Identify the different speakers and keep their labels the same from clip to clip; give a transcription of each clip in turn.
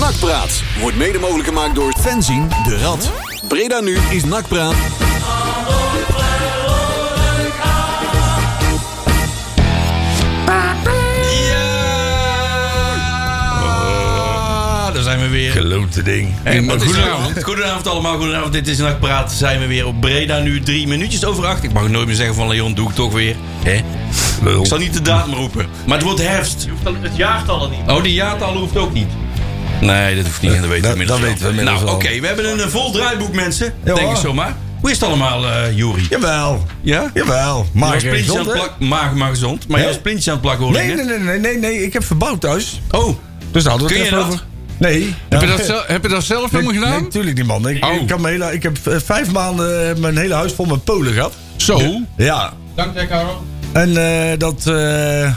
Speaker 1: Nakpraat wordt mede mogelijk gemaakt door fanzine De Rad. Breda nu is Nakpraat.
Speaker 2: Ja! Daar zijn we weer.
Speaker 3: Geloofde ding.
Speaker 2: Hey,
Speaker 3: En
Speaker 2: maar
Speaker 3: goedenavond.
Speaker 2: goedenavond. nou? Goedenavond allemaal, goedenavond. Dit is Nachtpraat. Zijn we weer op Breda nu, drie minuutjes over acht. Ik mag nooit meer zeggen van Leon, doe ik toch weer. Hè?
Speaker 3: Lul.
Speaker 2: Ik zal niet de datum roepen. Maar het wordt herfst.
Speaker 4: Het jaartal al niet.
Speaker 2: Oh, die jaartallen hoeft ook niet. Nee, dat hoeft niet. Dat weten we
Speaker 3: dat-
Speaker 2: inmiddels wel.
Speaker 3: dat weten we inmiddels
Speaker 2: Nou,
Speaker 3: wel.
Speaker 2: oké. we hebben een eh, vol draaiboek, mensen.
Speaker 3: Ja,
Speaker 2: Denk ik
Speaker 3: hoor.
Speaker 2: zomaar. Hoe is het allemaal, eh Jori?
Speaker 3: Jawel.
Speaker 2: Ja?
Speaker 3: Jawel. Maar
Speaker 2: je was
Speaker 3: gezond,
Speaker 2: plintjes aan het
Speaker 3: hè?
Speaker 2: plakken. Maar, maar gezond. Maar je
Speaker 3: Hè?
Speaker 2: was plintjes aan het plakken, hoor ik
Speaker 3: Nee,
Speaker 2: net.
Speaker 3: nee, nee, nee, nee, nee. Ik heb verbouwd thuis.
Speaker 2: Oh,
Speaker 3: Dus daar hadden we het
Speaker 2: Kun je
Speaker 3: even
Speaker 2: dat?
Speaker 3: over. Nee.
Speaker 5: Heb je dat, zelf, heb je dat zelf
Speaker 3: Nee,
Speaker 5: helemaal gedaan?
Speaker 3: natuurlijk niet, man. Ik,
Speaker 5: Oh.
Speaker 3: ik, kan mijn hele, ik heb eh, vijf maanden eh, mijn hele huis vol met Polen gehad.
Speaker 5: Zo.
Speaker 3: Ja.
Speaker 4: Dankzij Karel.
Speaker 3: En eh, dat eh,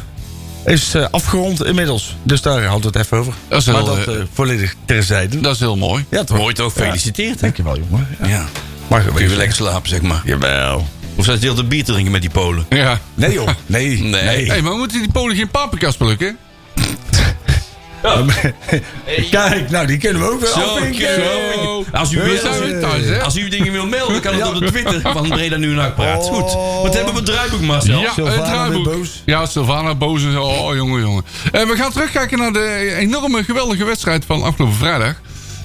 Speaker 3: is eh, afgerond inmiddels. Dus daar hadden we het even over.
Speaker 5: Dat is
Speaker 3: maar
Speaker 5: wel,
Speaker 3: dat
Speaker 5: eh,
Speaker 3: eh, volledig terzijde.
Speaker 5: Dat is heel mooi.
Speaker 3: ja, toch?
Speaker 2: mooi toch? Gefeliciteerd, hè?
Speaker 3: Dankjewel, jongen. Ja.
Speaker 2: Ja.
Speaker 3: Mag
Speaker 2: Kun je weer lekker slapen, zeg maar.
Speaker 3: Jawel.
Speaker 2: Of zij deelt de bier te drinken met die Polen.
Speaker 5: Ja.
Speaker 3: Nee, joh. Nee.
Speaker 2: Nee.
Speaker 5: Hé, hey, maar we moeten die Polen geen paprika's plukken?
Speaker 3: Kijk, nou, die kunnen we ook wel
Speaker 2: Zo,
Speaker 3: afvinken.
Speaker 2: zo.
Speaker 3: Nou,
Speaker 2: Als u,
Speaker 5: We
Speaker 2: wilt,
Speaker 5: zijn weer thuis, hè?
Speaker 2: als u dingen wil melden, kan het op de Twitter van Breda Nu Nacht Praat. Goed. Wat hebben we op het draaiboek, Marcel?
Speaker 5: Ja,
Speaker 3: Sylvana
Speaker 5: het draaiboek.
Speaker 3: weer boos.
Speaker 5: Ja, Sylvana boos en zo. Oh, jongen, jongen. Eh, we gaan terugkijken naar de enorme, geweldige wedstrijd van afgelopen vrijdag.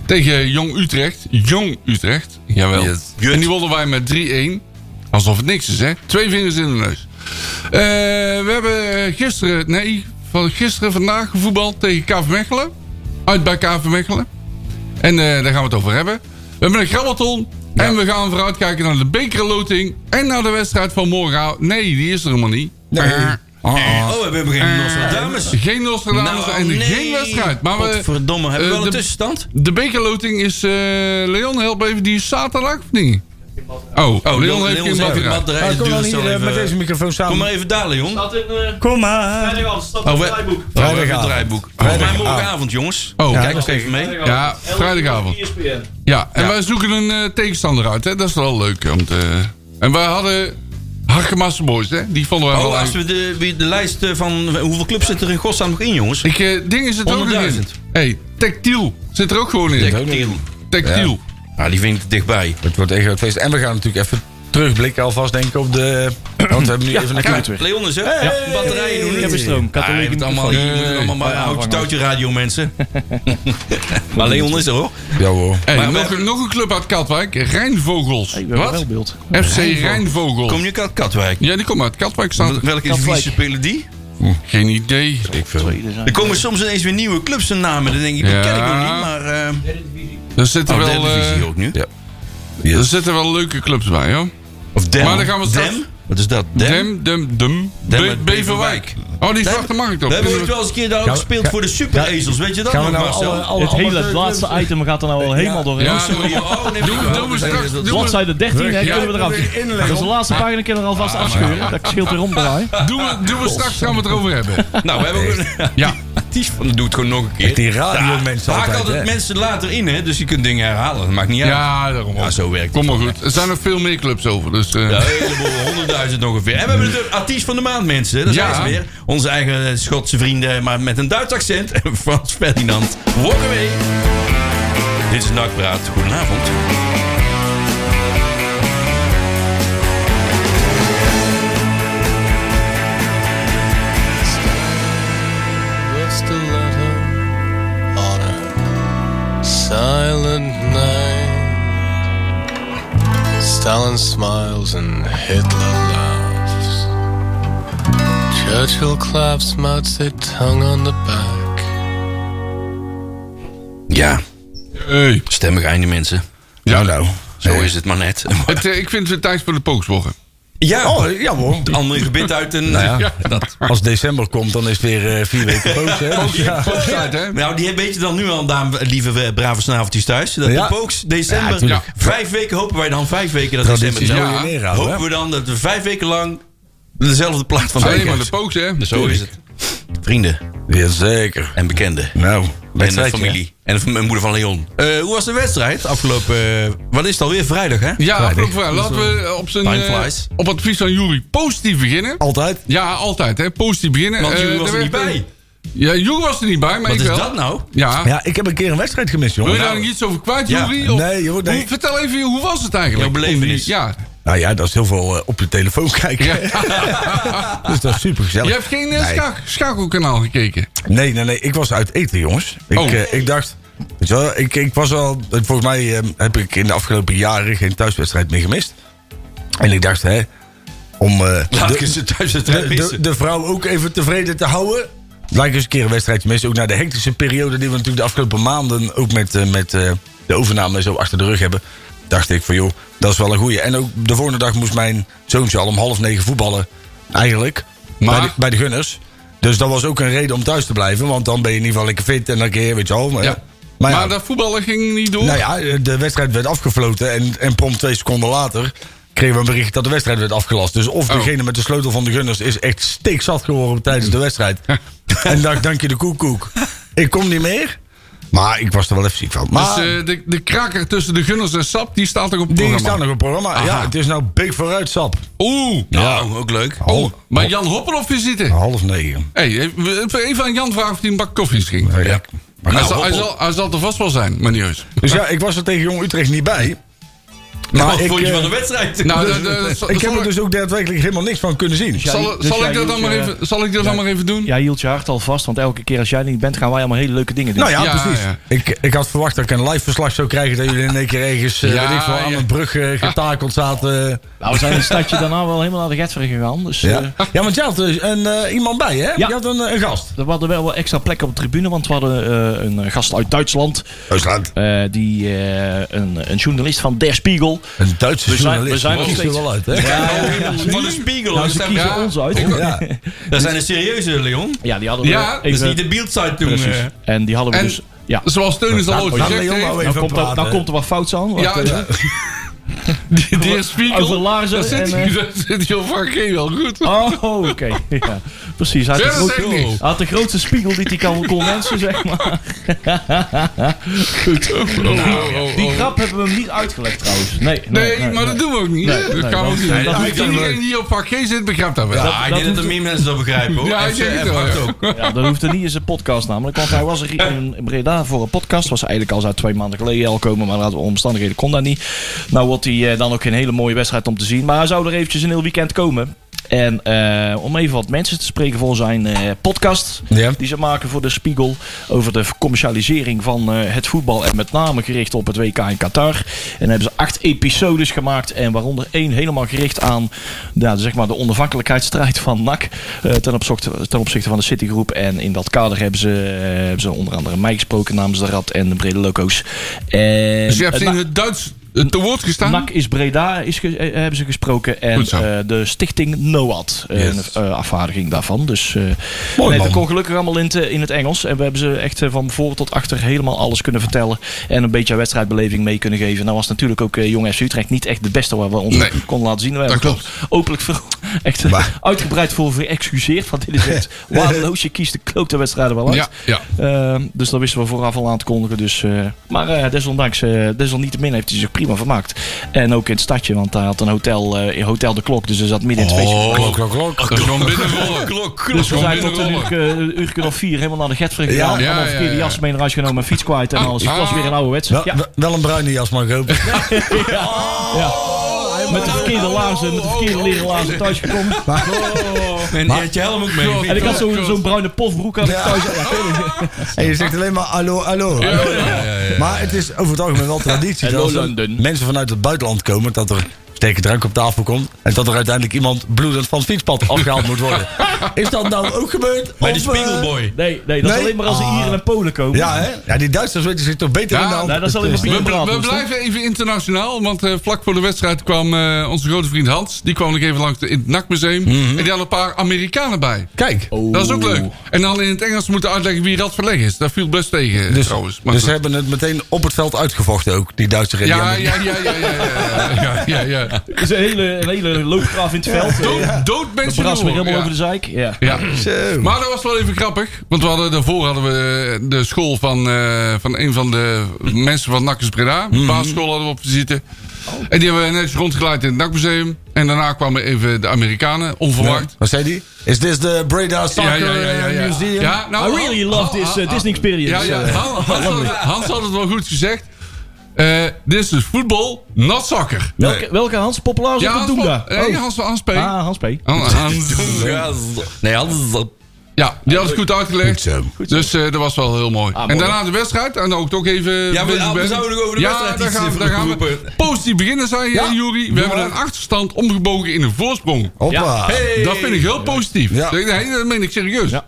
Speaker 5: Tegen Jong Utrecht. Jong Utrecht. Jawel.
Speaker 3: Yes.
Speaker 5: En die wonnen wij met 3-1. Alsof het niks is, hè? Twee vingers in de neus. Eh, we hebben eh, gisteren, nee, van gisteren vandaag gevoetbald tegen KV Mechelen. Uit bij KV Mechelen. En eh, daar gaan we het over hebben. We hebben een grabbelton. En we gaan vooruitkijken naar de bekerloting. En naar de wedstrijd van morgen. Nee, die is er helemaal niet. Eh,
Speaker 2: Oh, we hebben geen Nostradamus. Nou,
Speaker 5: Geen Nostradamus en Eh, geen wedstrijd. Maar we,
Speaker 2: Godverdomme, hebben we
Speaker 5: eh,
Speaker 2: wel een
Speaker 5: de-
Speaker 2: tussenstand?
Speaker 5: de bekerloting is... eh, Leon, help even, die is zaterdag of niet? Oh, oh Leon heeft geen
Speaker 2: batterij.
Speaker 5: batterij.
Speaker 3: Nou, kom
Speaker 2: dus
Speaker 3: dan
Speaker 2: het
Speaker 3: hier
Speaker 2: zal
Speaker 3: eh,
Speaker 2: even-
Speaker 3: met deze microfoon
Speaker 2: Kom
Speaker 3: samen.
Speaker 2: maar even daar, Leon.
Speaker 4: Staat in eh
Speaker 3: Kom maar.
Speaker 4: vrijdagavond, staat
Speaker 2: Oh,
Speaker 4: in
Speaker 2: we-
Speaker 4: het
Speaker 2: Oh,
Speaker 4: draaiboek.
Speaker 2: we hebben het
Speaker 3: Vrijdagavond.
Speaker 2: draaiboek. Volgens mij morgenavond, jongens.
Speaker 5: Oh,
Speaker 2: Kijk eens even mee.
Speaker 5: Ja, vrijdagavond.
Speaker 4: ESPN.
Speaker 5: Ja, en wij zoeken een eh, tegenstander uit, hè. Dat is wel leuk. om te- En wij hadden Harkemasse Boys, hè. Die vonden wij wel
Speaker 2: Oh, als
Speaker 5: leuk.
Speaker 2: we de, wie- de lijst eh, van hoeveel clubs zitten er in godsnaam nog in, jongens?
Speaker 5: Ik, eh, ding is het ook nog in.
Speaker 2: 100.000.
Speaker 5: hey, Tactiel zit er ook gewoon in.
Speaker 2: Tactiel.
Speaker 5: Tactiel.
Speaker 2: Ah, die vind ik dichtbij.
Speaker 3: Het wordt echt een groot feest. En we gaan natuurlijk even terugblikken alvast denk ik op de... Want we hebben nu even een
Speaker 2: Kijk, Leon is er. Ja. Batterijen doen
Speaker 4: Ik
Speaker 2: het.
Speaker 4: heb een stroom.
Speaker 2: Ah, je moet
Speaker 4: Katholiek
Speaker 2: allemaal, je moet allemaal maar houd je touwtje radio, mensen. maar Leon is er, hoor.
Speaker 3: Ja hoor.
Speaker 5: Hey,
Speaker 2: Maar we
Speaker 5: nog,
Speaker 2: hebben-
Speaker 5: nog een club uit Katwijk, Rijnvogels.
Speaker 4: Ik ben
Speaker 5: Wat?
Speaker 4: wel beeld.
Speaker 5: FC Rijnvogels.
Speaker 2: Kom je uit Katwijk?
Speaker 5: Ja, die komt uit Katwijk. Staat er.
Speaker 2: Welke
Speaker 4: Katwijk.
Speaker 2: divisie spelen die?
Speaker 5: Geen idee.
Speaker 3: Ik veel.
Speaker 2: Er komen soms ineens weer nieuwe clubs en namen. Dan denk ik, die
Speaker 5: Ja.
Speaker 2: ken ik nog niet, maar... eh
Speaker 5: Er zitten,
Speaker 2: oh,
Speaker 5: wel,
Speaker 2: derde
Speaker 5: eh,
Speaker 2: divisie ook nu.
Speaker 3: ja.
Speaker 5: er zitten wel leuke clubs bij, hoor.
Speaker 2: Of Dem.
Speaker 5: Maar dan gaan we straks-
Speaker 2: Dem? Wat is dat? Dem?
Speaker 5: Dem, Dem, Dem.
Speaker 2: Dem
Speaker 5: Be-
Speaker 2: uit
Speaker 5: Beverwijk.
Speaker 2: Beverwijk.
Speaker 5: Oh, die
Speaker 2: Dem.
Speaker 5: zwarte markt op.
Speaker 2: We hebben
Speaker 5: Dus
Speaker 2: ooit
Speaker 5: we-
Speaker 2: wel eens een keer daar ook
Speaker 3: Gaan we-
Speaker 2: gespeeld
Speaker 3: ga-
Speaker 2: voor de superezels. Weet je dat
Speaker 3: Gaan we
Speaker 2: nog,
Speaker 3: nou
Speaker 2: Marcel?
Speaker 3: alle, alle
Speaker 4: Het hele het
Speaker 3: amateur-
Speaker 4: laatste item gaat er nou al helemaal doorheen.
Speaker 5: Ja,
Speaker 4: Ja.
Speaker 5: sorry.
Speaker 2: Oh, nee,
Speaker 5: Doen we-
Speaker 2: maar-
Speaker 5: doen we straks-
Speaker 2: dat-
Speaker 5: doen we-
Speaker 4: Bladzijde 13, hè, die
Speaker 5: Ja,
Speaker 4: kunnen we eraf.
Speaker 3: dat is inleg,
Speaker 4: Dat is de
Speaker 3: hoor.
Speaker 4: laatste pagina, kunnen we er alvast afscheuren. Dat scheelt weer omdraaien. Dus
Speaker 5: Doen we, doen we straks, gaan we het erover hebben.
Speaker 2: Nou, we hebben ook een...
Speaker 5: Ja.
Speaker 2: Actief van, doe het gewoon nog een keer.
Speaker 3: Echt die radio mensen
Speaker 2: Haak
Speaker 3: altijd,
Speaker 2: altijd
Speaker 3: hè.
Speaker 2: mensen later in, hè. Dus je kunt dingen herhalen. Dat maakt niet uit.
Speaker 5: Ja, daarom.
Speaker 2: Ja, zo werkt
Speaker 5: Kom maar goed. Er zijn nog veel meer clubs over. Dus, eh,
Speaker 2: Ja, een heleboel, honderdduizend ongeveer. En we hebben de artiest van de maand, mensen. Dat zijn
Speaker 5: Ja.
Speaker 2: ze weer. Onze eigen eh, Schotse vrienden, maar met een Duits accent. Frans Ferdinand. Walk away. Dit is Nakpraat. Goedenavond.
Speaker 6: stiletto on a silent night. Stalin smiles and Hitler laughs. Churchill claps Mao Zedong on the back.
Speaker 2: Ja,
Speaker 5: hey.
Speaker 2: stemmig einde, mensen.
Speaker 3: Nou nou.
Speaker 2: Zo is het maar net.
Speaker 5: het, eh, ik vind het tijd voor de pookswoggen.
Speaker 2: Ja,
Speaker 3: Oh, ja hoor.
Speaker 2: ander gebit uit een...
Speaker 3: Nou ja.
Speaker 2: ja, dat.
Speaker 3: Als december komt, dan is het weer eh, vier weken poos, hè. Dus ja.
Speaker 5: Pookstijd, hè?
Speaker 2: Nou, die weet je dan nu al, dame, lieve eh, brave snaveltjes thuis. Dat
Speaker 3: Ja.
Speaker 2: de pooks december.
Speaker 3: tuurlijk.
Speaker 2: Vijf weken hopen wij dan, vijf weken dat
Speaker 3: Traditie
Speaker 2: december.
Speaker 5: wil je
Speaker 2: Ja.
Speaker 3: neerhouden,
Speaker 2: hopen
Speaker 3: hè?
Speaker 2: we dan dat we vijf weken lang dezelfde plaat van
Speaker 5: Alleen
Speaker 2: Dijk
Speaker 5: maar de
Speaker 2: hebben.
Speaker 5: pooks, hè?
Speaker 2: Zo is het. Vrienden
Speaker 3: Jazeker.
Speaker 2: en bekenden.
Speaker 3: Nou,
Speaker 2: En de
Speaker 3: wedstrijdje, hè.
Speaker 2: familie. En de moeder van Leon. Eh, hoe was de wedstrijd afgelopen... eh, wat is het alweer? Vrijdag, hè?
Speaker 5: Ja, afgelopen vrijdag. Laten we op, zijn,
Speaker 2: Time
Speaker 5: eh,
Speaker 2: flies.
Speaker 5: op advies van Jury positief beginnen.
Speaker 3: Altijd.
Speaker 5: Ja, altijd. Hè. Positief beginnen.
Speaker 2: Want
Speaker 5: Eh,
Speaker 2: jullie was er niet
Speaker 5: werd,
Speaker 2: bij.
Speaker 5: eh, Ja, Joeri was er niet bij, maar
Speaker 2: Wat
Speaker 5: ik
Speaker 2: is
Speaker 5: wel.
Speaker 2: dat nou?
Speaker 5: Ja.
Speaker 3: Ja, ik heb een keer een wedstrijd gemist,
Speaker 5: Wil je
Speaker 3: jongen.
Speaker 5: daar
Speaker 3: Nou,
Speaker 5: nog iets over kwijt,
Speaker 2: Ja.
Speaker 5: Joeri? Of-
Speaker 3: Nee, joh, nee.
Speaker 5: Hoe- vertel even, hoe was het eigenlijk?
Speaker 2: Jouw belevenis.
Speaker 5: Ja.
Speaker 3: nou ja, dat is heel veel eh, op je telefoon kijken.
Speaker 5: Ja.
Speaker 3: dus dat is super gezellig.
Speaker 5: Je hebt geen eh,
Speaker 3: Nee.
Speaker 5: schak- schakelkanaal gekeken?
Speaker 3: Nee, nee, nee. Ik was uit eten, jongens. Ik,
Speaker 5: Oh.
Speaker 3: eh, ik dacht... Weet je wel, ik, ik was al... Volgens mij eh, heb ik in de afgelopen jaren geen thuiswedstrijd meer gemist. En ik dacht, hè... Om eh,
Speaker 2: Laat ik
Speaker 3: de,
Speaker 2: eens de thuiswedstrijd
Speaker 3: de, de,
Speaker 2: missen.
Speaker 3: de vrouw ook even tevreden te houden... Laat ik eens een keer een wedstrijdje missen. Ook na de hectische periode die we natuurlijk de afgelopen maanden... ook met, eh, met eh, de overname en zo achter de rug hebben... dacht ik van, joh, dat is wel een goeie. En ook de volgende dag moest mijn zoontje al om half negen voetballen. Eigenlijk.
Speaker 5: Maar?
Speaker 3: Bij, de, bij de Gunners. Dus dat was ook een reden om thuis te blijven. Want dan ben je in ieder geval lekker fit en dan kun je, weet je wel. Maar,
Speaker 5: Ja.
Speaker 3: maar, Ah, ja,
Speaker 5: Maar dat voetballen ging niet door?
Speaker 3: nou ja, de wedstrijd werd afgefloten. En, en prompt twee seconden later kregen we een bericht dat de wedstrijd werd afgelast. Dus of
Speaker 5: Oh.
Speaker 3: degene met de sleutel van de Gunners is echt stikzat geworden tijdens de wedstrijd. en dacht, dank je de koekoek. Ik kom niet meer. Maar ik was er wel even ziek van. Maar
Speaker 5: Dus eh, de, de kraker tussen de Gunners en Sap, die staat er op het
Speaker 3: Ah. die
Speaker 5: programma.
Speaker 3: staan nog op het programma. Ja,
Speaker 5: Aha.
Speaker 3: het is nou big vooruit, sap.
Speaker 5: Oeh. Oh.
Speaker 2: Nou, ook leuk.
Speaker 3: Half,
Speaker 5: Maar Jan Hopperhoff is zitten.
Speaker 3: half negen.
Speaker 5: Hey, even even aan Jan vragen of hij een bak koffie ging.
Speaker 3: Ja.
Speaker 5: Maar hij,
Speaker 2: Nou,
Speaker 5: zal, hij,
Speaker 2: Hopperhoff-
Speaker 5: zal, hij zal er vast wel zijn, maar niet heus.
Speaker 3: Dus ja, ik was er tegen Jong Utrecht niet bij.
Speaker 2: Maar Wat
Speaker 3: ik,
Speaker 2: vond je
Speaker 3: eh,
Speaker 2: van de wedstrijd?
Speaker 5: Nou,
Speaker 3: Dus,
Speaker 5: dat- dat- dat-
Speaker 3: ik heb
Speaker 5: zal
Speaker 3: er dus ook daadwerkelijk helemaal niks van kunnen zien.
Speaker 4: Ja,
Speaker 5: zal,
Speaker 4: dus
Speaker 5: zal
Speaker 4: jij
Speaker 5: ik dat dan
Speaker 4: hield
Speaker 5: maar
Speaker 4: je-
Speaker 5: even, zal ik dat dan maar even doen?
Speaker 4: Jij hield je hart al vast, want elke keer als jij er niet bent, gaan wij allemaal hele leuke dingen doen.
Speaker 3: Nou ja,
Speaker 5: Ja,
Speaker 3: precies.
Speaker 5: ja.
Speaker 3: Ik, ik had verwacht dat ik een live verslag zou krijgen. Dat jullie in één keer ergens eh,
Speaker 5: Ja,
Speaker 3: weet ik veel, aan
Speaker 5: ja.
Speaker 3: een brug eh, getakeld zaten.
Speaker 4: Nou, we zijn een stadje daarna wel helemaal naar de Getver gegaan. Dus eh,
Speaker 3: Ja. ja, want jij had dus een, eh, iemand bij, hè?
Speaker 4: Ja.
Speaker 3: Je had een, eh, een gast.
Speaker 4: er waren wel wat extra plekken op de tribune, want we hadden eh, een gast uit Duitsland.
Speaker 3: Duitsland.
Speaker 4: eh, die, eh, een, een journalist van Der Spiegel.
Speaker 3: Een Duitse
Speaker 4: We zijn-
Speaker 3: journalist.
Speaker 4: we zijn nog
Speaker 3: Kies er
Speaker 4: steeds-
Speaker 3: wel uit, hè?
Speaker 2: Van de spiegel.
Speaker 4: Nou,
Speaker 2: dat
Speaker 4: ze
Speaker 2: zijn-
Speaker 4: kiezen
Speaker 5: ja.
Speaker 4: ons uit.
Speaker 3: Ja.
Speaker 2: dat zijn de serieuze, Leon.
Speaker 4: Ja, die hadden we
Speaker 5: Ja,
Speaker 4: even-
Speaker 2: Dat is niet de beeldsite toen. eh.
Speaker 4: En die hadden we
Speaker 5: En-
Speaker 4: dus... Ja,
Speaker 5: Zoals Teunis al ooit
Speaker 3: Laat
Speaker 5: gezegd
Speaker 3: Leon nou
Speaker 5: heeft.
Speaker 3: even
Speaker 4: dan komt, er,
Speaker 3: praten.
Speaker 4: dan komt er wat fouts aan. want,
Speaker 5: Ja,
Speaker 4: eh,
Speaker 5: ja. Die, die is
Speaker 4: Over
Speaker 5: Spiegel.
Speaker 4: laarzen
Speaker 5: Daar zit
Speaker 4: en,
Speaker 5: hij-
Speaker 4: eh,
Speaker 5: daar zit hij al vaak in, wel goed.
Speaker 4: Oh, oké. Ja, precies. Hij had,
Speaker 5: Verder
Speaker 4: de grootste,
Speaker 5: zeg ik niks.
Speaker 4: hij had de grootste spiegel die hij kan kon wensen, zeg maar. Goed. Die grap hebben we hem niet uitgelegd, trouwens. Nee, nee,
Speaker 5: Nou, oh, Nee, maar dat doen we ook niet.
Speaker 4: Nee,
Speaker 5: dat
Speaker 4: nee,
Speaker 5: kan
Speaker 4: dat-
Speaker 5: ook niet.
Speaker 4: nee, dat
Speaker 5: Ja,
Speaker 2: doe ik
Speaker 5: Iedereen
Speaker 2: dan
Speaker 5: die op vak G zit, begrijpt dat wel.
Speaker 2: Ja, ik denk dat er meer mensen dat begrijpen hoor.
Speaker 5: Ja, ik denk het wel,
Speaker 2: FCF
Speaker 5: ja.
Speaker 2: ook.
Speaker 4: Ja, dat hoeft er niet in zijn podcast namelijk. Want hij was er in Breda voor een podcast. Was eigenlijk al zou twee maanden geleden al komen. Maar door omstandigheden kon dat niet. Nou wordt hij eh, dan ook geen hele mooie wedstrijd om te zien. Maar hij zou er eventjes een heel weekend komen. En eh, om even wat mensen te spreken voor zijn eh, podcast.
Speaker 3: Ja.
Speaker 4: Die ze maken voor de Spiegel. Over de commercialisering van eh, het voetbal. En met name gericht op het WK in Qatar. En daar hebben ze acht episodes gemaakt. En waaronder één helemaal gericht aan ja, zeg maar de onafhankelijkheidsstrijd van NAC. eh, ten, opzichte, ten opzichte van de Citigroep. En in dat kader hebben ze, eh, hebben ze onder andere mij gesproken namens de Rad en de Brede Loco's. En,
Speaker 5: Dus je hebt
Speaker 4: eh,
Speaker 5: in het Duits eh, te woord gestaan.
Speaker 4: NAC is Breda, is ge- eh, hebben ze gesproken. En
Speaker 5: Goed zo.
Speaker 4: eh, de stichting NOAD, eh, een
Speaker 5: Yes.
Speaker 4: eh, afvaardiging daarvan. Dus eh nee,
Speaker 3: man.
Speaker 4: dat kon gelukkig allemaal in, te- in het Engels. En we hebben ze echt eh, van voor tot achter helemaal alles kunnen vertellen. En een beetje aan wedstrijdbeleving mee kunnen geven. Nou was natuurlijk ook eh, Jong FC Utrecht niet echt de beste waar we ons
Speaker 5: Nee.
Speaker 4: op konden laten zien. We hebben
Speaker 5: klopt.
Speaker 4: ons Openlijk voor, echt eh,
Speaker 3: Maar-
Speaker 4: uitgebreid voor verexcuseerd. Want dit is echt waardeloos. Je kiest de klote wedstrijden wel uit.
Speaker 5: Ja, ja.
Speaker 4: Ehm, dus dat wisten we vooraf al aan te kondigen. Dus, eh, maar eh, desondanks, eh, desalniettemin heeft hij zich prima vermaakt. En ook in het stadje, want hij had een hotel eh, in Hotel de Klok. Dus hij zat midden in het feestje.
Speaker 5: klok, klok, klok. Dat is gewoon binnenrollen.
Speaker 2: Klok,
Speaker 5: Oh. Dat
Speaker 2: klok.
Speaker 5: is
Speaker 4: We
Speaker 5: gewoon
Speaker 4: zijn tot een
Speaker 5: binnenrollen.
Speaker 4: uur, eh, een uur of vier helemaal naar de Getver gegaan.
Speaker 3: Ja,
Speaker 5: ja,
Speaker 4: allemaal
Speaker 5: ja,
Speaker 4: verkeerde
Speaker 5: ja.
Speaker 4: jas mee naar huis genomen, een fiets kwijt en alles. Het was weer een oude
Speaker 3: Wel,
Speaker 4: wedstrijd. Ja,
Speaker 3: wel- wel een bruine jas, mag ik hopen.
Speaker 4: ja. Met de verkeerde laarzen, met de verkeerde leren laarzen thuis gekomen.
Speaker 2: En je had je helm ook mee.
Speaker 4: En ik had zo'n zo'n bruine pofbroek aan thuis.
Speaker 3: En je zegt alleen maar hallo, hallo. Maar het is over het algemeen wel traditie dat
Speaker 4: Hello,
Speaker 3: als er
Speaker 4: London.
Speaker 3: mensen vanuit het buitenland komen... dat er sterke drank op tafel komt... en dat er uiteindelijk iemand bloedend van het fietspad afgehaald moet worden. Is dat nou ook gebeurd?
Speaker 2: Bij de
Speaker 3: Of, eh,
Speaker 2: Spiegelboy.
Speaker 4: Nee, nee, dat is
Speaker 3: Nee?
Speaker 4: alleen maar als de
Speaker 5: Ah.
Speaker 4: Ieren en Polen komen.
Speaker 3: Ja, hè? Ja, die Duitsers weten zich toch beter
Speaker 5: Ja, nou,
Speaker 3: in Dus- de hand.
Speaker 4: nee, dat is alleen maar
Speaker 5: We,
Speaker 4: bier
Speaker 5: bl-
Speaker 4: praten.
Speaker 5: we
Speaker 4: moest, hè?
Speaker 5: blijven even internationaal, want eh, vlak voor de wedstrijd kwam eh, onze grote vriend Hans. Die kwam nog even langs de- in het NAC-museum.
Speaker 4: Mhm.
Speaker 5: En die had een paar Amerikanen bij.
Speaker 3: Kijk,
Speaker 4: Oh.
Speaker 5: Dat is ook leuk. En dan in het Engels moeten uitleggen wie Rad Verleg is. Dat viel best tegen
Speaker 3: dus,
Speaker 5: trouwens.
Speaker 4: eh,
Speaker 5: Maar
Speaker 3: dus ze
Speaker 5: goed.
Speaker 3: hebben het meteen op het veld uitgevochten ook, die Duitse en die
Speaker 5: ja,
Speaker 3: andere-
Speaker 5: ja, ja, ja, ja, ja, ja, ja, ja.
Speaker 4: Het is een hele, een hele loopgraaf in het veld. Eh,
Speaker 5: Dood, dood
Speaker 4: Dat
Speaker 5: mensen
Speaker 4: bras weer
Speaker 5: door.
Speaker 4: helemaal
Speaker 5: Ja.
Speaker 4: over de zeik. Ja.
Speaker 5: Ja.
Speaker 3: Zo.
Speaker 5: Maar dat was wel even grappig. Want we hadden, daarvoor hadden we de eh,
Speaker 4: Mhm.
Speaker 5: school van, eh, van een van de mensen van Nakkers Breda. Basisschool hadden we op te zitten. En die hebben we netjes rondgeleid in het NAC-museum. En daarna kwamen even de Amerikanen, onverwacht.
Speaker 3: Wat zei die? Is this the Breda Soccer eh, Museum?
Speaker 5: Ja, nou, ah,
Speaker 4: I really
Speaker 5: Han-
Speaker 4: love this, uh, Disney experience.
Speaker 5: Ja, ja. Oh,
Speaker 4: Uh,
Speaker 5: Han- Hans, had het, Hans had het wel goed gezegd. Eh, Dit is dus voetbal, not soccer.
Speaker 4: welke, welke Hans? Populaar of
Speaker 5: Ja,
Speaker 4: een Doenda?
Speaker 5: Hans, nee,
Speaker 4: Oh.
Speaker 5: Hans van Anspee.
Speaker 4: Ah, Hans P.
Speaker 5: Han- Hans-
Speaker 2: Nee, anders.
Speaker 5: ja, die had het goed uitgelegd.
Speaker 3: zo.
Speaker 5: Dus eh, dat was wel heel mooi.
Speaker 4: mooi.
Speaker 5: en daarna de wedstrijd. En ook toch even...
Speaker 2: maar
Speaker 5: bezig
Speaker 2: we
Speaker 5: ben.
Speaker 2: zouden nog over de wedstrijd
Speaker 5: daar
Speaker 2: iets
Speaker 5: gaan, we- daar gaan we
Speaker 2: roepen.
Speaker 5: positief beginnen, zei je,
Speaker 3: Ja,
Speaker 5: Juri.
Speaker 3: doe
Speaker 5: We hebben
Speaker 3: maar.
Speaker 5: een achterstand omgebogen in een voorsprong.
Speaker 3: Hoppa.
Speaker 5: Dat vind ik heel positief.
Speaker 3: Ja.
Speaker 5: Nee, nee, dat meen ik serieus.
Speaker 4: Ja.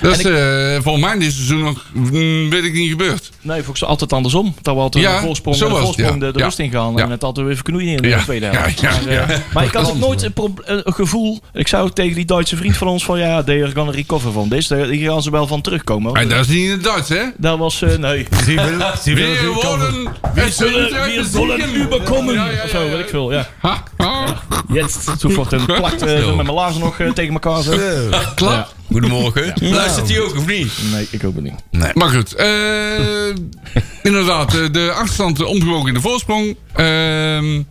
Speaker 5: Dat is eh, volgens mij dit seizoen nog, mm, weet ik niet, gebeurd.
Speaker 4: Nee, volgens mij altijd andersom. Dat we altijd
Speaker 5: Ja,
Speaker 4: een voorsprong,
Speaker 5: zo
Speaker 4: een
Speaker 5: was het,
Speaker 4: voorsprong
Speaker 5: ja.
Speaker 4: de, de
Speaker 5: Ja.
Speaker 4: rust ingaan.
Speaker 5: Ja.
Speaker 4: En het altijd weer verknoeien in de
Speaker 5: Ja.
Speaker 4: tweede
Speaker 5: Ja,
Speaker 4: helft.
Speaker 5: ja,
Speaker 4: maar, eh,
Speaker 5: ja.
Speaker 4: maar ik had ook nooit een, prob- een gevoel... Ik zou ook tegen die Duitse vriend van ons van... Ja, they are gonna recover van this. Daar hier gaan ze wel van terugkomen.
Speaker 5: En dat is niet in het Duits, hè?
Speaker 4: Dat was... eh, nee.
Speaker 5: Weer worden...
Speaker 4: We zullen, we zullen überkommen. Of zo, weet ik veel. Ja. Jetzt. Toen wordt een plakt eh, zo met mijn laarzen nog eh, tegen elkaar. Zo.
Speaker 5: Klaar.
Speaker 2: Goedemorgen. Luistert hij ook of niet?
Speaker 4: Nee, ik ook niet.
Speaker 5: Maar goed, eh, inderdaad, eh, de achterstand omgebogen in de voorsprong. Ehm,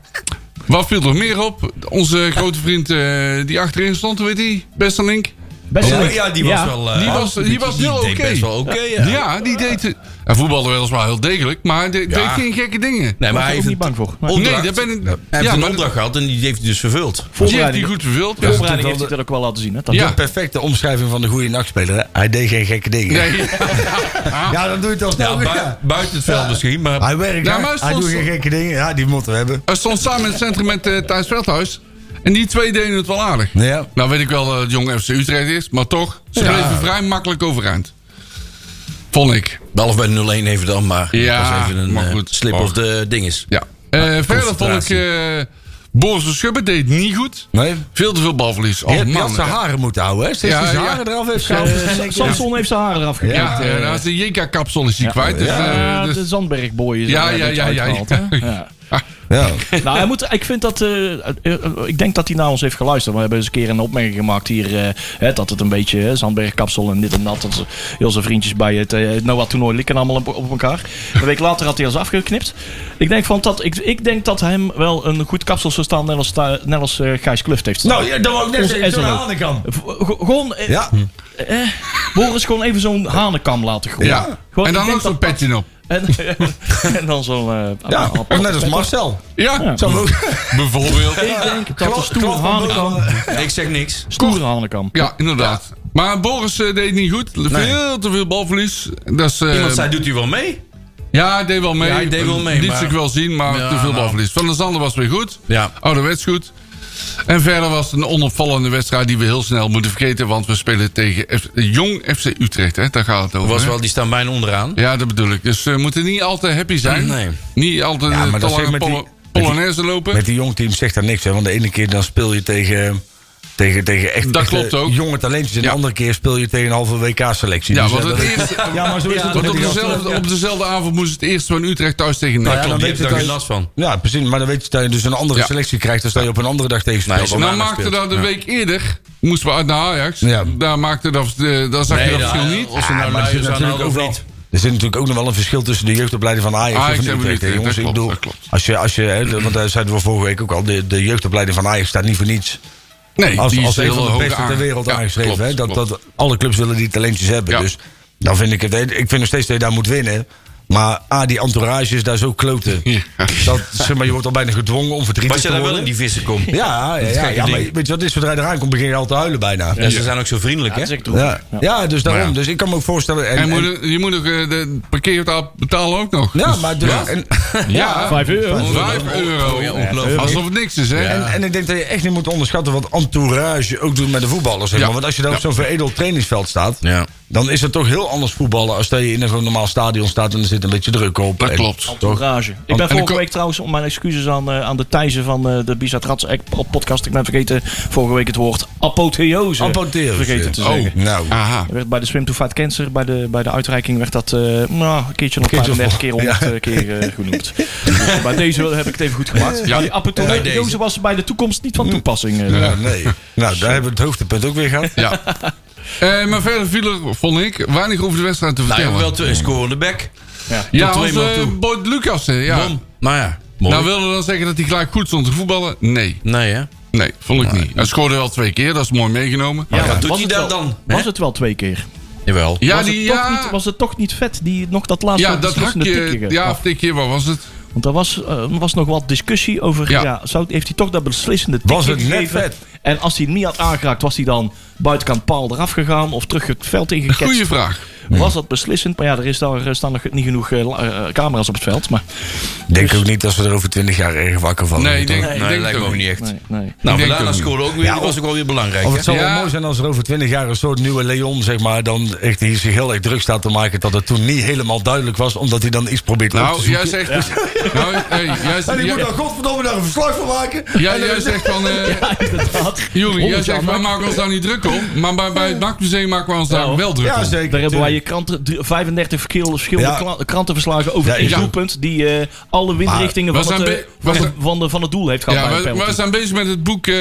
Speaker 5: wat viel er meer op? Onze grote vriend eh, die achterin stond, weet hij? Beste Link.
Speaker 4: Best
Speaker 2: Oh,
Speaker 4: leuk.
Speaker 2: ja, die was wel. eh,
Speaker 5: Die was- die was heel
Speaker 2: deed
Speaker 5: oké.
Speaker 2: best wel oké, ja.
Speaker 5: Ja, die deed... het- Hij voetbalde weliswaar heel degelijk, maar de, deed geen gekke dingen.
Speaker 2: Nee, maar hij
Speaker 4: Daar ben ik
Speaker 2: heeft
Speaker 4: niet
Speaker 2: een
Speaker 4: bang voor. Maar
Speaker 2: opdracht.
Speaker 5: Nee, daar ben ik-
Speaker 2: Hij heeft
Speaker 5: Ja,
Speaker 2: een
Speaker 5: maar-
Speaker 2: opdracht gehad en die heeft hij dus vervuld.
Speaker 5: Die heeft hij
Speaker 4: voorbereiding,
Speaker 5: goed vervuld. Ja.
Speaker 4: voorbereiding heeft hij dat ook wel laten zien. Hè? Dat
Speaker 5: Ja.
Speaker 4: doet-
Speaker 3: Perfecte omschrijving van de goede nachtspeler. hè? Hij deed geen gekke dingen.
Speaker 5: Nee.
Speaker 3: Ja, dan doe je het alsnog.
Speaker 2: Ja,
Speaker 3: weer.
Speaker 2: bui- buiten het veld misschien, maar
Speaker 3: Hij werkt
Speaker 5: Ja,
Speaker 3: hard,
Speaker 5: maar
Speaker 3: hij
Speaker 5: soms-
Speaker 3: doet geen gekke dingen. Ja, die moeten we hebben.
Speaker 5: Hij stond samen in het centrum met eh Thijs Veldhuis. En die twee deden het wel aardig.
Speaker 3: Ja.
Speaker 5: Nou weet ik wel dat het jong FC Utrecht is, maar toch. Ze
Speaker 3: Ja.
Speaker 5: bleven vrij makkelijk overeind. Vond ik.
Speaker 2: half bij 0-1 even dan, maar
Speaker 5: Ja,
Speaker 2: dat is even een
Speaker 5: maar
Speaker 2: eh,
Speaker 5: goed.
Speaker 2: slip
Speaker 5: Maar-
Speaker 2: of de dinges.
Speaker 5: Ja. Eh, verder vond ik...
Speaker 2: concentratie.
Speaker 5: eh Boris de Schubbe deed het niet goed.
Speaker 3: Nee.
Speaker 5: Veel te veel balverlies. Oh,
Speaker 3: Die had- die had
Speaker 5: man.
Speaker 3: zijn haren moeten houden, hè? Steeds
Speaker 5: Ja,
Speaker 3: die zijn
Speaker 5: ja.
Speaker 3: haren eraf heeft gehaald.
Speaker 4: Eh, Sa- Samson heeft zijn haren eraf geknipt.
Speaker 5: Ja, ja, naast de JK-kapsel is hij kwijt. Dus, eh,
Speaker 4: Ja,
Speaker 5: dus-
Speaker 4: de Zandbergboy is
Speaker 5: Ja,
Speaker 4: er een
Speaker 5: ja,
Speaker 4: beetje
Speaker 5: ja, ja,
Speaker 4: uitgehaald,
Speaker 5: ja.
Speaker 4: hè? Ja.
Speaker 3: Ja.
Speaker 4: Nou, hij moet, ik vind dat. eh, eh, eh, ik denk dat hij naar ons heeft geluisterd. We hebben eens een keer een opmerking gemaakt hier. eh, hè, dat het een beetje hè, Zandbergkapsel en dit en dat. Dat ze heel zijn vriendjes bij het eh, het Noah toernooi likken allemaal op, op elkaar. Een week later had hij ons afgeknipt. Ik denk, van dat, ik, ik denk dat hem wel een goed kapsel zou staan. Net als, sta- net als eh, Gijs Kluft heeft staan.
Speaker 3: Nou, ja, dat wou ik net
Speaker 4: Onze
Speaker 3: zeggen. Zo'n
Speaker 4: SLO.
Speaker 3: hanenkam.
Speaker 4: V- ge- gewoon. eh,
Speaker 3: Ja.
Speaker 4: Boris gewoon even zo'n hanenkam laten groeien.
Speaker 5: ja.
Speaker 4: Gewoon,
Speaker 5: En
Speaker 4: ik
Speaker 5: dan
Speaker 4: denk
Speaker 5: ook zo'n
Speaker 4: dat-
Speaker 5: petje op.
Speaker 4: En, en dan zo'n. eh,
Speaker 3: Ja,
Speaker 4: appel-
Speaker 3: net als Marcel.
Speaker 5: Ja,
Speaker 3: Zo ook.
Speaker 5: bijvoorbeeld.
Speaker 4: Ik denk dat de stoere
Speaker 3: klap van
Speaker 4: hanenkam.
Speaker 2: Ik zeg niks.
Speaker 4: Stoere hanenkam.
Speaker 5: Ja, inderdaad. Maar Boris eh, deed het niet goed. Veel te veel balverlies. Dat is, eh,
Speaker 2: Iemand zei, doet hij wel mee?
Speaker 5: Ja, hij deed wel mee.
Speaker 2: Ja, hij deed wel mee,
Speaker 5: Liet
Speaker 2: maar-
Speaker 5: zich wel zien, maar
Speaker 2: Ja,
Speaker 5: te veel
Speaker 2: nou.
Speaker 5: balverlies. Van der Zander was weer goed. Oh,
Speaker 2: Ja.
Speaker 5: Ouderwets goed. En verder was het een onopvallende wedstrijd die we heel snel moeten vergeten. Want we spelen tegen F- jong FC Utrecht. Hè? Daar gaat het over.
Speaker 2: Was
Speaker 5: hè?
Speaker 2: wel, die staan bijna onderaan.
Speaker 5: Ja, dat bedoel ik. Dus we moeten niet al te happy zijn.
Speaker 2: Nee.
Speaker 5: Niet al te,
Speaker 3: Ja, maar
Speaker 5: te
Speaker 3: dat zeg ik
Speaker 5: lange
Speaker 3: met die-
Speaker 5: polo-
Speaker 3: met die-
Speaker 5: polonaise lopen.
Speaker 3: Met die jongteams zegt daar niks, hè? Want de ene keer dan speel je tegen... Tegen, tegen echt,
Speaker 5: Dat
Speaker 3: echte
Speaker 5: klopt ook.
Speaker 3: jonge talentjes. En
Speaker 5: Ja.
Speaker 3: de andere keer speel je tegen een halve WK-selectie.
Speaker 5: ja, want het eerste...
Speaker 3: Dus ja, maar zo is het
Speaker 5: want
Speaker 3: toch
Speaker 5: op
Speaker 3: met die
Speaker 5: dezelfde, op dezelfde avond moest het eerst van Utrecht thuis tegen NEC.
Speaker 3: ja, dan
Speaker 2: Klopt, die
Speaker 3: weet
Speaker 2: heeft daar
Speaker 3: het
Speaker 2: geen
Speaker 3: al.
Speaker 5: Nou,
Speaker 2: last van.
Speaker 3: Ja, precies. Maar dan weet je dat je dus een andere
Speaker 5: Ja.
Speaker 3: selectie krijgt... dan sta je op een andere dag tegen
Speaker 2: Nee,
Speaker 3: speelt.
Speaker 2: zo-
Speaker 5: Nou
Speaker 2: Maandag
Speaker 5: maakte
Speaker 2: speelt.
Speaker 5: dat een
Speaker 2: Ja.
Speaker 5: week eerder. Moesten we uit naar Ajax.
Speaker 3: Ja.
Speaker 5: Daar maakte dat, eh, daar zag je dat
Speaker 2: daar-
Speaker 5: verschil niet.
Speaker 2: Of ze nou
Speaker 3: maar er
Speaker 2: luiers
Speaker 3: zit
Speaker 2: aan
Speaker 3: natuurlijk
Speaker 2: hadden
Speaker 3: ook
Speaker 2: of
Speaker 3: wel-
Speaker 2: niet.
Speaker 3: Er zit natuurlijk ook nog wel een verschil tussen de jeugdopleiding van Ajax
Speaker 5: Ajax
Speaker 3: en van
Speaker 5: hebben we
Speaker 3: Utrecht. hè,
Speaker 5: niet,
Speaker 3: jongens,
Speaker 5: dat
Speaker 3: ik
Speaker 5: klopt,
Speaker 3: bedoel,
Speaker 5: dat klopt.
Speaker 3: als je, als je, hè, de- want daar zeiden we vorige week ook al, de, de jeugdopleiding van Ajax staat niet voor niets.
Speaker 5: Nee,
Speaker 3: Als,
Speaker 5: die
Speaker 3: als
Speaker 5: is
Speaker 3: een
Speaker 5: heel
Speaker 3: van de
Speaker 5: hoog
Speaker 3: beste ter
Speaker 5: aan-
Speaker 3: wereld
Speaker 5: Ja,
Speaker 3: aangeschreven.
Speaker 5: klopt,
Speaker 3: hè, dat,
Speaker 5: klopt.
Speaker 3: dat alle clubs willen die talentjes hebben.
Speaker 5: Ja.
Speaker 3: Dus dan vind ik het. hè, Ik vind nog steeds dat je daar moet winnen. Maar A, die entourage is daar zo kloten.
Speaker 5: Ja.
Speaker 3: Dat, zeg maar, je wordt al bijna gedwongen om verdrietig
Speaker 2: Was je
Speaker 3: te
Speaker 2: daar
Speaker 3: worden.
Speaker 2: wel in die vissen kom?
Speaker 3: Ja, ja, ja,
Speaker 2: gekke
Speaker 3: ja, maar
Speaker 2: ding.
Speaker 3: weet je wat is? Zodra je eraan komt, begin je al te huilen bijna. Ja,
Speaker 2: En ze zijn ook zo vriendelijk,
Speaker 4: Dat is
Speaker 2: hè? Nou,
Speaker 4: echt droevig.
Speaker 3: ja. dus daarom.
Speaker 5: Maar ja.
Speaker 3: Dus ik kan me ook voorstellen... en-
Speaker 5: En moet
Speaker 3: en-
Speaker 5: ook- je moet ook eh, de parkeertaal betalen ook nog.
Speaker 3: ja,
Speaker 5: Dus-
Speaker 3: maar... dus- en-
Speaker 5: ja,
Speaker 4: Vijf euro.
Speaker 5: 5 euro.
Speaker 2: Ja, ongelooflijk.
Speaker 5: Alsof het niks is, hè?
Speaker 3: En, en ik denk dat je echt niet moet onderschatten wat entourage ook doet met de voetballers. zeg
Speaker 5: Ja.
Speaker 3: maar. Want als je dan op zo'n veredeld trainingsveld staat,
Speaker 2: Ja.
Speaker 3: dan is het toch heel anders voetballen als dat je in een gewoon normaal stadion staat en er zit een beetje druk op.
Speaker 5: Dat
Speaker 3: En-
Speaker 5: klopt.
Speaker 3: Toch?
Speaker 4: Entourage. Ik
Speaker 5: en
Speaker 4: ben
Speaker 5: de
Speaker 4: vorige
Speaker 5: ko-
Speaker 4: week trouwens, om mijn excuses aan, eh, aan de Thijzen van eh, de Bizat Rats podcast. Ik ben vergeten vorige week het woord apotheose,
Speaker 3: Apotheose.
Speaker 4: vergeten te
Speaker 3: Oh.
Speaker 4: zeggen.
Speaker 3: Nou,
Speaker 5: Aha.
Speaker 4: Er werd bij de Swim to Fight Cancer, bij de, bij de uitreiking, werd dat eh, nou, een keertje nog
Speaker 3: Een keertje
Speaker 4: 35
Speaker 3: of-
Speaker 4: keer, 100 eh, keer eh genoemd. dus bij deze heb ik het even goed
Speaker 5: Ja.
Speaker 4: gemaakt. Maar die
Speaker 2: Bij deze.
Speaker 4: apotheose was bij de toekomst niet van toepassing. eh.
Speaker 3: nou, nee. nou, daar hebben we het hoogtepunt ook weer gehad.
Speaker 5: Ja. Eh, maar verder viel er, vond ik, weinig over de wedstrijd te
Speaker 2: Nou, je
Speaker 5: vertellen.
Speaker 2: hebt wel twee scorende bek.
Speaker 5: ja,
Speaker 2: tot twee
Speaker 5: onze
Speaker 2: man toe.
Speaker 5: Boyd Lucas, hè, ja.
Speaker 2: Bom. Maar ja, Mooi.
Speaker 5: Nou, wilde dat zeggen dat hij gelijk goed stond te voetballen? Nee.
Speaker 2: nee, hè?
Speaker 5: Nee, vond ik niet. Hij scoorde wel twee keer, dat is mooi meegenomen.
Speaker 2: Ja, wat doet
Speaker 4: Was
Speaker 2: hij
Speaker 4: het
Speaker 2: daar
Speaker 4: wel-
Speaker 2: dan?
Speaker 4: Was
Speaker 2: Hè?
Speaker 4: het wel twee keer?
Speaker 2: Jawel.
Speaker 5: Ja,
Speaker 4: was,
Speaker 5: die,
Speaker 4: het toch
Speaker 5: ja,
Speaker 4: niet, was het toch niet vet die nog dat laatste
Speaker 5: ja, dat
Speaker 4: beslissende
Speaker 5: hakje.
Speaker 4: tikje
Speaker 5: Ja,
Speaker 4: gaf?
Speaker 5: of tikje, wat was het?
Speaker 4: Want er was, eh, was nog wat discussie over.
Speaker 5: Ja.
Speaker 4: Ja. zou, heeft hij toch dat beslissende tikje
Speaker 3: Was het net
Speaker 4: gegeven?
Speaker 3: vet?
Speaker 4: En als hij het niet had aangeraakt, was hij dan buitenkant paal eraf gegaan of terug het veld ingeketst?
Speaker 5: Goeie vraag.
Speaker 4: Was dat beslissend? Maar ja, er is daar, eh, staan nog niet genoeg eh, la- eh, camera's op het veld. Maar,
Speaker 3: Ik denk ook niet dat ze er over twintig jaar erg wakker van
Speaker 5: Nee,
Speaker 3: worden,
Speaker 5: ik denk,
Speaker 3: toch?
Speaker 5: ik
Speaker 2: Nee,
Speaker 5: denk
Speaker 2: dat lijkt
Speaker 5: het
Speaker 2: me
Speaker 5: ook
Speaker 2: ook
Speaker 5: niet.
Speaker 2: niet echt.
Speaker 4: nee, nee.
Speaker 2: Nou,
Speaker 5: denk
Speaker 2: Valana
Speaker 5: ook niet.
Speaker 2: scoorde ook weer.
Speaker 3: Ja,
Speaker 2: die was ook wel weer belangrijk.
Speaker 3: Of
Speaker 2: hè?
Speaker 3: het zou
Speaker 5: Ja.
Speaker 3: wel mooi zijn als er over twintig jaar een soort nieuwe Leon, zeg maar, dan echt hier zich heel erg druk staat te maken dat het toen niet helemaal duidelijk was, omdat hij dan iets probeert op te
Speaker 5: Nou,
Speaker 3: zoeken.
Speaker 5: jij zegt... Nou, hey, jij,
Speaker 3: En die moet
Speaker 5: jij-
Speaker 3: daar godverdomme daar een verslag van maken.
Speaker 5: Ja, jij zegt van... eh Jullie, jij zegt, wij maken ons daar niet druk om. Maar bij, bij het Nakmuseum maken we ons daar
Speaker 4: Ja,
Speaker 5: wel druk
Speaker 3: Ja,
Speaker 5: om.
Speaker 3: zeker.
Speaker 4: Daar hebben wij je
Speaker 3: tuurlijk.
Speaker 4: kranten, drie- 35 verschil- verschillende
Speaker 3: Ja.
Speaker 4: kla- krantenverslagen over
Speaker 3: Ja,
Speaker 4: één
Speaker 5: ja.
Speaker 4: doelpunt. Die eh, alle windrichtingen
Speaker 5: we
Speaker 4: van het,
Speaker 5: zijn
Speaker 4: eh,
Speaker 5: be- we
Speaker 4: van, het,
Speaker 5: zijn-
Speaker 4: van, de, van het doel heeft gehad.
Speaker 5: Ja,
Speaker 4: bij een
Speaker 5: we,
Speaker 4: penalty.
Speaker 5: we zijn bezig met het boek, eh, hè,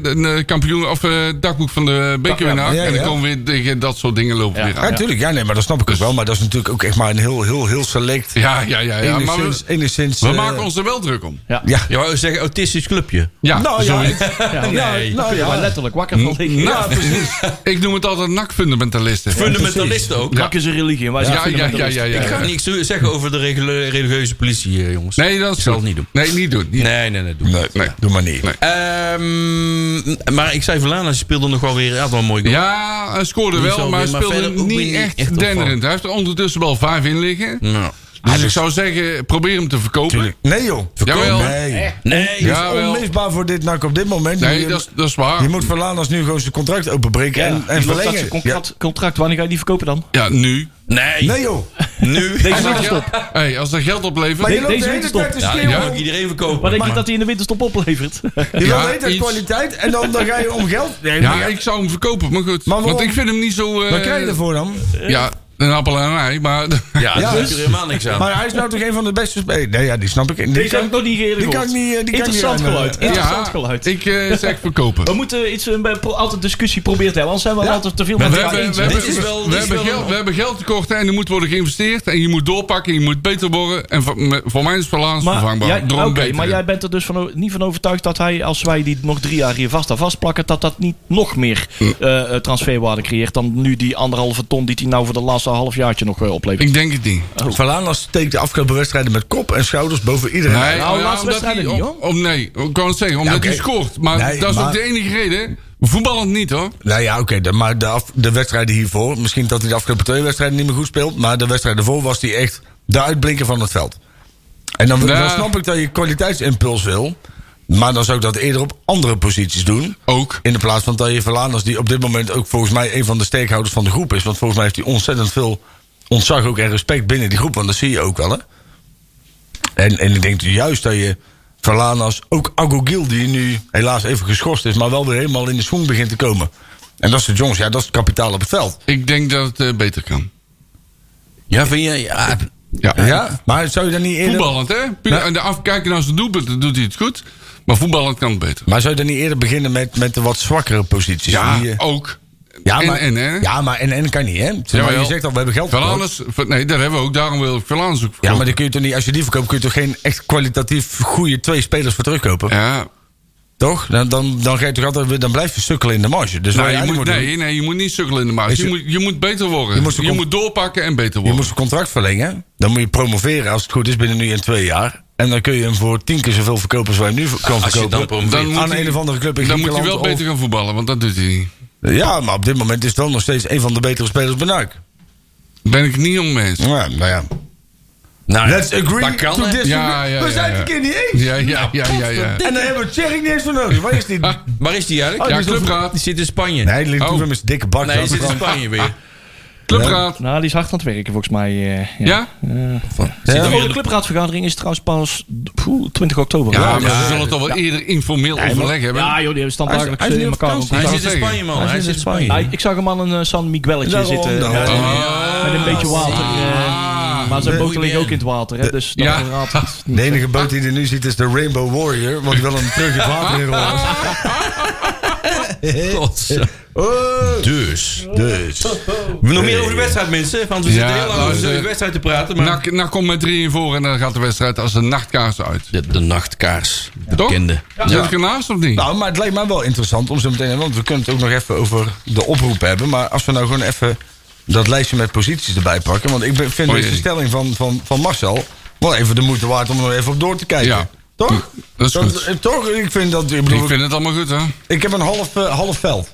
Speaker 5: de, de kampioen, of eh, dagboek van de bekerwinnaar.
Speaker 3: Ja, ja,
Speaker 5: En dan
Speaker 3: ja.
Speaker 5: komen weer tegen dat soort dingen lopen
Speaker 4: Ja.
Speaker 5: weer
Speaker 3: Ja,
Speaker 5: aan.
Speaker 3: natuurlijk. Ja, nee, maar dat snap
Speaker 5: Dus-
Speaker 3: ik ook wel. Maar dat is natuurlijk ook echt maar een heel, heel, heel select.
Speaker 5: Ja, ja, ja. ja. Maar we,
Speaker 3: enigszins. enigszins
Speaker 5: we
Speaker 3: eh,
Speaker 5: maken ons er wel druk om.
Speaker 4: Ja.
Speaker 3: Ja.
Speaker 2: Je wou zeggen autistisch clubje.
Speaker 5: Ja,
Speaker 3: Nou ja,
Speaker 5: sorry.
Speaker 3: het-
Speaker 4: Ja,
Speaker 3: ja,
Speaker 2: Nee.
Speaker 3: nou
Speaker 4: Waar
Speaker 3: ja.
Speaker 4: letterlijk wakker van liggen.
Speaker 5: Nou, ik noem het altijd nakfundamentalisten.
Speaker 2: Fundamentalisten ook.
Speaker 4: Kak is een religie. en Wij zijn
Speaker 5: Ja, ja, ja, ja,
Speaker 2: Ik
Speaker 5: ja.
Speaker 2: ga niks zeggen over de regule- religieuze politie, eh, jongens.
Speaker 5: Nee, dat is
Speaker 2: zal
Speaker 5: goed.
Speaker 2: het niet doen.
Speaker 5: Nee, niet doen. Niet.
Speaker 2: Nee, nee, nee. Doe.
Speaker 3: Nee, nee, doe maar niet.
Speaker 5: Nee.
Speaker 2: Ehm, maar ik zei Verlaan, hij speelde nog wel weer. Hij had wel een mooi goal.
Speaker 5: Ja, hij scoorde
Speaker 2: Die
Speaker 5: wel,
Speaker 2: zal
Speaker 5: maar hij
Speaker 2: weer, maar
Speaker 5: speelde
Speaker 2: verder ook weer
Speaker 5: niet
Speaker 2: niet
Speaker 5: echt,
Speaker 2: echt opvallend.
Speaker 5: denderend. Hij heeft er ondertussen wel vijf in liggen.
Speaker 2: Nou.
Speaker 5: Dus ik zou zeggen, probeer hem te verkopen.
Speaker 3: Tuurlijk. Nee, joh.
Speaker 5: Jawel.
Speaker 3: Nee.
Speaker 2: Nee,
Speaker 5: Ja.
Speaker 3: Dat is
Speaker 5: Jawel.
Speaker 3: onmisbaar voor dit NAC op dit moment.
Speaker 5: Nee,
Speaker 3: je,
Speaker 5: dat is- dat is waar.
Speaker 3: je moet Verlanas nu gewoon zijn contract openbreken en, en
Speaker 4: En dat
Speaker 3: verlengen.
Speaker 4: zijn contract, contract, wanneer ga je die verkopen dan?
Speaker 5: Ja, nu.
Speaker 2: nee.
Speaker 3: Ja. Nee, joh.
Speaker 2: Nu.
Speaker 4: Deze
Speaker 5: Als dat,
Speaker 4: winterstop.
Speaker 5: geld- hey, als dat geld oplevert...
Speaker 3: Maar je
Speaker 4: Deze
Speaker 3: loopt de hele
Speaker 4: winterstop.
Speaker 3: tijd te
Speaker 2: Ja,
Speaker 3: schreeuwen.
Speaker 2: die
Speaker 5: Ja.
Speaker 2: wou ik iedereen verkopen.
Speaker 4: Wat denk je
Speaker 2: maar-
Speaker 4: dat hij in de winterstop oplevert?
Speaker 3: Je
Speaker 5: Ja,
Speaker 3: wil weten
Speaker 5: iets.
Speaker 3: kwaliteit en dan, dan ga je om geld. Nee, maar
Speaker 5: Ja, ik zou hem verkopen, maar goed.
Speaker 3: Maar waarom?
Speaker 5: Want ik vind hem niet zo... eh,
Speaker 3: Wat krijg je ervoor dan?
Speaker 5: Ja, een appel en een ei, maar...
Speaker 2: Ja,
Speaker 3: Ja,
Speaker 2: daar
Speaker 3: dus-
Speaker 2: is er helemaal niks aan.
Speaker 3: Maar hij is nou toch een van de beste spelers? Nee, ja, die snap ik. Die,
Speaker 4: Deze heb ik nog niet eerder
Speaker 3: die
Speaker 4: gehoord.
Speaker 3: kan ik niet, eh, die kan ik niet
Speaker 4: Interessant
Speaker 3: aan, eh,
Speaker 4: geluid. Interessant geluid.
Speaker 5: ik eh, zeg
Speaker 4: We
Speaker 5: verkopen.
Speaker 4: moeten iets, eh, bij pro- altijd discussie proberen te hebben. Anders zijn we altijd te veel met
Speaker 5: We
Speaker 4: elkaar
Speaker 5: hebben,
Speaker 4: eens.
Speaker 5: we,
Speaker 4: hè?
Speaker 5: hebben,
Speaker 2: Dit is wel-
Speaker 5: we,
Speaker 2: dit is
Speaker 5: hebben
Speaker 2: wel
Speaker 5: geld,
Speaker 2: een-
Speaker 5: we hebben geldtekorten en er moet worden geïnvesteerd. En je moet doorpakken, en je moet beter worden. En voor, me- voor mij is balans vervangbaar.
Speaker 4: jij,
Speaker 5: Door een
Speaker 4: oké,
Speaker 5: betere.
Speaker 4: maar jij bent er dus van, o- niet van overtuigd dat hij, als wij die nog drie jaar hier vast aan vastplakken, dat dat niet nog meer eh, eh, transferwaarde creëert dan nu die anderhalve ton die hij nou voor de laatste halfjaartje nog eh, oplevert.
Speaker 5: Ik denk het niet.
Speaker 3: Verlanas steekt de afgelopen wedstrijden met kop en schouders boven iedereen.
Speaker 5: Nee,
Speaker 4: Nou,
Speaker 5: ja,
Speaker 4: laatste
Speaker 5: omdat
Speaker 4: wedstrijd
Speaker 5: hij-
Speaker 4: niet, hoor.
Speaker 5: om- Om, nee, ik kan het zeggen, omdat
Speaker 3: oké.
Speaker 5: hij scoort. Maar
Speaker 3: Nee,
Speaker 5: dat is ook
Speaker 3: maar-
Speaker 5: de enige reden. Voetballend niet hoor.
Speaker 3: Nou ja, oké, de- maar de, af- de wedstrijden hiervoor... Misschien dat hij de afgelopen twee wedstrijden niet meer goed speelt... maar de wedstrijd ervoor was hij echt de uitblinker van het veld. En dan,
Speaker 5: Ja.
Speaker 3: dan snap ik dat je kwaliteitsimpuls wil... maar dan zou ik dat eerder op andere posities doen...
Speaker 5: Ook.
Speaker 3: In de plaats van dat je Verlanas, die op dit moment ook volgens mij een van de steekhouders van de groep is. Want volgens mij heeft hij ontzettend veel ontzag ook en respect binnen die groep. Want dat zie je ook wel, hè? En, en ik denk juist dat je Verlanas, ook Agogil, die nu helaas even geschorst is, maar wel weer helemaal in de schoen begint te komen. En dat is de jongens, ja, dat is het kapitaal op het veld.
Speaker 5: Ik denk dat het eh, beter kan.
Speaker 2: Ja, vind je... Ja,
Speaker 5: Ja.
Speaker 3: Ja, maar zou je dan niet eerder.
Speaker 5: Voetballend hè? Puur-
Speaker 3: Ja.
Speaker 5: En de afkijken naar zijn doelpunten doet hij het goed. Maar voetballend kan het beter.
Speaker 3: Maar zou je dan niet eerder beginnen met, met de wat zwakkere posities?
Speaker 5: Ja,
Speaker 3: Die, eh,
Speaker 5: ook.
Speaker 3: ja,
Speaker 5: en,
Speaker 3: maar,
Speaker 5: en, hè?
Speaker 3: ja, maar en, en kan niet, hè? Zeg maar,
Speaker 5: Jawel.
Speaker 3: je zegt al, we hebben geld verloren.
Speaker 5: Valanus, ver- nee, daar hebben we ook. Daarom wil ik Valanus ook
Speaker 3: Ja, maar
Speaker 5: verkopen.
Speaker 3: die kun je toch niet, als je die verkoopt, kun je toch geen echt kwalitatief goede twee spelers voor terugkopen?
Speaker 5: Ja,
Speaker 3: Nou Toch? Dan, dan, dan, ga je toch altijd, weer- dan blijf je sukkelen in de marge.
Speaker 5: nou,
Speaker 3: Dus wat je,
Speaker 5: je
Speaker 3: eigenlijk
Speaker 5: moet,
Speaker 3: moet doen,
Speaker 5: nee, nee, je moet niet sukkelen in de maat.
Speaker 3: Is
Speaker 5: Je
Speaker 3: je-
Speaker 5: moet, je moet beter worden. Je
Speaker 3: Je
Speaker 5: moet,
Speaker 3: moet-
Speaker 5: doorpakken en beter
Speaker 3: je
Speaker 5: worden.
Speaker 3: moet zijn contract verlengen. Dan moet je promoveren als het goed is binnen nu en twee jaar. En dan kun je hem voor tien keer zoveel verkopen als wij hem nu v- kan
Speaker 2: als je dan
Speaker 3: verkopen.
Speaker 2: promoveert.
Speaker 5: Dan-
Speaker 3: aan
Speaker 5: moet
Speaker 3: een
Speaker 5: hij-
Speaker 3: of andere club in
Speaker 5: Dan moet hij wel
Speaker 3: Griekenland
Speaker 5: beter gaan voetballen, want dat doet hij niet.
Speaker 3: of- Ja, maar op dit moment is het wel nog steeds een van de betere spelers bij NAC.
Speaker 5: Ben ik niet om mee eens.
Speaker 3: Ja, nou ja.
Speaker 2: Nou, ja,
Speaker 3: Let's agree
Speaker 2: dat kan,
Speaker 3: to
Speaker 2: hè?
Speaker 3: disagree.
Speaker 5: Ja, ja,
Speaker 3: We
Speaker 5: ja,
Speaker 3: zijn
Speaker 5: ja.
Speaker 3: het een keer niet eens.
Speaker 5: Ja, ja, ja, ja. ja.
Speaker 3: En dan hebben we Thierry niet eens voor nodig. Waar is die?
Speaker 5: Ah,
Speaker 2: Waar is die eigenlijk?
Speaker 5: Ja, clubraad.
Speaker 2: Die zit in Spanje.
Speaker 3: Nee, die ligt
Speaker 5: Oh.
Speaker 3: toen met zijn dikke bak.
Speaker 2: Nee, die
Speaker 3: aan de
Speaker 2: zit in
Speaker 3: kant.
Speaker 2: Spanje weer.
Speaker 5: Clubraad.
Speaker 4: Nou, die is hard aan het werken volgens mij. eh,
Speaker 5: Ja?
Speaker 4: ja.
Speaker 2: Zit
Speaker 3: Ja.
Speaker 2: er
Speaker 4: De
Speaker 2: weer
Speaker 4: volgende
Speaker 2: in de-
Speaker 4: clubraadvergadering is trouwens pas poeh, 20 oktober.
Speaker 5: Ja, maar ze zullen het al wel eerder informeel overleg hebben.
Speaker 4: Ja, joh, die hebben
Speaker 3: Hij is-
Speaker 4: standaardelijk
Speaker 3: hij is
Speaker 4: in
Speaker 3: nu op
Speaker 4: elkaar.
Speaker 3: vakantie.
Speaker 2: Hij
Speaker 5: zou
Speaker 2: zit in
Speaker 5: zeggen.
Speaker 2: Spanje, man. Hij zit in
Speaker 4: Hij-
Speaker 2: Spanje.
Speaker 4: ik zag hem aan een eh, San Miguelletje
Speaker 3: Daarom,
Speaker 4: zitten.
Speaker 3: daarom.
Speaker 4: Ja, die-
Speaker 5: Ah.
Speaker 4: Met een beetje water. eh, maar zijn
Speaker 2: Nee,
Speaker 4: boten liggen ook in het water. Hè, dus dat
Speaker 5: Ja.
Speaker 4: verraadt het niet.
Speaker 3: De enige boot die je nu ziet is de Rainbow Warrior. Want die wil hem terug het water in rollen.
Speaker 2: Godzijdank.
Speaker 5: Eh,
Speaker 2: Dus.
Speaker 3: Dus.
Speaker 2: Nog meer over de wedstrijd, mensen. Want we
Speaker 5: Ja,
Speaker 2: zitten heel lang over
Speaker 5: luister. Nou.
Speaker 2: de wedstrijd te praten. Maar
Speaker 5: NAC, NAC komt met 3 voor en dan gaat de wedstrijd als een nachtkaars uit.
Speaker 7: De, de nachtkaars.
Speaker 5: Toch?
Speaker 7: Bekende. Ja.
Speaker 5: Zit ik ernaast of niet?
Speaker 3: Nou, maar het lijkt mij wel interessant om zo meteen... Want we kunnen het ook nog even over de oproep hebben. Maar als we nou gewoon even dat lijstje met posities erbij pakken... Want ik ben- vind
Speaker 5: Oh, jee.
Speaker 3: deze stelling van, van, van Marcel wel even de moeite waard om er even op door te kijken.
Speaker 5: Ja. Mm.
Speaker 3: Toch?
Speaker 5: Dat is goed.
Speaker 3: eh, toch? Ik vind dat... Ik, bedoel,
Speaker 5: ik vind het allemaal goed, hè?
Speaker 3: ik heb een half, eh, half veld.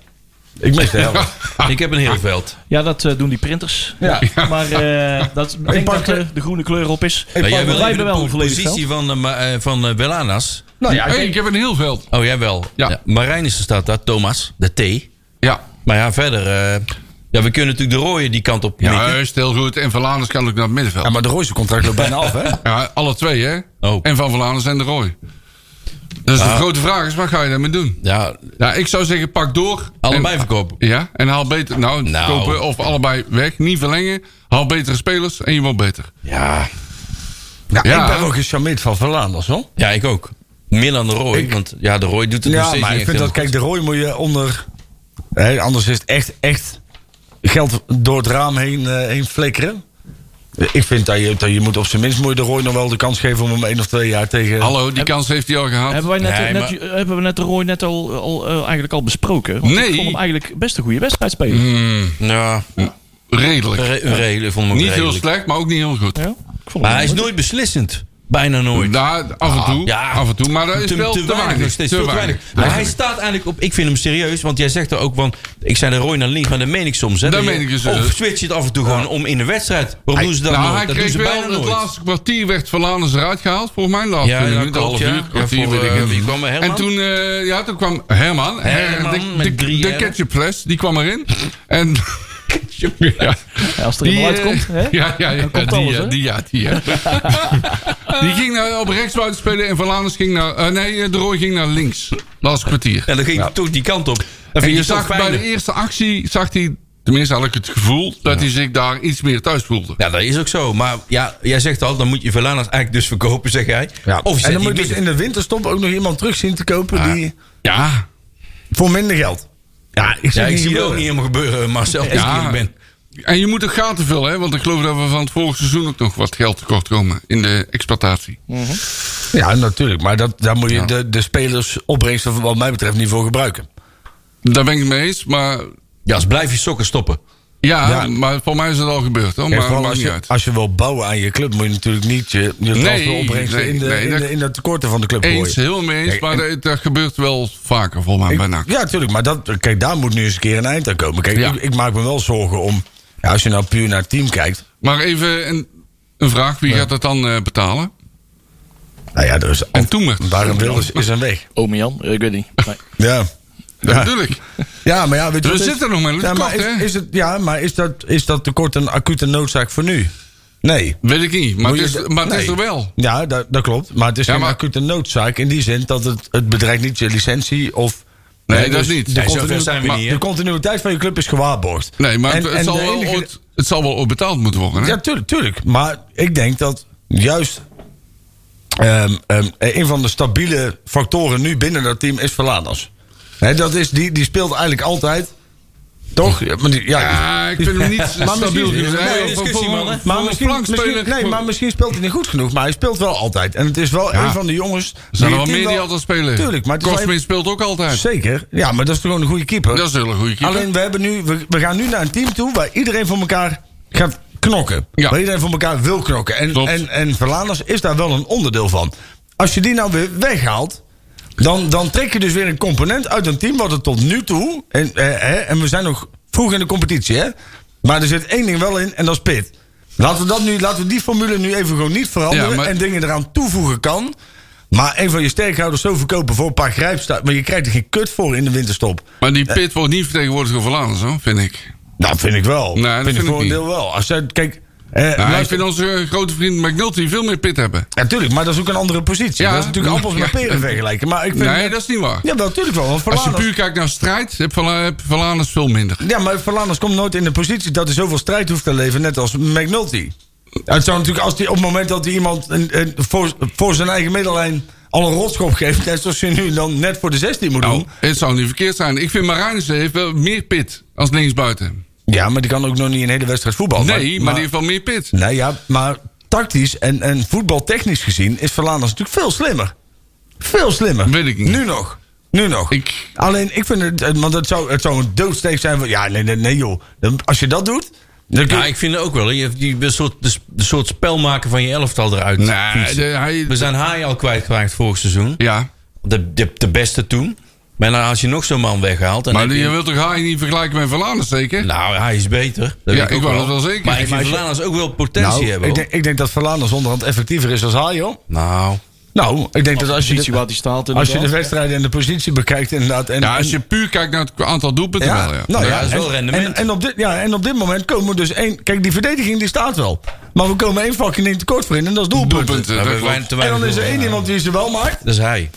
Speaker 3: Ik mis de helft.
Speaker 2: ik heb een heel veld.
Speaker 4: Ja, dat eh, doen die printers.
Speaker 3: Ja.
Speaker 4: Maar eh dat, ik denk
Speaker 3: pak
Speaker 4: dat
Speaker 3: de-
Speaker 4: eh, de groene kleur op is.
Speaker 3: Ik
Speaker 2: Nou, jij
Speaker 3: pak-
Speaker 2: wil
Speaker 4: wij
Speaker 2: even
Speaker 4: hebben wel
Speaker 2: de
Speaker 4: een
Speaker 2: po-
Speaker 4: volledig
Speaker 2: positie van, eh, ma- eh, van eh, Belanas.
Speaker 3: Nou ja, ik
Speaker 5: hey, ik heb een heel veld.
Speaker 2: Oh, jij wel.
Speaker 5: Ja.
Speaker 2: Marijnissen staat daar. Thomas, de T.
Speaker 5: Ja.
Speaker 2: Maar ja, verder... eh, ja, we kunnen natuurlijk de rooien die kant op
Speaker 5: Ja,
Speaker 2: mikken.
Speaker 5: juist, heel goed. En Van Laanens kan ook naar het middenveld.
Speaker 3: Ja, maar de Royce contract loopt bijna af, hè?
Speaker 5: Ja, alle twee, hè?
Speaker 2: Oh.
Speaker 5: En Van Vlaanderen en de Roy. Dus de grote vraag is, wat ga je daarmee doen?
Speaker 2: Ja,
Speaker 5: Ja, ik zou zeggen, pak door.
Speaker 2: allebei
Speaker 5: en,
Speaker 2: verkopen.
Speaker 5: Ja, en haal beter... Nou,
Speaker 2: Nou.
Speaker 5: kopen of allebei weg. Niet verlengen. Haal betere spelers en je wordt beter.
Speaker 2: Ja,
Speaker 3: Ja,
Speaker 5: Ja.
Speaker 3: ik ben ook gecharmeerd van Verlaanders, hoor.
Speaker 2: ja ik ook. Meer dan de Roy. want ja, de Roy doet het nog
Speaker 3: Ja,
Speaker 2: steeds
Speaker 3: maar
Speaker 2: niet
Speaker 3: ik vind
Speaker 2: echt
Speaker 3: dat,
Speaker 2: heel
Speaker 3: kijk, de rooi moet je onder. Hè, anders is het echt, echt geld door het raam heen, eh, heen flikkeren. Ik vind dat je, dat je moet op zijn minst moet je de rooi nog wel de kans geven om hem één of twee jaar tegen.
Speaker 5: Hallo, die kans heeft hij al gehad.
Speaker 4: Hebben, wij net,
Speaker 2: Nee,
Speaker 4: net-
Speaker 2: maar-
Speaker 4: eh, hebben we net de Roy net al, al, eh, eigenlijk al besproken? Want
Speaker 5: Nee.
Speaker 4: Ik vond hem eigenlijk best een goede wedstrijd spelen.
Speaker 2: goed. Ja,
Speaker 5: Redelijk.
Speaker 2: re- redelijk. Vond ik
Speaker 5: Niet heel
Speaker 2: redelijk.
Speaker 5: slecht, maar ook niet heel goed.
Speaker 4: Ja, ik
Speaker 2: Maar
Speaker 4: vond hem
Speaker 2: Ah, hij is
Speaker 4: goed.
Speaker 2: nooit beslissend. Bijna nooit.
Speaker 5: Daar, af en toe.
Speaker 2: ja.
Speaker 5: Af en toe. Maar dat Nou, is wel te, weinig.
Speaker 2: nog steeds. Veel te weinig. Maar hij staat eigenlijk op. Ik vind hem serieus, want jij zegt er ook van. Ik zei de Roy naar links, maar dat meen ik soms. Hè,
Speaker 5: Dat
Speaker 2: je-
Speaker 5: meen ik dus,
Speaker 2: Of
Speaker 5: eh,
Speaker 2: switch je het af en toe gewoon om in de wedstrijd. Waarom doen ze dat
Speaker 5: nou,
Speaker 2: nooit?
Speaker 5: hij
Speaker 2: Dus eh, Dat doen ze
Speaker 5: kreeg wel
Speaker 2: bijna
Speaker 5: in het
Speaker 2: nooit.
Speaker 5: laatste kwartier werd Verlanens eruit gehaald. Volgens mij laatste
Speaker 2: Ja, dat
Speaker 5: minuut, een
Speaker 2: klopt,
Speaker 5: half
Speaker 2: ja.
Speaker 5: uur,
Speaker 2: Ja,
Speaker 5: kwartier,
Speaker 2: voor,
Speaker 5: weet ik
Speaker 2: eh,
Speaker 5: het.
Speaker 2: wie kwam er, Herman?
Speaker 5: En toen, eh, ja, toen kwam Herman. eh,
Speaker 2: Herman
Speaker 5: de,
Speaker 2: met
Speaker 5: de-
Speaker 2: drie,
Speaker 5: de
Speaker 2: hè?
Speaker 5: Ketchup Plus, die kwam erin. En... Ja,
Speaker 4: Ja, als er iemand
Speaker 5: eh,
Speaker 4: uitkomt. Hè?
Speaker 5: ja, ja, ja,
Speaker 4: komt
Speaker 5: die,
Speaker 4: alles,
Speaker 5: ja,
Speaker 4: hè?
Speaker 5: die, ja, die, ja. die ging naar, op rechts buiten spelen en Verlanens ging naar... eh, nee, eh, de Roy ging naar links. Laatste kwartier.
Speaker 2: En dan ging hij toch die kant op. Dat
Speaker 5: En
Speaker 2: vind
Speaker 5: je
Speaker 2: ik toch
Speaker 5: zag bij
Speaker 2: fijner.
Speaker 5: de eerste actie, zag hij, tenminste had ik het gevoel, dat hij zich daar iets meer thuis voelde.
Speaker 2: Ja, dat is ook zo. Maar ja, jij zegt al, dan moet je Verlanas eigenlijk dus verkopen, zeg jij.
Speaker 3: Ja.
Speaker 2: Of je
Speaker 3: en
Speaker 2: zet
Speaker 3: dan
Speaker 2: die
Speaker 3: moet je dus
Speaker 2: midden.
Speaker 3: in de winterstop ook nog iemand terug zien te kopen die,
Speaker 5: Ja,
Speaker 3: voor minder geld. Ja, ik,
Speaker 2: Ja,
Speaker 3: zeg
Speaker 2: ik zie het ook niet
Speaker 3: gebeuren.
Speaker 2: helemaal gebeuren, Marcel. Als ik
Speaker 5: Ja.
Speaker 2: eerlijk ben.
Speaker 5: En je moet ook gaten vullen, hè? want ik geloof dat we van het vorige seizoen ook nog wat geld tekort komen in de exploitatie.
Speaker 3: Ja, natuurlijk. Maar dat, daar moet je de, de spelers opbrengsten, wat mij betreft, niet voor gebruiken.
Speaker 5: Daar ben ik het mee eens, maar
Speaker 2: Ja, dus blijf je sokken stoppen.
Speaker 5: ja,
Speaker 3: Ja.
Speaker 5: maar voor mij is het al gebeurd hoor.
Speaker 3: Kijk,
Speaker 5: Maar
Speaker 3: vooral
Speaker 5: maakt
Speaker 3: als,
Speaker 5: niet
Speaker 3: je,
Speaker 5: uit.
Speaker 3: als je wil bouwen aan je club, moet je natuurlijk niet je, je transferopbrengsten
Speaker 5: nee,
Speaker 3: in, de,
Speaker 5: nee,
Speaker 3: in,
Speaker 5: dat-
Speaker 3: de, in de tekorten van de club gooien.
Speaker 5: Eens, heel mee eens,
Speaker 3: Kijk,
Speaker 5: maar
Speaker 3: en-
Speaker 5: dat, dat gebeurt wel vaker volgens mij bij
Speaker 3: Ik-
Speaker 5: NAC.
Speaker 3: Ja, natuurlijk. Maar dat, kijk, daar moet nu eens een keer een eind aan komen. Kijk,
Speaker 5: Ja.
Speaker 3: ik, ik maak me wel zorgen om... Ja, als je nou puur naar het team kijkt...
Speaker 5: Maar even een, een vraag, wie gaat dat dan eh, betalen?
Speaker 3: Nou ja, er is...
Speaker 5: En toen
Speaker 3: Waarom Wilders is een weg.
Speaker 4: Ome Jan, eh, ik weet niet. Nee.
Speaker 3: Ja.
Speaker 5: Dat
Speaker 3: Ja.
Speaker 5: bedoel ik.
Speaker 3: ja, maar ja, weet
Speaker 5: We
Speaker 3: je wat het is?
Speaker 5: zitten nog met het
Speaker 3: ja, maar
Speaker 5: tekort,
Speaker 3: is,
Speaker 5: hè?
Speaker 3: is het, ja, maar is dat, is dat tekort een acute noodzaak voor nu? Nee.
Speaker 5: Weet ik niet, maar,
Speaker 3: Moet
Speaker 5: het is,
Speaker 3: je de-
Speaker 5: maar het is
Speaker 3: nee.
Speaker 5: er wel.
Speaker 3: Ja, dat, dat klopt. Maar het is
Speaker 5: Ja,
Speaker 3: geen
Speaker 5: maar-
Speaker 3: acute noodzaak in die zin dat het, het bedreigt niet je licentie of...
Speaker 5: Nee,
Speaker 3: hè,
Speaker 5: dat niet.
Speaker 3: De,
Speaker 5: Nee, zover
Speaker 3: continu-
Speaker 2: zijn we
Speaker 3: maar
Speaker 2: niet, hè?
Speaker 3: de continuïteit van je club is gewaarborgd.
Speaker 5: Nee, maar
Speaker 3: En-
Speaker 5: het, het
Speaker 3: en
Speaker 5: zal
Speaker 3: de
Speaker 5: wel
Speaker 3: enige-
Speaker 5: ooit, het zal wel ooit betaald moeten worden. Hè?
Speaker 3: Ja, tuurlijk, tuurlijk. Maar ik denk dat juist ehm, ehm, een van de stabiele factoren nu binnen dat team is Verladers. Hè, dat is, die, die speelt eigenlijk altijd. Toch? Ja, maar die- ja,
Speaker 5: Ja, ik vind hem niet stabiel
Speaker 3: misschien-
Speaker 5: genoeg.
Speaker 3: nee,
Speaker 5: Hij-
Speaker 2: discussie,
Speaker 5: voor- voor-
Speaker 2: man, hè.
Speaker 5: voor
Speaker 3: Maar
Speaker 5: een
Speaker 3: misschien,
Speaker 5: flankspeler-
Speaker 3: misschien- nee,
Speaker 5: voor-
Speaker 3: maar misschien speelt hij niet goed genoeg. Maar hij speelt wel altijd. En het is wel
Speaker 5: Ja.
Speaker 3: een van de jongens.
Speaker 5: Er zijn er wel
Speaker 3: het team
Speaker 5: meer die altijd spelen.
Speaker 3: Tuurlijk, maar het is wel
Speaker 5: Kosmin speelt ook
Speaker 3: een-
Speaker 5: altijd.
Speaker 3: Zeker. Ja, maar dat is toch gewoon een goede keeper.
Speaker 5: Dat is een hele goede keeper.
Speaker 3: Alleen we, hebben nu, we, we gaan nu naar een team toe waar iedereen voor elkaar gaat knokken.
Speaker 5: Ja.
Speaker 3: Waar iedereen voor elkaar wil knokken. En,
Speaker 5: Klopt.
Speaker 3: en, en Verlaners is daar wel een onderdeel van. Als je die nou weer weghaalt. Dan, dan trek je dus weer een component uit een team wat er tot nu toe. En, eh, hè, en we zijn nog vroeg in de competitie, hè? Maar er zit één ding wel in en dat is pit. Laten we, dat nu, laten we die formule nu even gewoon niet veranderen.
Speaker 5: Ja, maar-
Speaker 3: En dingen eraan toevoegen kan. Maar een van je sterkhouders zo verkopen voor een paar grijpstaart. Maar je krijgt er geen kut voor in de winterstop.
Speaker 5: Maar die pit wordt niet vertegenwoordigd door Vlaanderen, zo, vind ik.
Speaker 3: Nou, vind ik wel.
Speaker 5: Nee, dat
Speaker 3: vind,
Speaker 5: vind
Speaker 3: ik
Speaker 5: ik
Speaker 3: voor een
Speaker 5: niet.
Speaker 3: deel wel. Als zij, kijk, eh,
Speaker 5: Nou, ik
Speaker 3: luister-
Speaker 5: vind onze eh, grote vriend McNulty veel meer pit hebben.
Speaker 3: natuurlijk, maar dat is ook een andere positie.
Speaker 5: Ja.
Speaker 3: dat is natuurlijk appels met
Speaker 5: Ja.
Speaker 3: peren vergelijken. Maar ik vind,
Speaker 5: Nee, dat is niet waar.
Speaker 3: ja, wel, natuurlijk wel. Want
Speaker 5: Als je
Speaker 3: Verlaners-
Speaker 5: puur kijkt naar strijd, heb Verla- heb Vlaanderen veel minder.
Speaker 3: Ja, maar Verlanders komt nooit in de positie dat hij zoveel strijd hoeft te leveren, net als McNulty. Het zou natuurlijk, als die, op het moment dat hij iemand een, een- voor, voor zijn eigen middellijn al een rotschop geeft. Net zoals je nu dan net voor de 16 moet
Speaker 5: Nou,
Speaker 3: doen.
Speaker 5: het zou niet verkeerd zijn. Ik vind Marijnissen heeft wel meer pit als linksbuiten.
Speaker 3: Ja, maar die kan ook nog niet een hele wedstrijd voetbal.
Speaker 5: Nee, maar, die heeft wel meer pit.
Speaker 3: Nou ja, maar tactisch en, en voetbaltechnisch gezien is Verlaanders natuurlijk veel slimmer. Veel slimmer.
Speaker 5: Weet ik niet.
Speaker 3: Nu nog. Nu nog.
Speaker 5: Ik-
Speaker 3: Alleen, ik vind het... eh, Want het zou, het zou een doodsteek zijn van... Ja, nee, nee, nee joh. Dan- Als je dat doet... Dan kun
Speaker 2: Ja,
Speaker 3: je-
Speaker 2: ik vind het ook wel. Je hebt die een soort, de, de soort spel maken van je elftal eruit.
Speaker 5: Nee,
Speaker 2: fietsen.
Speaker 5: de- hij,
Speaker 2: We zijn Haai al kwijtgeraakt vorig seizoen.
Speaker 5: ja.
Speaker 2: De, de, de beste toen. Maar dan als je nog zo'n man weghaalt... Dan
Speaker 5: Maar
Speaker 2: heb
Speaker 5: die- je
Speaker 2: je-
Speaker 5: wilt toch Haai niet vergelijken met Verlaanders zeker?
Speaker 2: Nou, hij is beter. Dat
Speaker 5: Ja,
Speaker 2: weet
Speaker 5: ik
Speaker 2: ook
Speaker 5: wou dat wel zeker.
Speaker 2: Maar ik
Speaker 5: Maar
Speaker 2: vind
Speaker 5: als je-
Speaker 2: Vlaanders ook wel potentie
Speaker 3: nou,
Speaker 2: hebben.
Speaker 3: ik,
Speaker 2: hoor.
Speaker 3: denk, ik denk dat Verlaanders onderhand effectiever is als Hajo.
Speaker 2: nou,
Speaker 3: Nou, ik denk dat als je,
Speaker 4: positie
Speaker 3: de,
Speaker 4: waar die staat.
Speaker 3: als je de
Speaker 4: inderdaad.
Speaker 3: wedstrijden en de positie bekijkt inderdaad... En,
Speaker 5: ja, als
Speaker 3: en-
Speaker 5: je puur kijkt naar het aantal doelpunten wel, ja.
Speaker 3: Nou,
Speaker 2: Ja,
Speaker 3: ja,
Speaker 2: dat is wel
Speaker 3: en-
Speaker 2: rendement.
Speaker 3: En, en, op dit, ja, en op dit moment komen we dus één... Kijk, die verdediging die staat wel. Maar we komen één fucking ding tekort voor in en dat is doelpunten.
Speaker 5: Doelpunten,
Speaker 2: we
Speaker 5: dat
Speaker 2: hebben
Speaker 5: klopt.
Speaker 2: weinig- te
Speaker 3: En
Speaker 2: weinig
Speaker 3: dan is er
Speaker 2: doelpunten.
Speaker 3: één iemand die ze wel maakt.
Speaker 2: Dat is hij.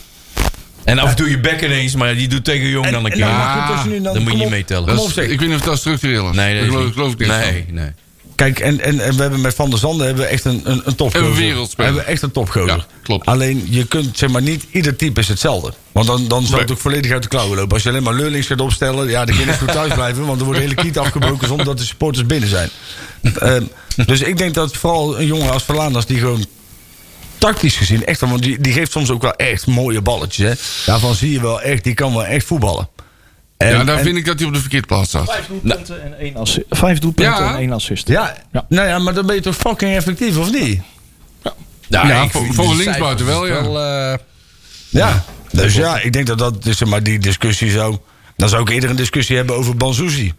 Speaker 2: En af en toe je bek ineens, maar die doet tegen Jong dan een
Speaker 3: En-
Speaker 2: keer.
Speaker 3: en nou, maar goed, als je nu dan-
Speaker 2: dan moet je
Speaker 3: kom
Speaker 2: niet
Speaker 3: op.
Speaker 2: meetellen.
Speaker 5: Dat
Speaker 3: Kom
Speaker 5: is-
Speaker 3: op, zeg.
Speaker 5: ik weet niet of dat structureel is.
Speaker 2: nee, dat is
Speaker 5: dat geloof,
Speaker 2: niet.
Speaker 5: geloof ik niet.
Speaker 2: Nee, nee.
Speaker 3: Kijk, en, en, en we hebben met Van der Zanden hebben we echt een, een, een topgozer.
Speaker 5: Een wereldspeler.
Speaker 3: We hebben echt een topgozer.
Speaker 5: Ja, klopt.
Speaker 3: Alleen, je kunt, zeg maar, niet ieder type is hetzelfde. Want dan, dan zou het
Speaker 5: Nee.
Speaker 3: ook volledig uit de klauwen lopen. Als je alleen maar leurlings gaat opstellen, ja, de kinderen moeten thuis blijven. Want er wordt de hele kiet afgebroken zonder dat de supporters binnen zijn. Ehm, dus ik denk dat vooral een jongen als Verlaanders, die gewoon tactisch gezien echt, wel- want die, die geeft soms ook wel echt mooie balletjes. Hè. Daarvan zie je wel echt, die kan wel echt voetballen. En-
Speaker 5: Ja, daar
Speaker 3: en-
Speaker 5: vind ik dat hij op de verkeerde plaats staat.
Speaker 2: Nou,
Speaker 4: Vijf doelpunten en één assist. Vijf doelpunten
Speaker 5: Ja.
Speaker 4: en één assist.
Speaker 3: Ja,
Speaker 4: Ja.
Speaker 3: nou ja, maar dan ben je toch fucking effectief, of niet?
Speaker 2: Ja,
Speaker 5: Ja,
Speaker 2: ik
Speaker 5: voor-
Speaker 2: vind
Speaker 5: voor
Speaker 2: die
Speaker 5: een linksbuiten
Speaker 2: cijfers
Speaker 5: wel,
Speaker 2: is
Speaker 5: ja.
Speaker 2: eh,
Speaker 3: Ja, dus ja, ik denk dat dat, dus, zeg maar die discussie zo... Dan zou ik eerder een discussie hebben over Banzuzi.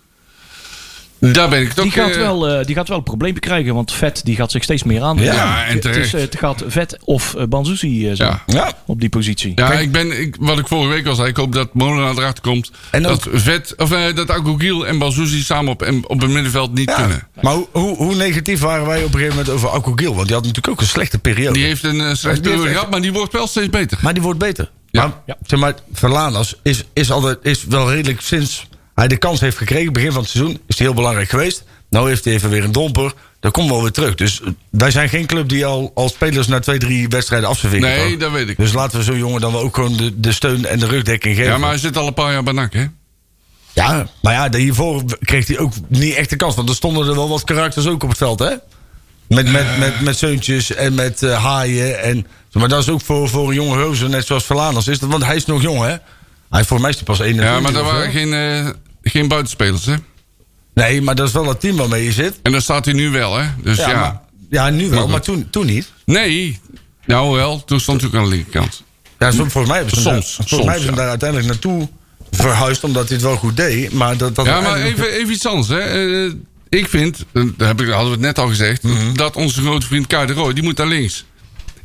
Speaker 5: Daar ben ik toch...
Speaker 4: Die gaat,
Speaker 5: eh,
Speaker 4: wel, eh, die gaat wel een probleem krijgen, want Vet die gaat zich steeds meer aan.
Speaker 3: Ja,
Speaker 5: Ja, en
Speaker 4: het, is,
Speaker 5: terecht.
Speaker 4: eh, het gaat Vet of eh, Banzuzi eh, zijn
Speaker 5: Ja.
Speaker 3: Ja.
Speaker 4: op die positie.
Speaker 5: Ja, ik ben, ik, wat ik vorige week al zei, ik hoop dat Molenaar erachter komt.
Speaker 3: En
Speaker 5: dat Vet, of eh, dat Agogiel en Balzuzi samen op, en- op het middenveld niet kunnen.
Speaker 3: Maar hoe, hoe, hoe negatief waren wij op een gegeven moment over Akogil? Want die had natuurlijk ook een slechte periode.
Speaker 5: Die heeft een eh, slecht
Speaker 3: Die heeft
Speaker 5: periode
Speaker 3: echt-
Speaker 5: gehad, maar die wordt wel steeds beter.
Speaker 3: Maar die wordt beter.
Speaker 5: Ja.
Speaker 3: Maar,
Speaker 4: Ja.
Speaker 3: zeg maar, Verlanas is, is, altijd, is wel redelijk sinds hij de kans heeft gekregen... begin van het seizoen, is hij heel belangrijk geweest. Nou heeft hij even weer een domper. Daar komt wel weer terug. Dus eh, wij zijn geen club die al, al spelers na twee, drie wedstrijden afserveren.
Speaker 5: Nee,
Speaker 3: kan.
Speaker 5: dat weet ik.
Speaker 3: Dus laten we zo'n jongen dan wel ook gewoon de, de steun en de rugdekking geven.
Speaker 5: Ja, maar hij zit al een paar jaar bij NAC, hè?
Speaker 3: Ja, maar ja, hiervoor kreeg hij ook niet echt de kans. Want er stonden er wel wat karakters ook op het veld, hè? Met, met, met, met zeuntjes en met eh, haaien. En, maar dat is ook voor, voor een jonge roze, net zoals Verlaners. Is dat, want hij is nog jong, hè? Hij voor mij is hij pas 21.
Speaker 5: Ja, maar dat
Speaker 3: of zo.
Speaker 5: waren geen, eh, geen buitenspelers, hè?
Speaker 3: Nee, maar dat is wel dat team waarmee je zit.
Speaker 5: En daar staat hij nu wel, hè? Dus ja.
Speaker 3: maar- ja nu wel,
Speaker 5: goed.
Speaker 3: maar toen, toen niet.
Speaker 5: Nee, nou wel, toen stond hij ook aan de linkerkant.
Speaker 3: Ja, soms, volgens mij hebben ze hem,
Speaker 5: Soms,
Speaker 3: daar, volgens
Speaker 5: soms,
Speaker 3: mij hebben ze hem
Speaker 5: ja.
Speaker 3: daar uiteindelijk naartoe verhuisd... omdat hij het wel goed deed, maar dat... dat
Speaker 5: Ja, maar
Speaker 3: uiteindelijk-
Speaker 5: even, even iets anders, hè? Eh, ik vind, eh, daar heb ik, hadden we het net al gezegd, dat onze grote vriend Kai de Roy, die moet naar links.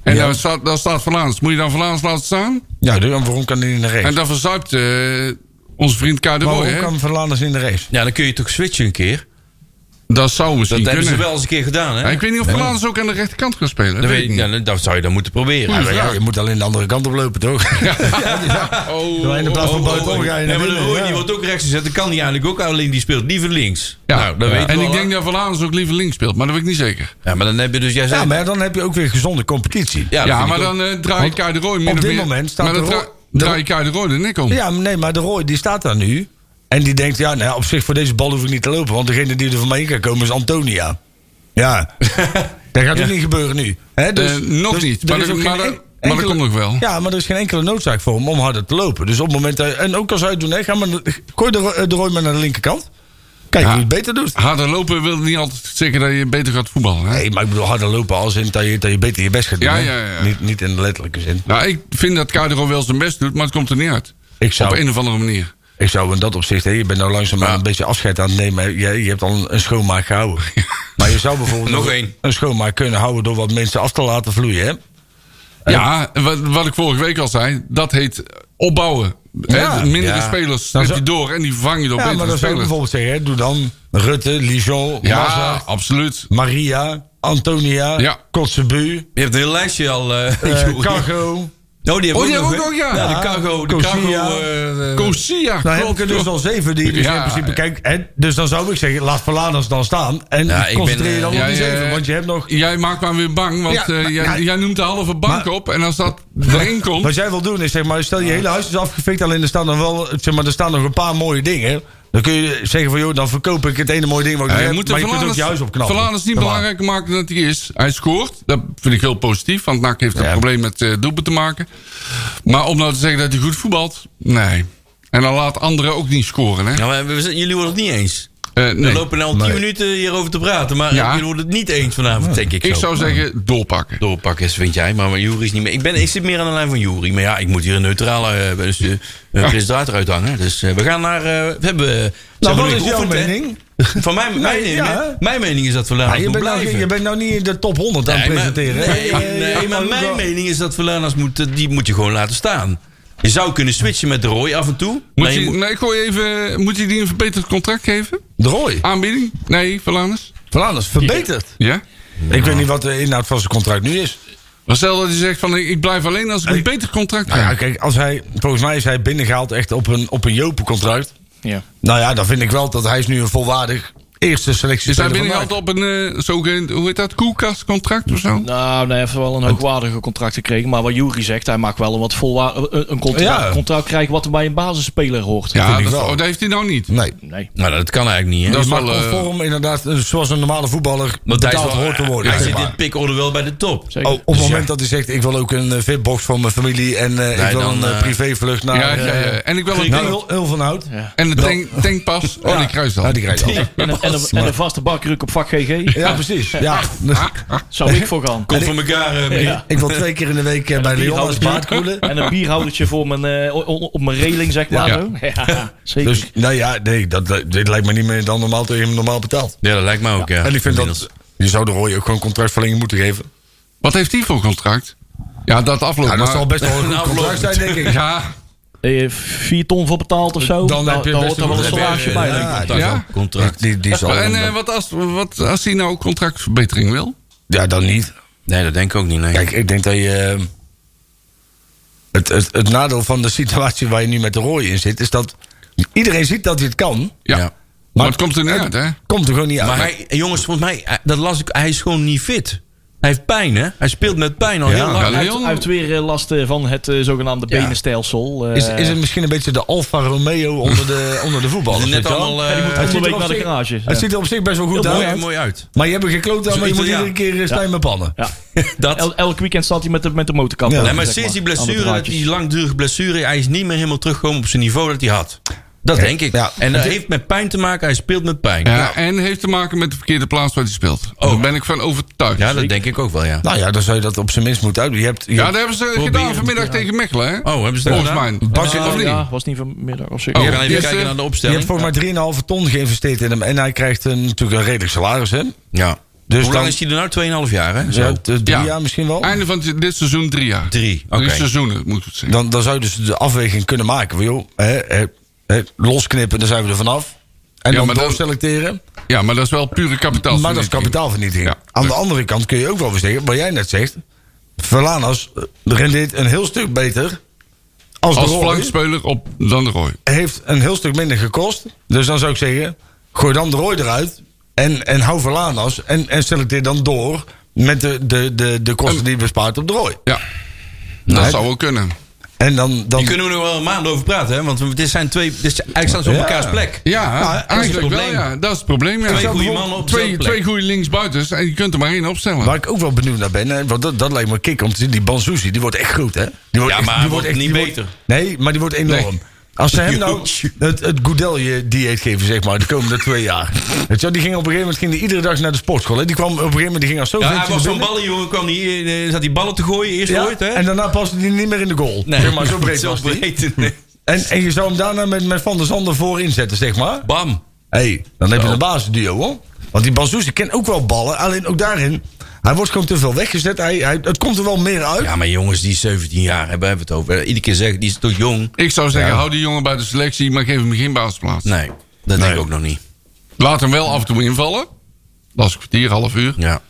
Speaker 5: En
Speaker 3: Ja.
Speaker 5: daar staat, daar staat Vlaams. Moet je dan Vlaams laten staan?
Speaker 3: Ja, dus waarom kan hij niet naar rechts?
Speaker 5: En dan verzuipt eh, onze vriend Kai de
Speaker 3: Maar
Speaker 5: Roy,
Speaker 3: waarom
Speaker 5: hè?
Speaker 3: kan Verlaners niet naar rechts?
Speaker 2: Ja, dan kun je toch switchen een keer.
Speaker 5: Dat zou
Speaker 2: Dat
Speaker 5: misschien
Speaker 2: hebben ze
Speaker 5: kunnen.
Speaker 2: wel eens een keer gedaan, hè?
Speaker 5: Ja, ik weet niet of Vlaams ook aan de rechterkant kan spelen.
Speaker 2: dat, weet ik, ja, dan- dat zou je dan moeten proberen.
Speaker 5: Goeie
Speaker 2: Ja,
Speaker 5: vraag.
Speaker 3: Ja, je moet alleen de andere kant op lopen, toch?
Speaker 5: Oh,
Speaker 3: Doe hij in de
Speaker 5: oh,
Speaker 3: plaats van
Speaker 5: oh,
Speaker 3: buiten-
Speaker 5: oh.
Speaker 3: Oh, ja,
Speaker 2: nee,
Speaker 3: naar
Speaker 2: maar de
Speaker 3: binnen,
Speaker 2: Roy,
Speaker 3: ja.
Speaker 2: die wordt ook rechts gezet. Dat kan die eigenlijk ook, alleen die speelt liever links.
Speaker 5: Ja.
Speaker 2: Nou, dat
Speaker 5: Ja.
Speaker 2: weten
Speaker 5: en
Speaker 2: we
Speaker 5: ik
Speaker 2: al,
Speaker 5: denk
Speaker 2: hè?
Speaker 5: dat Van Aans ook liever links speelt, maar dat weet ik niet zeker.
Speaker 2: Ja, maar dan heb je dus... Jij
Speaker 3: Ja,
Speaker 2: zei,
Speaker 3: maar dan heb je ook weer gezonde competitie.
Speaker 2: Ja,
Speaker 5: Ja,
Speaker 2: dat vind ik
Speaker 5: maar
Speaker 2: ook.
Speaker 5: dan eh, draai ik Kai de Roy min
Speaker 3: op
Speaker 5: of
Speaker 3: dit
Speaker 5: meer-
Speaker 3: moment staat
Speaker 5: maar dan
Speaker 3: de
Speaker 5: dra-
Speaker 3: Roy- de-
Speaker 5: draai ik Kai de Roy de nek om.
Speaker 3: Ja, maar nee, maar de Roy die staat daar nu. En die denkt, ja, nou, ja, op zich voor deze bal hoef ik niet te lopen. Want degene die er van mij in kan komen is Antonia. Ja, dat gaat ook niet gebeuren nu. Hè, dus,
Speaker 5: Eh, nog
Speaker 3: dus
Speaker 5: niet,
Speaker 3: er
Speaker 5: maar
Speaker 3: is
Speaker 5: dat-
Speaker 3: ook
Speaker 5: maar
Speaker 3: geen
Speaker 5: dat-
Speaker 3: en-
Speaker 5: maar dat komt nog wel.
Speaker 3: Ja, maar er is geen enkele noodzaak voor hem om harder te lopen. Dus op het moment, dat- en ook als hij het doet, hè, ga maar, gooi de, Roy- eh, de Roy maar naar de linkerkant. Kijk
Speaker 5: Ja.
Speaker 3: hoe hij het beter doet.
Speaker 5: Harder lopen wil niet altijd zeker dat je beter gaat voetballen. Hè?
Speaker 3: Nee, maar ik bedoel harder lopen als in dat je, dat je beter je best gaat doen.
Speaker 5: Ja,
Speaker 3: hè.
Speaker 5: ja, ja.
Speaker 3: Niet, niet in de letterlijke zin.
Speaker 5: Nou, ik vind dat Kader wel zijn best doet, maar het komt er niet uit.
Speaker 3: Ik zou,
Speaker 5: Op een of andere manier.
Speaker 3: Ik zou in dat opzicht, hè, je bent nou langzaam een beetje afscheid aan het nemen. Je, je hebt al een, een schoonmaak gehouden. Maar je zou bijvoorbeeld
Speaker 2: Nog één.
Speaker 3: een schoonmaak kunnen houden door wat mensen af te laten vloeien. Hè?
Speaker 5: Ja, wat, wat ik vorige week al zei, dat heet opbouwen.
Speaker 3: Ja.
Speaker 5: Hè, mindere
Speaker 2: Ja.
Speaker 5: spelers heb
Speaker 3: zou-
Speaker 5: je door en die vang je door
Speaker 3: Ja, maar
Speaker 5: betere
Speaker 3: dan zou
Speaker 5: spelers.
Speaker 3: je bijvoorbeeld zeggen, hè, doe dan Rutte, Lijon,
Speaker 5: Ja,
Speaker 3: Mazza,
Speaker 5: absoluut.
Speaker 3: Maria, Antonia,
Speaker 5: Ja.
Speaker 3: Kotzebu,
Speaker 2: Je hebt een heel lijstje al... eh,
Speaker 3: eh,
Speaker 2: joh.
Speaker 3: Cargo.
Speaker 2: Oh, die hebben
Speaker 5: Oh, die
Speaker 2: ook
Speaker 5: hebben ook
Speaker 2: hè?
Speaker 5: nog, ja.
Speaker 2: De cargo, de cargo...
Speaker 3: Cosia.
Speaker 2: eh,
Speaker 5: Kosia,
Speaker 3: Nou, heb
Speaker 5: klopt,
Speaker 3: ik er dus
Speaker 5: klopt.
Speaker 3: al zeven die dus
Speaker 5: Ja,
Speaker 3: in principe...
Speaker 5: ja.
Speaker 3: Kijk, hè, dus dan zou ik zeggen, laat Verladers dan staan. En
Speaker 2: Ja, ik ben,
Speaker 3: concentreer je dan
Speaker 2: eh,
Speaker 3: op die
Speaker 5: ja, ja,
Speaker 3: zeven.
Speaker 5: ja.
Speaker 3: Want je hebt nog...
Speaker 5: Jij maakt me weer bang, want
Speaker 3: Ja,
Speaker 5: eh,
Speaker 3: maar-
Speaker 5: jij,
Speaker 3: ja.
Speaker 5: jij noemt de halve bank
Speaker 3: Maar-
Speaker 5: op. En als dat erin komt...
Speaker 3: Wat jij wil doen is, zeg maar, stel je hele huis is afgefikt. Alleen er staan, dan wel, zeg maar, er staan nog een paar mooie dingen. Dan kun je zeggen van, joh, dan verkoop ik het ene mooie ding wat ik
Speaker 5: Ja,
Speaker 3: nog
Speaker 5: je
Speaker 3: heb,
Speaker 5: moet de
Speaker 3: Maar je kunt ook je huis opknappen.
Speaker 5: Verlaanders niet
Speaker 3: Dan
Speaker 5: belangrijker maken dan hij is. Hij scoort. Dat vind ik heel positief. Want NAC heeft een probleem met eh doelpunten te maken. Maar om nou te zeggen dat hij goed voetbalt... Nee. En dan laat anderen ook niet scoren, hè?
Speaker 2: Ja, Nou, maar we zijn- jullie worden het niet eens.
Speaker 5: Eh, nee.
Speaker 2: We lopen al tien minuten hierover te praten, maar
Speaker 5: Ja.
Speaker 2: jullie worden het niet eens vanavond, denk ik.
Speaker 5: Ik
Speaker 2: zo.
Speaker 5: zou zeggen, doorpakken.
Speaker 2: doorpakken, is, vind jij, maar Jury is niet meer. Ik, ben, ik zit meer aan de lijn van Jury, maar ja, ik moet hier een neutrale eh, dus, eh, presentator uithangen. Dus eh, we gaan naar. eh, we hebben. eh, ze
Speaker 3: Nou,
Speaker 2: hebben
Speaker 3: wat
Speaker 2: nu
Speaker 3: is jouw
Speaker 2: geoefend, hè?
Speaker 3: mening?
Speaker 2: Van mijn, mijn,
Speaker 3: Nee,
Speaker 2: mening,
Speaker 3: ja,
Speaker 2: hè?
Speaker 3: hè?
Speaker 2: mijn mening is dat we later
Speaker 3: Ja, je, bent nou,
Speaker 2: blijven.
Speaker 3: je bent nou niet in de top 100 aan het
Speaker 2: Nee, maar-
Speaker 3: presenteren. hè?
Speaker 2: Nee,
Speaker 3: Eh,
Speaker 2: nee,
Speaker 3: je
Speaker 2: maar
Speaker 3: moet
Speaker 2: mijn
Speaker 3: wel-
Speaker 2: mening is dat Verlanas moet, eh, die moet je gewoon laten staan. Je zou kunnen switchen met de Roy af en toe.
Speaker 5: Moet
Speaker 2: maar je
Speaker 5: je,
Speaker 2: moet-
Speaker 5: nee, ik gooi even... Moet je die een verbeterd contract geven?
Speaker 3: De Roy.
Speaker 5: Aanbieding? Nee, Verlaanders?
Speaker 3: Verladers, verbeterd.
Speaker 5: Ja?
Speaker 3: Ik weet niet wat de inhoud van zijn contract nu is.
Speaker 5: Maar stel dat hij zegt van... Ik ik blijf alleen als ik een
Speaker 3: Hey.
Speaker 5: beter contract
Speaker 3: Nou ja,
Speaker 5: krijg.
Speaker 3: kijk, als hij, volgens mij is hij binnengehaald echt op een, op een Jopen-contract.
Speaker 4: Ja.
Speaker 3: Nou ja, dan vind ik wel dat hij is nu een volwaardig eerste selectie
Speaker 5: Is hij binnengehaald op een eh, zogeheen, hoe heet dat, koelkastcontract of zo?
Speaker 4: Nou, nee, hij heeft wel een hoogwaardige contract gekregen. Maar wat Jury zegt, hij mag wel een wat volwa- een een contract,
Speaker 3: Ja.
Speaker 4: contract krijgen wat er bij een basisspeler hoort.
Speaker 5: Ja,
Speaker 3: ik
Speaker 5: dat,
Speaker 3: wel.
Speaker 5: oh, dat heeft hij nou niet.
Speaker 3: Nee.
Speaker 4: Nee.
Speaker 2: nou, dat kan eigenlijk niet. Hè?
Speaker 5: Dat
Speaker 3: Dat
Speaker 5: is
Speaker 3: is maar
Speaker 5: wel, eh,
Speaker 3: conform inderdaad, eh, zoals een normale voetballer
Speaker 2: Want hij is
Speaker 3: betaald
Speaker 2: wel-
Speaker 3: hoort te worden.
Speaker 2: Hij
Speaker 3: zeg
Speaker 2: zit
Speaker 3: maar.
Speaker 2: in pickorder wel bij de top.
Speaker 4: Zeker.
Speaker 3: Oh, op het moment dat hij zegt, ik wil ook een eh, fitbox voor mijn familie... en eh, ik wil
Speaker 2: dan,
Speaker 3: een eh,
Speaker 2: eh,
Speaker 3: privévlucht naar
Speaker 5: Ja, ja, ja.
Speaker 3: eh,
Speaker 5: En ik wil een tank,
Speaker 3: Nou, heel, heel van hout.
Speaker 5: en de tank, tankpas. Oh, die kruis
Speaker 3: Ja,
Speaker 5: dan.
Speaker 3: die krijg je altijd.
Speaker 4: En, een, en, een, en een vaste bakruk op vak GG.
Speaker 3: Ja, precies. Ja.
Speaker 4: Zou ik voor gaan.
Speaker 2: Komt voor elkaar. eh, mee.
Speaker 4: Ja.
Speaker 3: Ik wil twee keer in de week eh, bij
Speaker 4: bier
Speaker 3: Leon als
Speaker 4: houden.
Speaker 3: paard koelen.
Speaker 4: En een bierhoudertje voor mijn, eh, o- o- op mijn reling, zeg maar.
Speaker 5: Ja.
Speaker 4: zo. Ja, zeker.
Speaker 3: Dus, nou ja, nee, dat, dat- dit lijkt me niet meer dan normaal dat je hem normaal betaalt.
Speaker 2: Ja, dat lijkt me ook. Ja.
Speaker 3: En ik vind
Speaker 2: Inmiddels.
Speaker 3: dat... Je zou de Roy ook gewoon contractverlenging moeten geven.
Speaker 5: Wat heeft hij voor contract? Ja, dat afloopt.
Speaker 3: Ja, dat
Speaker 5: maar-
Speaker 3: zal best wel een goed
Speaker 2: Nou,
Speaker 3: contract zijn, denk ik.
Speaker 5: Ja,
Speaker 4: Eh, vier ton voor betaald of zo.
Speaker 3: Dan heb je
Speaker 4: daar
Speaker 3: best
Speaker 4: hoort er wel een
Speaker 3: een goed
Speaker 4: salarisje bij.
Speaker 3: bedrijf.
Speaker 4: denk
Speaker 3: Ja,
Speaker 4: ik.
Speaker 2: Contract,
Speaker 5: ja.
Speaker 2: Contract.
Speaker 3: Die, die zal
Speaker 5: en eh, wat, als, wat als hij nou contractverbetering wil?
Speaker 3: ja, dan niet.
Speaker 2: Nee, dat denk ik ook niet. Nee.
Speaker 3: Kijk, ik denk dat je... eh, het, het, het nadeel van de situatie waar je nu met de Roy in zit... is dat iedereen ziet dat hij het kan.
Speaker 5: Ja.
Speaker 2: Ja.
Speaker 5: Maar, het komt er niet uit, hè?
Speaker 3: Komt er gewoon niet uit.
Speaker 2: maar hij, jongens, volgens mij, hij- dat las ik, hij is gewoon niet fit. Hij heeft pijn, hè? Hij speelt met pijn al
Speaker 3: Ja.
Speaker 2: heel
Speaker 5: Ja,
Speaker 2: lang.
Speaker 4: Hij heeft-
Speaker 5: Leon-
Speaker 4: hij heeft weer eh, last eh, van het eh, zogenaamde benenstelsel. eh,
Speaker 3: is, is het misschien een beetje de Alfa Romeo onder de, onder de voetballers?
Speaker 2: Net
Speaker 3: weet je wel?
Speaker 2: allemaal, eh,
Speaker 3: Ja, die moet
Speaker 2: Hij
Speaker 3: het
Speaker 4: ziet
Speaker 3: ziet
Speaker 4: er
Speaker 3: er
Speaker 4: op
Speaker 3: op
Speaker 4: zich-
Speaker 3: zich-
Speaker 4: Ja.
Speaker 3: Het ziet er op zich best wel goed
Speaker 2: Mooi,
Speaker 3: uit.
Speaker 2: mooi uit.
Speaker 3: Maar je hebt er gekloot aan, maar je moet
Speaker 2: Italiaan.
Speaker 3: iedere keer eh, stijl met pannen.
Speaker 4: ja.
Speaker 2: Dat.
Speaker 4: El- elk weekend staat hij met de, met de motorkap.
Speaker 3: Ja.
Speaker 2: Nee,
Speaker 4: zeg
Speaker 2: maar sinds die
Speaker 4: aan de
Speaker 2: blessure, dat
Speaker 4: draadjes.
Speaker 2: die langdurige blessure, hij is niet meer helemaal teruggekomen op zijn niveau dat hij had. Dat
Speaker 3: Ja.
Speaker 2: denk ik.
Speaker 3: Ja.
Speaker 2: En eh, dat heeft met pijn te maken, hij speelt met pijn.
Speaker 5: Ja,
Speaker 2: Ja,
Speaker 5: En heeft te maken met de verkeerde plaats waar hij speelt.
Speaker 3: Oh.
Speaker 5: Daar ben ik van overtuigd. Ja,
Speaker 2: dat denk ik ook wel, ja.
Speaker 3: Nou ja, dan zou je dat op zijn minst moeten uitdoen. Je hebt, je
Speaker 5: dat
Speaker 3: hebt,
Speaker 5: hebben ze gedaan vanmiddag tegen Mechelen, hè?
Speaker 2: Oh, hebben ze dat
Speaker 5: Volgens
Speaker 2: gedaan?
Speaker 5: mij.
Speaker 3: Bas-
Speaker 5: of niet?
Speaker 4: Ah, Ja, was niet vanmiddag of zo.
Speaker 5: Oh.
Speaker 2: We gaan
Speaker 5: die
Speaker 2: even
Speaker 5: is,
Speaker 2: kijken naar
Speaker 5: eh,
Speaker 2: de
Speaker 3: je hebt
Speaker 2: opstelling.
Speaker 3: voor maar 3,5 ton geïnvesteerd in hem. En hij krijgt een, natuurlijk een redelijk salaris, hè?
Speaker 2: Ja. Hoe
Speaker 3: Dus dan-
Speaker 2: lang is hij er nou? 2,5 jaar, hè?
Speaker 3: Ja,
Speaker 2: Zo.
Speaker 3: t- drie
Speaker 5: Ja.
Speaker 3: jaar misschien wel.
Speaker 5: Einde van dit seizoen drie jaar.
Speaker 2: Drie,
Speaker 5: Drie
Speaker 2: oké.
Speaker 5: seizoenen, moet ik zeggen.
Speaker 3: Dan, dan zou je dus de afweging kunnen maken. Van, joh, hè, hè, hè, losknippen, dan zijn we er vanaf. En
Speaker 5: Ja, maar
Speaker 3: dan
Speaker 5: dan-
Speaker 3: doorselecteren.
Speaker 5: Ja, maar dat is wel pure kapitaal.
Speaker 3: Maar dat is kapitaalvernietiging.
Speaker 5: Ja.
Speaker 3: Aan de andere kant kun je ook wel weer zeggen, wat jij net zegt. Verlanas eh, rendeert een heel stuk beter. Als,
Speaker 5: Als
Speaker 3: de Roy.
Speaker 5: flankspeler op dan de Roy.
Speaker 3: heeft een heel stuk minder gekost. Dus dan zou ik zeggen, gooi dan de Roy eruit. En, en hou Verlanas. En, en selecteer dan door met de, de, de, de kosten die je bespaart op de Roy.
Speaker 5: Ja. Nou, dat
Speaker 3: Nee.
Speaker 5: zou wel kunnen.
Speaker 3: En dan... dan
Speaker 2: Hier kunnen we nog wel een maand over praten, hè? Want we- dit zijn twee. Dit zijn, eigenlijk staan ze op
Speaker 3: Ja.
Speaker 2: elkaars plek.
Speaker 5: Ja,
Speaker 3: dat is het
Speaker 5: eigenlijk wel.
Speaker 2: probleem.
Speaker 5: Ja. Dat is het probleem. Ja.
Speaker 2: Twee goede mannen op
Speaker 5: twee,
Speaker 2: dezelfde plek.
Speaker 5: twee goede linksbuitens en je kunt er maar één opstellen.
Speaker 3: Waar ik ook wel benieuwd naar ben, hè, want dat, dat lijkt me kick om te zien. Die Bansuzi, die wordt echt groot, hè? Die wordt
Speaker 2: Ja,
Speaker 3: echt-
Speaker 2: maar
Speaker 3: die
Speaker 2: hij wordt niet beter.
Speaker 3: nee, maar die wordt enorm.
Speaker 5: Nee.
Speaker 3: Als ze hem nou het, het Goudelje-dieet geven, zeg maar, de komende twee jaar. Weet je wel, die ging op een gegeven moment ging die iedere dag naar de sportschool. Hè? Die kwam op een gegeven moment, die ging als zo
Speaker 2: Ja,
Speaker 3: ventje
Speaker 2: hij was
Speaker 3: naar
Speaker 2: zo'n
Speaker 3: binnen.
Speaker 2: ballenjongen, kwam die, eh, zat die ballen te gooien eerst
Speaker 3: Ja,
Speaker 2: ooit, hè?
Speaker 3: En daarna paste die niet meer in de goal. Zeg maar, zo breed was die.
Speaker 2: breed, nee.
Speaker 3: En, en je zou hem daarna met, met Van der Zander voor inzetten, zeg maar.
Speaker 2: Bam.
Speaker 3: hey, dan heb je een basisduo, hoor. Want die Bansuzi kent ook wel ballen, alleen ook daarin... Hij wordt gewoon te veel weggezet. Hij, hij, het komt er wel meer uit.
Speaker 2: Ja, maar jongens, die is 17 jaar, hebben we hebben het over. Iedere keer zeggen, die is toch jong?
Speaker 5: Ik zou zeggen, hou die jongen bij de selectie, maar geef hem geen basisplaats.
Speaker 2: Nee, dat denk ik ook nog niet.
Speaker 5: Laat hem wel af en toe invallen. Dat is een kwartier, half uur.
Speaker 2: Ja.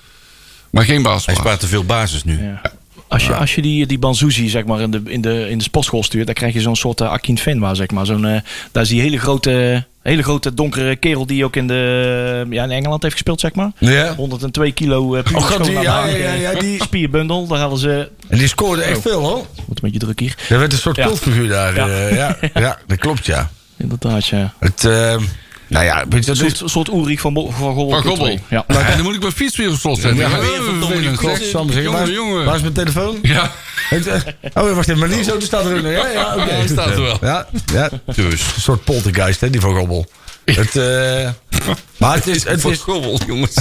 Speaker 5: Maar geen
Speaker 2: Hij
Speaker 5: basisplaats.
Speaker 2: spaart te veel basis nu.
Speaker 4: Ja. Oh, Als je, als je die, die Banzuzi zeg maar, in, de, in, de, in de sportschool stuurt, dan krijg je zo'n soort eh, Akin Fenwa. Zeg maar. zo'n, eh, dat is die hele grote, hele grote donkere kerel die ook in, de, ja, in Engeland heeft gespeeld. Zeg maar.
Speaker 3: Ja.
Speaker 4: 102 kilo eh puur
Speaker 3: Oh, god, die-
Speaker 4: schoon
Speaker 3: ja,
Speaker 4: aan de
Speaker 3: ja,
Speaker 4: haken.
Speaker 3: ja, ja, die-
Speaker 4: Spierbundel, daar hadden ze...
Speaker 3: En die scoorde echt veel, hoor.
Speaker 4: Wordt een beetje druk hier.
Speaker 3: Er werd een soort
Speaker 4: Ja.
Speaker 3: cultfiguur daar.
Speaker 4: Ja.
Speaker 3: eh, Ja. ja. dat klopt, ja.
Speaker 4: Inderdaad, ja.
Speaker 3: Het, eh, nou ja, weet je,
Speaker 4: Een
Speaker 3: dat is...
Speaker 4: soort, soort Ulrich van, Bo- van Gobbel.
Speaker 5: Van Gobbel.
Speaker 4: Ja.
Speaker 5: En dan moet ik mijn fiets weer op slot zetten.
Speaker 3: Ja,
Speaker 5: Ja,
Speaker 3: weer
Speaker 2: verdomme die
Speaker 5: vervelend.
Speaker 2: klok.
Speaker 3: zal ik maar zeggen.
Speaker 5: Jongen,
Speaker 3: Waar-
Speaker 5: jongen.
Speaker 3: Waar is mijn telefoon?
Speaker 5: Ja,
Speaker 3: Weet je- Oh, wacht even, maar die zo, die staat er ook nog. Ja, ja, oké.
Speaker 5: hij staat er wel.
Speaker 3: Ja, ja.
Speaker 5: Dus.
Speaker 3: Een soort poltergeist, hè, die van Gobbel. Het, eh, maar het is, het
Speaker 5: Van
Speaker 3: is...
Speaker 5: Gobbel, jongens.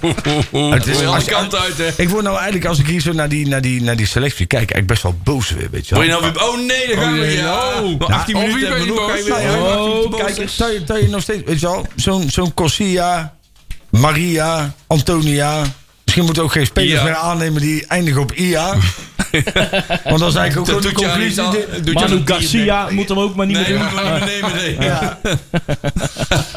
Speaker 5: Het
Speaker 3: is-
Speaker 5: is alle
Speaker 3: als je-
Speaker 5: kant uit, hè.
Speaker 3: Ik word nou eigenlijk, als ik hier zo naar die, naar die, naar die selectie kijk, eigenlijk best wel boos weer, weet je wel.
Speaker 2: Word je nou weer... Oh nee, daar gaan we.
Speaker 5: jee,
Speaker 2: Ja.
Speaker 5: oh.
Speaker 2: Maar 18
Speaker 5: Nou,
Speaker 2: minuten
Speaker 5: of
Speaker 2: hebben
Speaker 5: wie
Speaker 2: we
Speaker 5: ben
Speaker 2: nog.
Speaker 5: je
Speaker 2: ga je weer-
Speaker 5: boos?
Speaker 3: Nou ja,
Speaker 2: Oh,
Speaker 3: maar
Speaker 2: boos
Speaker 3: kijk,
Speaker 2: is.
Speaker 3: dat je, dat je nog steeds, weet je wel, zo'n zo'n Corsia, Maria, Antonia. Misschien moeten we ook geen spelers
Speaker 2: Ja.
Speaker 3: meer aannemen die eindigen op IA. Want dan is eigenlijk
Speaker 2: Dat
Speaker 3: ook gewoon de
Speaker 2: doet je
Speaker 3: conclusie.
Speaker 2: aan-
Speaker 3: dit-
Speaker 2: doet je aan
Speaker 4: Manu
Speaker 2: een dierendenk.
Speaker 4: Garcia moet hem ook maar niet
Speaker 2: Nee,
Speaker 4: meer
Speaker 2: moet maar niet meer nemen, nee.
Speaker 3: Ja.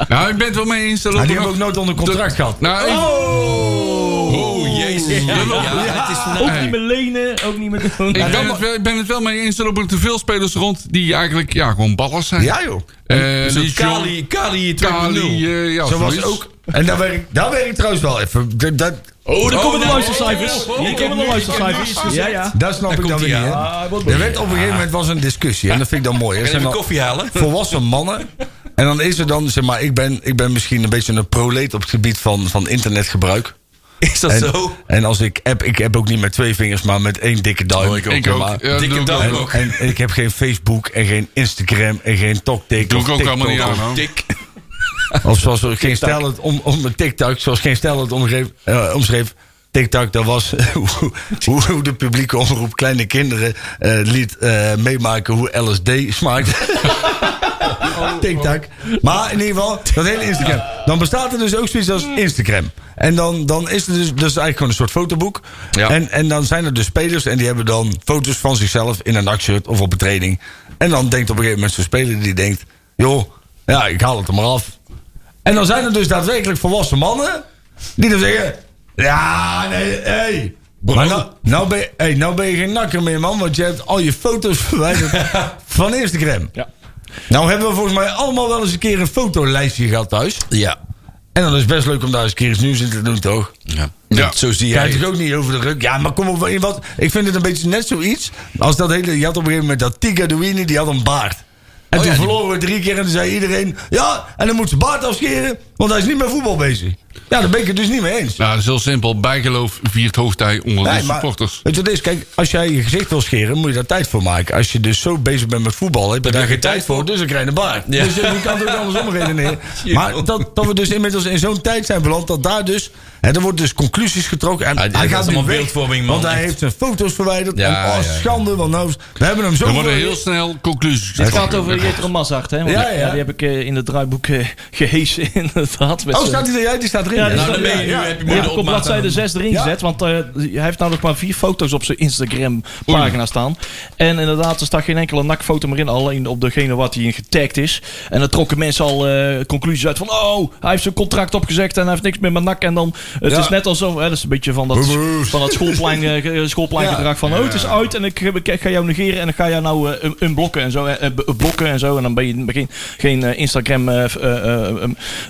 Speaker 5: Nou, ik ben het wel mee eens. dat
Speaker 3: Maar die
Speaker 5: er
Speaker 3: hebben ook
Speaker 5: nog-
Speaker 3: nooit onder contract gehad.
Speaker 5: Nou, ik-
Speaker 2: Oh, jezus. Ja, het is nou...
Speaker 4: Ook niet meer lenen, ook niet meer doen.
Speaker 5: Ik ben, het wel, ik ben het wel mee eens. Er lopen te veel spelers rond die eigenlijk ja, gewoon ballers zijn.
Speaker 3: Ja joh.
Speaker 5: Eh,
Speaker 2: Zo'n
Speaker 5: die John-
Speaker 2: Kali, Kali 2.0.
Speaker 5: Kali, eh, ja,
Speaker 3: Zo was
Speaker 5: zoiets.
Speaker 3: ook. En daar werk, daar werk ik trouwens wel even. Dat, dat,
Speaker 2: Oh, daar
Speaker 4: komen de luistercijfers.
Speaker 2: oh,
Speaker 4: Hier komen de luistercijfers. Ja, ja.
Speaker 3: daar snap ik
Speaker 2: komt
Speaker 3: dan weer niet.
Speaker 2: hij
Speaker 3: Hè.
Speaker 4: Ah, wat
Speaker 3: Er werd op een gegeven moment was een discussie. En dat vind ik dan mooi. Er
Speaker 2: Kan
Speaker 3: zijn
Speaker 2: even
Speaker 3: dan
Speaker 2: koffie halen?
Speaker 3: volwassen mannen. En dan is er dan, zeg maar, ik ben, ik ben misschien een beetje een proleet op het gebied van, van internetgebruik.
Speaker 2: Is dat
Speaker 3: En,
Speaker 2: zo?
Speaker 3: en als ik app, ik app ook niet met twee vingers, maar met één dikke duim.
Speaker 2: Oh, ik ook.
Speaker 5: Ik
Speaker 3: zeg
Speaker 5: ook.
Speaker 3: maar.
Speaker 5: Ja,
Speaker 2: Dikke
Speaker 5: doe ik
Speaker 2: duim
Speaker 5: ook.
Speaker 2: ook.
Speaker 3: En ik heb geen Facebook en geen Instagram en geen TokTok.
Speaker 5: Doe
Speaker 3: of
Speaker 5: ik ook
Speaker 3: TikTok
Speaker 5: allemaal niet aan.
Speaker 3: of-
Speaker 5: hoor.
Speaker 2: Tik.
Speaker 3: Of zoals er geen stel het om, om een TikTok, zoals geen stel het omgeef, eh, omschreef. TikTok, dat was hoe, hoe- hoe de publieke omroep kleine kinderen eh, liet eh, meemaken hoe LSD smaakt. TikTok. Maar in ieder geval, dat hele Instagram. Dan bestaat er dus ook zoiets als Instagram. En dan, dan is het dus, dus eigenlijk gewoon een soort fotoboek.
Speaker 2: Ja.
Speaker 3: En, en dan zijn er dus spelers en die hebben dan foto's van zichzelf in een nachtshirt of op een training. En dan denkt op een gegeven moment zo'n speler die denkt: joh, ja, ik haal het er maar af. En dan zijn er dus daadwerkelijk volwassen mannen die dan zeggen: Ja, nee, hé. Hey. Maar nou, nou, ben je, hey, nou ben je geen nakker meer, man, want je hebt al je foto's verwijderd van Instagram.
Speaker 4: Ja.
Speaker 3: Nou hebben we volgens mij allemaal wel eens een keer een fotolijstje gehad thuis.
Speaker 2: Ja.
Speaker 3: En dan is het best leuk om daar eens een keer eens nieuws in te doen, toch?
Speaker 2: Ja.
Speaker 5: Ja.
Speaker 2: Zo zie jij
Speaker 3: Kijk
Speaker 2: het.
Speaker 3: ik ook niet over de ruk. Ja, maar kom op, in wat? Ik vind het een beetje net zoiets als dat hele... Je had op een gegeven moment dat Tiga Duini, die had een baard. En
Speaker 2: Oh
Speaker 3: toen verloren we drie keer en toen zei iedereen... Ja, en dan moet ze baard afscheren, want hij is niet met voetbal bezig. Ja, daar ben ik het dus niet mee eens.
Speaker 5: Nou, dat is heel simpel. Bijgeloof viert hoogtij onder de
Speaker 3: Nee, maar
Speaker 5: supporters.
Speaker 3: weet je wat het is? Kijk, als jij je gezicht wil scheren, moet je daar tijd voor maken. Als je dus zo bezig bent met voetbal, heb je daar geen tijd voor, dus dan krijg je een baard.
Speaker 2: Ja.
Speaker 3: Dus je je kan het ook andersom redeneren. Maar dat, dat we dus inmiddels in zo'n tijd zijn beland, dat daar dus... Hè, er worden dus conclusies getrokken. En
Speaker 2: Ja, dit
Speaker 3: hij
Speaker 2: is
Speaker 3: gaat nu
Speaker 2: allemaal
Speaker 3: weg,
Speaker 2: beeldvorming, man.
Speaker 3: want hij
Speaker 2: Echt.
Speaker 3: heeft zijn foto's verwijderd.
Speaker 2: Ja,
Speaker 3: en, oh,
Speaker 2: ja, ja.
Speaker 3: schande, want nou... is- We hebben hem zo...
Speaker 5: Er worden
Speaker 3: voor-
Speaker 5: heel snel conclusies
Speaker 4: Het
Speaker 5: getrokken. Nou,
Speaker 4: gaat over Jetro Mazart, hè? Want
Speaker 3: Ja,
Speaker 4: ja,
Speaker 3: ja.
Speaker 4: die heb ik eh, in het draaiboek eh, gehezen, inderdaad. Met
Speaker 3: Oh,
Speaker 4: zijn-
Speaker 3: staat hij eruit? Die staat erin.
Speaker 4: Ja,
Speaker 3: hè?
Speaker 4: die
Speaker 2: Nou, dan ben je
Speaker 4: Ja,
Speaker 2: nu,
Speaker 4: ja.
Speaker 2: heb je
Speaker 4: Ja,
Speaker 2: mooi
Speaker 4: ik
Speaker 2: de
Speaker 4: heb op
Speaker 2: opmaat aan.
Speaker 4: bladzijde 6 erin
Speaker 3: Ja.
Speaker 4: gezet, want eh, hij heeft namelijk maar vier foto's op zijn Instagram-pagina staan. En inderdaad, er staat geen enkele nakfoto meer in, alleen op degene wat hij in getagd is. En dan trokken mensen al eh, conclusies uit van, oh, hij heeft zijn contract opgezegd en hij heeft niks meer met nak. En dan, het
Speaker 3: Ja.
Speaker 4: is net alsof, hè, dat is een beetje van dat,
Speaker 3: Boeboes.
Speaker 4: van dat schoolplein, eh, ge- schoolpleingedrag van, oh, het is uit en ik, ik- ik ga jou negeren en ik ga jou nou eh, un- unblokken en zo, eh, eh, b- blokken en zo. En dan ben je geen, geen eh, Instagram eh, v- eh, eh,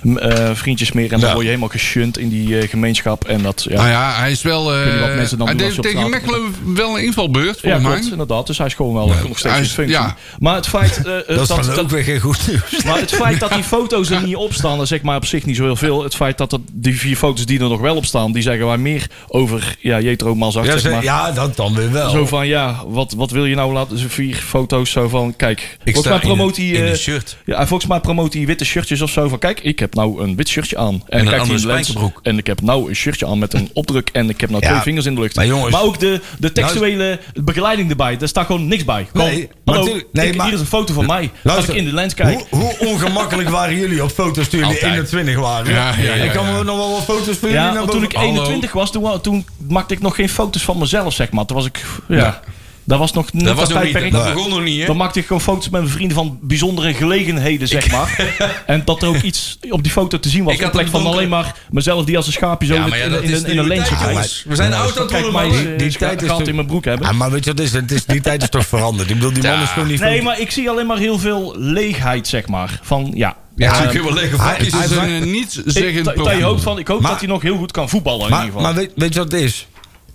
Speaker 4: m- eh, vriendjes meer en dan
Speaker 3: Ja.
Speaker 4: word je helemaal geshunt in die eh, gemeenschap. En dat, ja,
Speaker 5: Nou ja, hij is wel... eh,
Speaker 4: weet niet wat mensen dan
Speaker 5: hij
Speaker 4: doen
Speaker 5: deed
Speaker 4: als ze op
Speaker 5: tegen
Speaker 4: straat-
Speaker 5: Mechelen wel een invalbeurt,
Speaker 4: ja
Speaker 5: volgens
Speaker 4: klopt,
Speaker 5: mij.
Speaker 4: inderdaad. Dus hij is gewoon wel eh, nog steeds
Speaker 5: Hij
Speaker 4: in
Speaker 5: is-
Speaker 4: functie.
Speaker 5: ja.
Speaker 4: Maar het feit... eh, eh,
Speaker 3: Dat is dan ook weer geen goed nieuws.
Speaker 4: Maar het feit dat die foto's er niet op staan, dat zeg maar op zich niet zo heel veel. Het feit dat er die vier foto's die er nog wel op staan, die zeggen wij meer over ja, Jetro Mazart.
Speaker 3: Ja,
Speaker 4: zeg
Speaker 3: ze-
Speaker 4: maar.
Speaker 3: ja, dat dan weer wel.
Speaker 4: Zo van, ja, wat, wat wil je nou laten? Zo vier foto's zo van, kijk. volgens mij promoot hij...
Speaker 2: in
Speaker 4: eh,
Speaker 2: een shirt.
Speaker 4: ja, en volgens mij promoot hij witte shirtjes of zo. Van, kijk, ik heb nou een wit shirtje aan. En,
Speaker 2: een
Speaker 4: kijk,
Speaker 2: andere
Speaker 4: die lens.
Speaker 2: spijkerbroek.
Speaker 4: En ik heb nou een shirtje aan met een opdruk. En ik heb nou
Speaker 3: Ja,
Speaker 4: twee vingers in de lucht.
Speaker 3: maar jongens-
Speaker 4: ook de, de textuele begeleiding erbij. Daar staat gewoon niks bij. Gewoon,
Speaker 3: Nee, maar
Speaker 4: hallo,
Speaker 3: tuurlijk- nee,
Speaker 4: ik-
Speaker 3: maar-
Speaker 4: hier is een foto van mij. Als
Speaker 3: Luister,
Speaker 4: ik in de lens kijk.
Speaker 3: Hoe, hoe ongemakkelijk waren jullie op foto's toen jullie
Speaker 2: Altijd.
Speaker 3: 21 waren?
Speaker 5: Ja, ja, ja,
Speaker 3: Ik kan
Speaker 5: ja.
Speaker 3: me nog wel wat foto's van jullie nou
Speaker 4: Ja,
Speaker 3: naar
Speaker 4: want toen ik
Speaker 3: boven-
Speaker 4: 21 was, toen, wa- toen maakte ik nog geen foto's van mezelf, zeg maar. Toen was ik... Ja.
Speaker 5: Ja.
Speaker 4: Dat was nog net
Speaker 2: Dat was nog niet.
Speaker 4: tijdperk.
Speaker 2: Dat dat begon nog niet, hè?
Speaker 4: Dan maakte ik gewoon foto's met mijn vrienden van bijzondere gelegenheden, zeg maar. en dat er ook iets op die foto te zien was.
Speaker 2: Ik
Speaker 4: In
Speaker 2: had
Speaker 4: plek
Speaker 2: een
Speaker 4: van
Speaker 2: donkere-
Speaker 4: alleen maar mezelf die als een schaapje zo
Speaker 2: Ja,
Speaker 4: in,
Speaker 2: maar ja,
Speaker 4: in-
Speaker 2: dat
Speaker 4: in-
Speaker 2: is
Speaker 4: in een
Speaker 2: stereotyp,
Speaker 4: leentje gooit.
Speaker 2: jongens. We zijn oud aan het
Speaker 4: Kijk,
Speaker 2: worden,
Speaker 4: maar
Speaker 2: man.
Speaker 4: eens,
Speaker 3: die
Speaker 4: die
Speaker 3: tijd is
Speaker 4: in
Speaker 3: toch-
Speaker 4: mijn broek hebben.
Speaker 3: Ah, maar weet je wat het is? Het is? Die tijd is toch veranderd? Ik bedoel, die man is gewoon niet
Speaker 4: Nee,
Speaker 3: van-
Speaker 4: maar ik zie alleen maar heel veel leegheid, zeg maar. Van, ja.
Speaker 2: Ja,
Speaker 4: ehm,
Speaker 2: ik heb wel lege vakjes.
Speaker 5: Het is eh, een
Speaker 4: ik,
Speaker 5: niet-zeggend
Speaker 4: dat- dat je hoopt
Speaker 5: persoon.
Speaker 4: van, ik hoop
Speaker 3: Maar-
Speaker 4: dat hij nog heel goed kan voetballen in
Speaker 3: Maar,
Speaker 4: ieder geval.
Speaker 3: maar weet, weet je wat het is?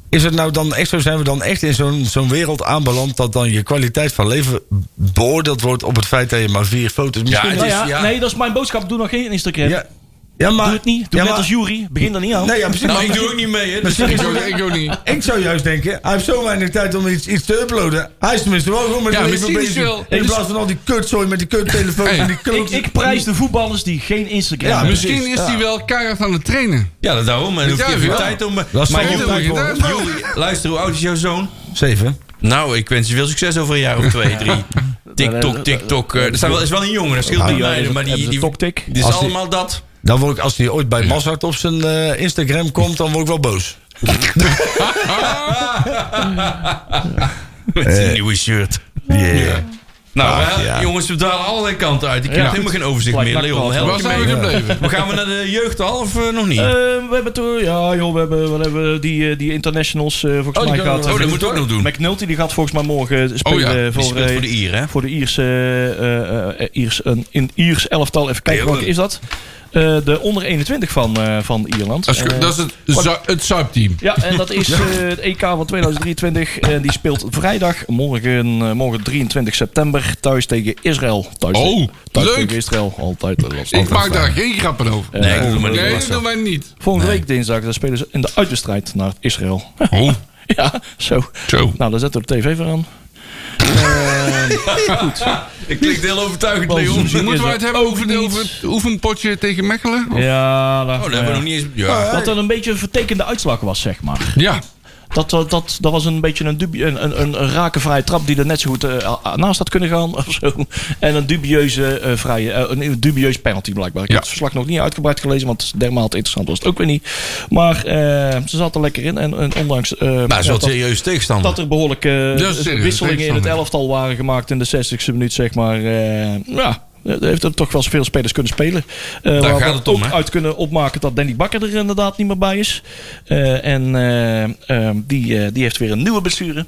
Speaker 3: Is het nou dan echt zo? Zijn we dan echt in zo'n zo'n wereld aanbeland dat dan je kwaliteit van leven beoordeeld wordt op het feit dat je maar vier foto's misschien
Speaker 2: het
Speaker 4: Nou
Speaker 2: is-
Speaker 4: ja,
Speaker 2: ja.
Speaker 4: Nee, dat is mijn boodschap. Doe nog geen Instagram.
Speaker 3: ja, ja, maar
Speaker 4: Doe het niet. Doe
Speaker 3: ja,
Speaker 4: net
Speaker 3: maar-
Speaker 4: als Jury. Begin er niet aan.
Speaker 3: Nee, ja, precies.
Speaker 2: Nou,
Speaker 3: maar-
Speaker 2: ik doe ook niet mee, hè. Dus
Speaker 5: Ik ook- Ik ook niet.
Speaker 3: ik zou juist denken, hij heeft zo weinig tijd om iets, iets te uploaden. Hij is tenminste wel gewoon met
Speaker 5: Ja,
Speaker 3: zijn
Speaker 5: maar
Speaker 3: leven
Speaker 5: cynisch wel.
Speaker 3: bezig. In plaats van al die kutzooi met die kuttelefoon
Speaker 5: Hey.
Speaker 3: en die
Speaker 4: ik,
Speaker 3: klote-
Speaker 4: ik prijs de voetballers die geen Instagram
Speaker 3: Ja,
Speaker 4: hebben.
Speaker 3: precies.
Speaker 5: Misschien is hij wel keihard aan het trainen.
Speaker 2: ja, dat daarom. En hoef je
Speaker 5: Ja,
Speaker 2: geen
Speaker 5: ja.
Speaker 2: tijd om... eh,
Speaker 3: is
Speaker 2: Maar
Speaker 3: wel
Speaker 2: Joeri,
Speaker 5: tijd voor.
Speaker 2: Joeri, luister, hoe oud is jouw zoon?
Speaker 3: Zeven.
Speaker 2: Nou, ik wens je veel succes over een jaar of twee, drie. TikTok, TikTok. eh, Er zijn wel, is wel een jongen, dat scheelt niet
Speaker 4: hebben
Speaker 2: bij,
Speaker 4: ze-
Speaker 2: maar die...
Speaker 4: hebben ze
Speaker 2: die
Speaker 4: toktik?
Speaker 2: dit is
Speaker 3: Als die-
Speaker 2: allemaal dat.
Speaker 3: Dan word ik, als hij ooit bij Mazart op zijn eh, Instagram komt, dan word ik wel boos.
Speaker 2: Met
Speaker 3: Eh.
Speaker 2: een nieuwe shirt.
Speaker 3: Yeah.
Speaker 2: Nou,
Speaker 3: Ach,
Speaker 2: we-
Speaker 3: ja.
Speaker 2: jongens, we dalen allerlei kanten uit. Ik heb
Speaker 4: Ja.
Speaker 2: helemaal geen overzicht
Speaker 4: Lijkt
Speaker 2: meer.
Speaker 4: me
Speaker 2: Leon,
Speaker 4: wel.
Speaker 2: help
Speaker 5: Waar
Speaker 2: je
Speaker 5: zijn we
Speaker 2: mee.
Speaker 5: gebleven?
Speaker 2: Maar gaan we naar de jeugd al of eh, nog niet?
Speaker 4: Eh, we hebben toen, ja joh, we hebben, we hebben die, eh, die internationals eh, volgens mij gehad.
Speaker 2: oh, dat moet ook nog doen.
Speaker 4: McNulty die gaat volgens mij morgen spelen
Speaker 5: Oh ja,
Speaker 4: eh,
Speaker 2: Die
Speaker 4: voor,
Speaker 2: speelt
Speaker 4: eh,
Speaker 2: voor de Ier, hè?
Speaker 4: voor de Ierse, eh, eh, eh, Iers, een, in Iers elftal. Even kijken
Speaker 2: Heel
Speaker 4: welke
Speaker 2: goed.
Speaker 4: is dat? Eh, de onder 21 van, eh, van Ierland.
Speaker 5: Dat is,
Speaker 4: Eh,
Speaker 5: dat is het, zu- het zuipteam.
Speaker 4: Ja, en dat is eh, het EK van 2023. En die speelt vrijdag, morgen, eh, morgen 23 september, thuis tegen Israël. Thuis
Speaker 5: Oh,
Speaker 4: tegen- thuis
Speaker 5: leuk.
Speaker 4: tegen Israël. Altijd eh, lastig.
Speaker 5: Ik maak daar geen grappen over.
Speaker 2: Nee, ik doe maar
Speaker 5: Nee,
Speaker 2: niet.
Speaker 5: dat doen wij niet.
Speaker 4: Volgende week dinsdag dan spelen ze in de uitwedstrijd naar Israël.
Speaker 5: Oh,
Speaker 4: ja, zo.
Speaker 5: zo.
Speaker 4: Nou, dan zetten we de tv weer aan.
Speaker 2: Ik klinkt heel overtuigend, Leon.
Speaker 4: Balzoen.
Speaker 5: Moeten we het hebben
Speaker 4: Ook
Speaker 5: over, de-
Speaker 4: niet.
Speaker 5: over het oefenpotje tegen Mechelen? Of-
Speaker 4: Ja, daar,
Speaker 2: Oh, dat hebben we nog niet eens... Ja.
Speaker 4: Dat er een beetje een vertekende uitslag was, zeg maar.
Speaker 5: Ja.
Speaker 4: Dat, dat, dat, dat was een beetje een, dubie, een, een, een een rakenvrije trap die er net zo goed eh, a- naast had kunnen gaan. Of zo. En een dubieuze eh, vrije, eh, een dubieus penalty blijkbaar. Ik
Speaker 5: Ja.
Speaker 4: heb het verslag nog niet uitgebreid gelezen, want dermate interessant was het ook weer niet. Maar eh, ze zat er lekker in. En, en ondanks eh,
Speaker 2: Nou,
Speaker 4: ja,
Speaker 2: zo'n
Speaker 4: dat,
Speaker 2: serieuze tegenstander.
Speaker 4: dat er behoorlijke
Speaker 5: Dat is serieus,
Speaker 4: wisselingen in het
Speaker 5: tegenstander.
Speaker 4: elftal waren gemaakt in de 60ste minuut, zeg maar. eh, ja. eh, Heeft er toch wel veel spelers kunnen spelen. Eh, we hadden
Speaker 2: gaat het om,
Speaker 4: ook
Speaker 2: hè?
Speaker 4: uit kunnen opmaken dat Danny Bakker er inderdaad niet meer bij is. Eh, en eh, eh, die, eh, die heeft weer een nieuwe blessure.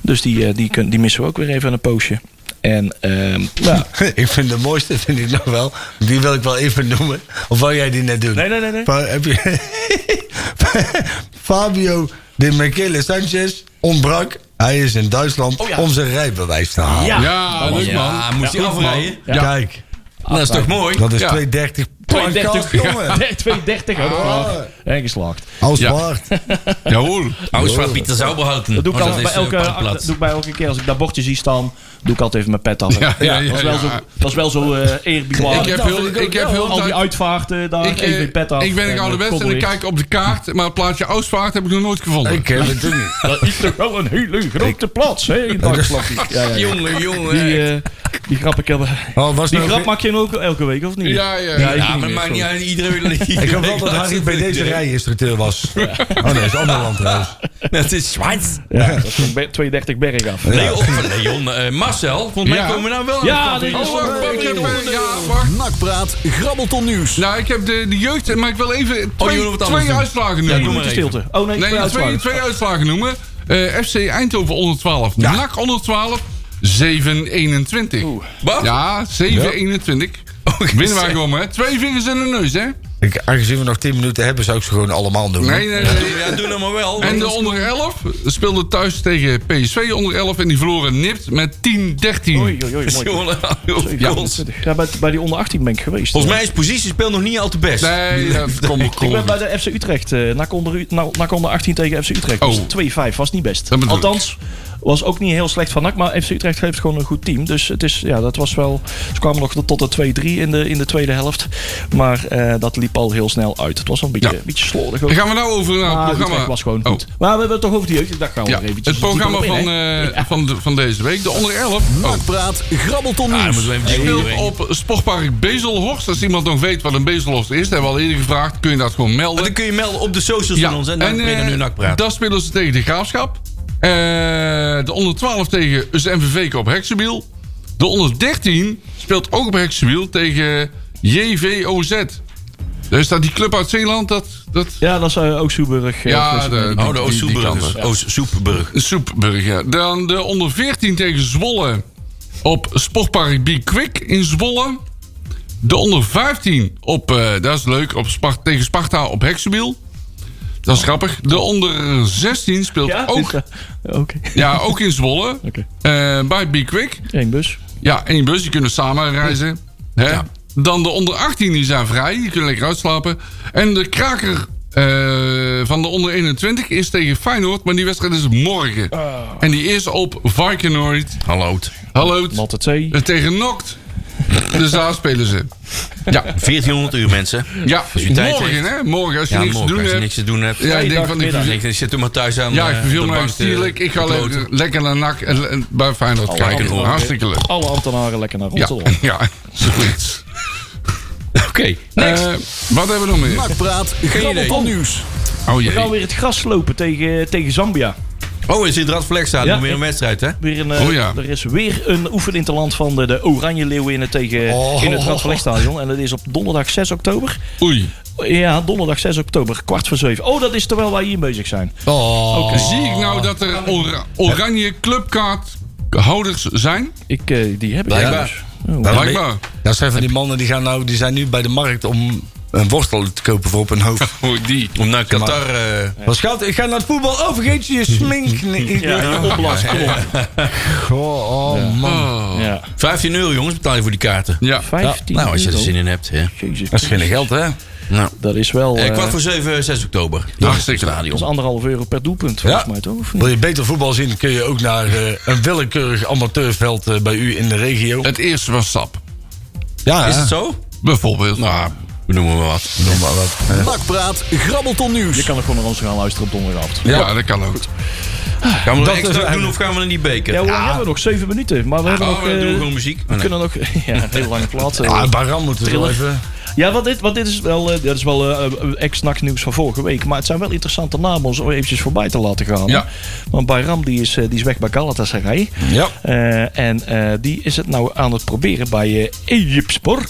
Speaker 4: Dus die, eh, die, kun- die missen we ook weer even een poosje. En ehm, ja.
Speaker 3: ik vind de mooiste, vind ik nog wel. Die wil ik wel even noemen. Of wil jij die net doen?
Speaker 4: Nee, nee, nee. nee.
Speaker 3: Fa- heb je- Fabio de Michele Sanchez ontbrak. Hij is in Duitsland
Speaker 4: Oh ja.
Speaker 3: om zijn rijbewijs te halen.
Speaker 4: Ja.
Speaker 5: Ja, leuk man.
Speaker 2: Ja, moest hij afrijden?
Speaker 5: Ja.
Speaker 3: Kijk,
Speaker 2: Nou, Dat is toch mooi?
Speaker 3: dat is
Speaker 5: Ja.
Speaker 3: 230 plankast,
Speaker 4: 230.
Speaker 3: jongen.
Speaker 4: 230 hebben we
Speaker 3: Ah.
Speaker 4: gehad. En geslaagd.
Speaker 3: Als
Speaker 5: Ja.
Speaker 3: waard.
Speaker 5: Ja hoor.
Speaker 2: Ouders van Pieter Zauberhouten.
Speaker 4: Oh. Dat doe ik,
Speaker 2: Oh,
Speaker 4: altijd
Speaker 2: is,
Speaker 4: bij elke,
Speaker 2: eh, parkplaats.
Speaker 4: dat doe ik bij elke keer als ik dat bordje zie staan. Doe ik altijd even mijn pet af.
Speaker 5: Ja, ja, ja,
Speaker 4: dat, is wel
Speaker 5: ja.
Speaker 4: zo, dat is wel zo eh eerbiedwaardig.
Speaker 5: Ik heb
Speaker 4: Nou,
Speaker 5: heel,
Speaker 4: vind ook
Speaker 5: ik heb
Speaker 4: wel.
Speaker 5: heel
Speaker 4: Al die
Speaker 5: tijd...
Speaker 4: uitvaarten, daar
Speaker 5: Ik,
Speaker 4: even
Speaker 5: eh,
Speaker 4: je pet af.
Speaker 5: ik ben ik
Speaker 4: en, eh,
Speaker 5: ouderwets en ik
Speaker 4: koppelwicht.
Speaker 5: kijk op de kaart, maar het plaatje Oostvaart heb ik nog nooit gevonden.
Speaker 3: Ik heb het ook niet.
Speaker 4: Dat is toch wel een hele grote plaats, hè? in dat vlakje. Ja, ja, ja.
Speaker 2: Jongen, jongen.
Speaker 4: Die, eh, die grap ik heb...
Speaker 3: Oh, was
Speaker 4: Die
Speaker 3: nou
Speaker 4: grap
Speaker 3: weer-
Speaker 4: maak je hem ook elke week, of niet?
Speaker 5: Ja, ja, ja.
Speaker 4: ik
Speaker 2: ja, maar
Speaker 4: niet meer,
Speaker 2: maakt niet
Speaker 4: sorry.
Speaker 2: uit. Iedereen wil
Speaker 3: Ik hoop wel dat Harry bij
Speaker 2: eh,
Speaker 3: deze rijinstructeur was. Oh nee, dat is ander land trouwens.
Speaker 2: Dat is Zwijns.
Speaker 4: Ja, dat is van be- 230 berg af.
Speaker 2: Leon, Leon eh, Marcel, volgens mij
Speaker 5: Ja.
Speaker 2: komen we nou wel
Speaker 4: Ja,
Speaker 2: aan de
Speaker 4: dit
Speaker 2: kant.
Speaker 4: is-
Speaker 5: Oh, wacht, wacht, ik heb, eh, ja, wacht.
Speaker 1: Nakpraat, grabbelton nieuws.
Speaker 5: Nou, ik heb de, de jeugd, maar ik wil even
Speaker 2: wil
Speaker 5: twee,
Speaker 2: wat anders
Speaker 5: twee
Speaker 2: doen.
Speaker 5: uitslagen
Speaker 2: Ja,
Speaker 5: noemen.
Speaker 2: doe maar
Speaker 4: Minuten
Speaker 2: even.
Speaker 4: stilte. Oh nee,
Speaker 5: nee,
Speaker 4: twee
Speaker 5: twee,
Speaker 4: uitslagen.
Speaker 5: twee uitslagen noemen. Eh, FC Eindhoven 112, NAC 112, 721.
Speaker 2: Wat?
Speaker 5: Ja, 721.
Speaker 4: Oh,
Speaker 5: Winnen wij gewoon, hè? Twee vingers in de neus, hè?
Speaker 3: Ik, aangezien we nog 10 minuten hebben, zou ik ze gewoon allemaal doen.
Speaker 5: Nee, nee, nee.
Speaker 2: Ja, doe nou maar wel.
Speaker 5: En
Speaker 2: want
Speaker 5: de
Speaker 2: dat is-
Speaker 5: onder 11 speelde thuis tegen PSV onder 11 en die verloren nipt met 10-13.
Speaker 4: Oei, oei, oei, mooi.
Speaker 2: Jongen, heel
Speaker 4: Ja,
Speaker 2: goals.
Speaker 4: ja, bij, bij die onder 18 ben ik geweest.
Speaker 2: Volgens mij is positiespel nog niet al te best.
Speaker 5: Nee, eh, dat komt ook
Speaker 4: Ik ben bij de FC Utrecht. eh NAC onder, U- nou, NAC onder 18 tegen FC Utrecht. Dus
Speaker 5: Oh.
Speaker 4: 2-5 was niet best.
Speaker 5: Dat bedoel ik.
Speaker 4: Althans, was ook niet heel slecht van NAC. Maar FC Utrecht heeft gewoon een goed team. Dus het is, ja, dat was wel... Ze kwamen nog tot de 2-3 in de, in de tweede helft. Maar eh, dat liep al heel snel uit. Het was wel een beetje,
Speaker 5: Ja.
Speaker 4: een beetje slordig. Ook.
Speaker 5: Dan gaan we nou over naar
Speaker 4: maar
Speaker 5: het programma.
Speaker 4: Utrecht Ah, was gewoon
Speaker 5: Oh.
Speaker 4: goed. Maar we hebben het toch over die jeugd. Dat gaan we
Speaker 5: Ja,
Speaker 4: nog eventjes
Speaker 5: het programma
Speaker 4: dieper op in,
Speaker 5: van,
Speaker 4: hè?
Speaker 5: eh, van, de, van deze week, de onder 11. Oh.
Speaker 1: Nakpraat, grabbelton
Speaker 2: Ah, dan
Speaker 1: nieuws.
Speaker 2: moeten we even die
Speaker 5: Speelt
Speaker 2: doorheen.
Speaker 5: op Sportpark Bezelhorst. Als iemand nog weet wat een Bezelhorst is, dat hebben we al eerder gevraagd. Kun je dat gewoon
Speaker 2: Maar
Speaker 5: melden?
Speaker 2: dan kun je melden op de socials van ons. En dan ben je
Speaker 5: eh,
Speaker 2: nu nakpraat.
Speaker 5: daar spelen ze tegen de Graafschap. Eh, de onder 12 tegen is MVV op Heksenbiel. De onder 13 speelt ook op Heksenbiel tegen JVOZ. Dus dat die club uit Zeeland, dat... dat
Speaker 4: Ja, dat is eh, ook Soeburg. eh,
Speaker 5: Ja,
Speaker 4: of, eh,
Speaker 5: de-
Speaker 2: Oh, de
Speaker 5: die- die
Speaker 2: Oost-Soeburg. Oost-Soeburg.
Speaker 5: Soepburg, ja. Dan de onder 14 tegen Zwolle op Sportpark Be Quick in Zwolle. De onder 15 op, eh, dat is leuk, op Spar- tegen Sparta op Heksenbiel. Dat is grappig. De onder 16 speelt
Speaker 4: Ja,
Speaker 5: ook,
Speaker 4: dus, eh, Oké.
Speaker 5: ja, ook in Zwolle.
Speaker 4: Oké.
Speaker 5: eh, bij Be Quick.
Speaker 4: Eén bus.
Speaker 5: Ja, één bus, die kunnen samen reizen. Hè? Dan de onder 18, die zijn vrij, die kunnen lekker uitslapen. En de kraker eh, van de onder 21 is tegen Feyenoord, maar die wedstrijd is morgen. En die is op Varkenoord.
Speaker 2: Hallo.
Speaker 5: Hallo,
Speaker 4: Matte 2.
Speaker 5: eh, tegen Nokt. Dus daar spelen ze. Ja,
Speaker 2: 1400 uur, mensen.
Speaker 5: ja.
Speaker 2: je tijd
Speaker 5: morgen
Speaker 2: heeft.
Speaker 5: hè, morgen als je
Speaker 2: Ja,
Speaker 5: niks te
Speaker 2: morgen,
Speaker 5: doen
Speaker 2: als je
Speaker 5: hebt.
Speaker 2: niks te doen hebt.
Speaker 5: Ja, ik denk van ik,
Speaker 4: Vrijdagmiddag.
Speaker 2: Ik zit er maar thuis aan
Speaker 5: ja,
Speaker 2: eh, Oh,
Speaker 5: ik
Speaker 2: de
Speaker 5: verveel me
Speaker 2: bank
Speaker 5: aan
Speaker 2: te-
Speaker 5: stierlijk. Ik ga
Speaker 2: te kloten.
Speaker 5: lekker, lekker naar NAC en- en bij Feyenoord kijken.
Speaker 2: ambtenaren.
Speaker 5: Hartstikke leuk.
Speaker 4: Alle ambtenaren lekker naar
Speaker 5: Ja,
Speaker 4: Rotterdam.
Speaker 5: ja, zoiets.
Speaker 2: Oké, next.
Speaker 5: Eh, wat hebben we nog meer?
Speaker 1: Nakpraat, grabbelton nieuws.
Speaker 5: Oh
Speaker 4: We gaan
Speaker 5: jee.
Speaker 4: weer het gras slopen tegen, tegen Zambia.
Speaker 2: oh, is dit Rad Flexstadion
Speaker 4: Ja,
Speaker 2: weer
Speaker 4: ik-
Speaker 2: een wedstrijd, hè?
Speaker 4: Weer een, eh,
Speaker 5: Oh ja.
Speaker 4: Er is weer een oefeninterland van de, de Oranje Leeuwinnen tegen,
Speaker 1: Oh.
Speaker 4: in het Radverlegstadion. En dat is op donderdag 6 oktober. Oh,
Speaker 5: Oei.
Speaker 4: Ja, donderdag 6 oktober, kwart voor 7. Oh, dat is terwijl wij hier bezig zijn.
Speaker 1: Oh,
Speaker 5: Zie ik nou dat er ora- oranje clubkaarthouders zijn?
Speaker 4: Ik, eh, die heb ik
Speaker 3: Blijkbaar.
Speaker 4: dus. Oh.
Speaker 3: Dat,
Speaker 5: Blijkbaar.
Speaker 3: dat zijn van die mannen die, gaan nou, die zijn nu bij de markt om een worstel te kopen voor op hun hoofd.
Speaker 5: Oh, die.
Speaker 2: Om naar Qatar... eh,
Speaker 3: Wat schat, ik ga naar het voetbal. Oh, vergeet je je smink. Nee,
Speaker 4: Ja, die opblaas, kom op.
Speaker 3: Goh, oh man.
Speaker 5: Oh.
Speaker 4: Ja.
Speaker 2: 15 euro, jongens, betaal je voor die kaarten.
Speaker 5: Ja.
Speaker 4: 15
Speaker 2: Nou, als je er
Speaker 4: euro.
Speaker 2: zin in hebt. Hè.
Speaker 4: Jezus,
Speaker 3: Dat is geen geld, hè?
Speaker 2: Nou.
Speaker 4: dat is wel...
Speaker 2: Eh,
Speaker 4: eh,
Speaker 2: kwart voor 7, 6 oktober.
Speaker 5: Hartstikke.
Speaker 4: dat is
Speaker 2: stadion.
Speaker 4: anderhalf euro per doelpunt, volgens mij toch? Of niet?
Speaker 3: Wil je beter voetbal zien, kun je ook naar eh, een willekeurig amateurveld eh, bij u in de regio.
Speaker 5: Het eerste was sap.
Speaker 3: Ja,
Speaker 2: Is het zo?
Speaker 5: Bijvoorbeeld.
Speaker 2: Nou, we noemen maar wat.
Speaker 3: Noem maar wat. Ja.
Speaker 1: Nakpraat, grabbelton
Speaker 4: Je
Speaker 1: nieuws.
Speaker 4: kan er gewoon naar ons gaan luisteren op donderdagavond.
Speaker 5: ja. dat kan ook.
Speaker 2: Gaan we dat
Speaker 3: Dat is
Speaker 2: extra doen
Speaker 3: eigenlijk-
Speaker 2: of gaan we naar die beker?
Speaker 4: Ja, hoe lang hebben we nog? Zeven minuten. Maar we hebben
Speaker 2: Oh,
Speaker 4: nog...
Speaker 2: we
Speaker 4: eh,
Speaker 2: doen gewoon muziek. Oh,
Speaker 4: we
Speaker 2: nee.
Speaker 4: kunnen nog... Ja, een hele lange plaat. eh.
Speaker 3: Ah, Baran moeten we wel
Speaker 4: Triller.
Speaker 3: even.
Speaker 4: Ja, want dit, want dit is wel, eh, dat is wel eh, ex-NAC nieuws van vorige week. Maar het zijn wel interessante namen om zo eventjes voorbij te laten gaan.
Speaker 5: Ja.
Speaker 4: Want Bayram die is, eh, die is weg bij Galatasaray.
Speaker 3: Ja.
Speaker 4: Eh, en eh, die is het nou aan het proberen bij eh Eyüpspor.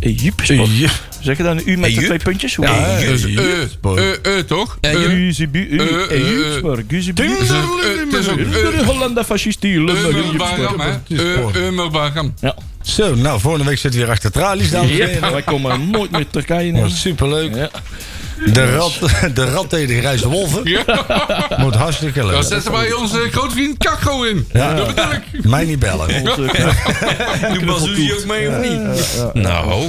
Speaker 4: Eyüpspor.
Speaker 3: Ja.
Speaker 4: Zeg je dan een U met de
Speaker 2: Eyüp?
Speaker 4: twee puntjes? Hoe
Speaker 3: Ja,
Speaker 4: heet
Speaker 5: Dus
Speaker 3: Eh,
Speaker 5: eh,
Speaker 3: Jutspor.
Speaker 5: eh, eh, toch? Eh,
Speaker 4: het?
Speaker 5: Het
Speaker 4: Guzibu- U-
Speaker 5: eh, eh,
Speaker 4: Eyüpspor. Guzibu-
Speaker 5: is ook, eh, het is ook
Speaker 4: De Hollander fascist die lullen bij Eyüpspor.
Speaker 5: Ummerbaram, hè?
Speaker 3: Jutspor.
Speaker 5: Eh, Ummerbaram.
Speaker 4: Ja,
Speaker 3: Zo, nou, volgende week zitten we weer achter tralies, dames en
Speaker 4: Yep,
Speaker 3: heren.
Speaker 4: wij komen nooit meer Turkije Dus, nemen.
Speaker 3: Wordt superleuk.
Speaker 4: Ja.
Speaker 3: De rat, de rat tegen de grijze wolven. Wordt hartstikke
Speaker 5: Daar
Speaker 3: leuk.
Speaker 5: zetten wij onze grootvriend Kakko in.
Speaker 3: Ja.
Speaker 5: Dat bedoel ik.
Speaker 3: Mij niet bellen.
Speaker 4: eh,
Speaker 2: Doe Bazuzi ook mee of niet? Nou,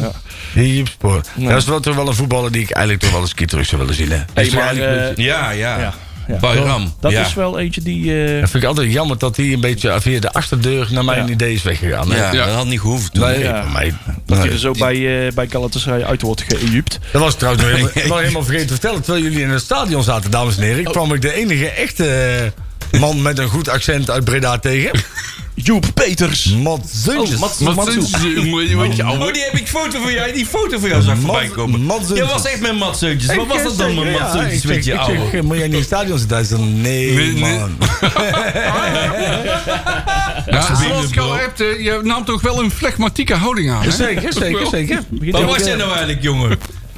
Speaker 3: Hypspoor. Dat is wel, toch wel een voetballer die ik eigenlijk toch wel eens een keer terug zou willen zien. Hè? Dat, is
Speaker 4: maar,
Speaker 3: eigenlijk-
Speaker 4: eh,
Speaker 2: ja, ja.
Speaker 4: Ja, ja.
Speaker 2: Bayram.
Speaker 4: Dat
Speaker 2: ja.
Speaker 4: is wel eentje die. eh,
Speaker 3: dat vind ik altijd jammer dat hij een beetje via de achterdeur naar mijn
Speaker 4: Ja.
Speaker 3: idee is weggegaan. hè?
Speaker 2: Ja,
Speaker 5: Ja.
Speaker 2: dat had niet gehoeven toen.
Speaker 3: Nee,
Speaker 4: Ja.
Speaker 3: voor mij.
Speaker 4: dat hij
Speaker 3: nee.
Speaker 4: er zo bij, eh bij Galatasaray uit wordt geëjupt.
Speaker 3: Dat was trouwens nog helemaal, wel helemaal vergeten te vertellen. Terwijl jullie in het stadion zaten, dames en heren. Ik kwam ik de enige echte eh, man met een goed accent uit Breda tegen.
Speaker 4: Joep Peters.
Speaker 3: Mat Zuntjes.
Speaker 4: Oh, Mats-
Speaker 5: Wat
Speaker 4: Matsu.
Speaker 5: zijn ze, jongen? Wat je ouwe-
Speaker 2: Oh, die heb ik foto van jou. Die foto van jou zag
Speaker 3: Mat-
Speaker 2: voorbij komen.
Speaker 3: Matzeutjes.
Speaker 2: Jij was echt met matzeutjes. Wat was dat dan met matzeutjes met je
Speaker 3: Ik
Speaker 2: ouwe?
Speaker 3: zeg, moet jij niet in het stadion zitten? Hij zei, nee,
Speaker 5: Nee, nee.
Speaker 3: man.
Speaker 5: Ja, zoals ik al heb, eh, je nam toch wel een flegmatieke houding aan, hè?
Speaker 3: Zeker, zeker, zeker.
Speaker 2: Wat was jij nou
Speaker 3: eh,
Speaker 2: eigenlijk, jongen?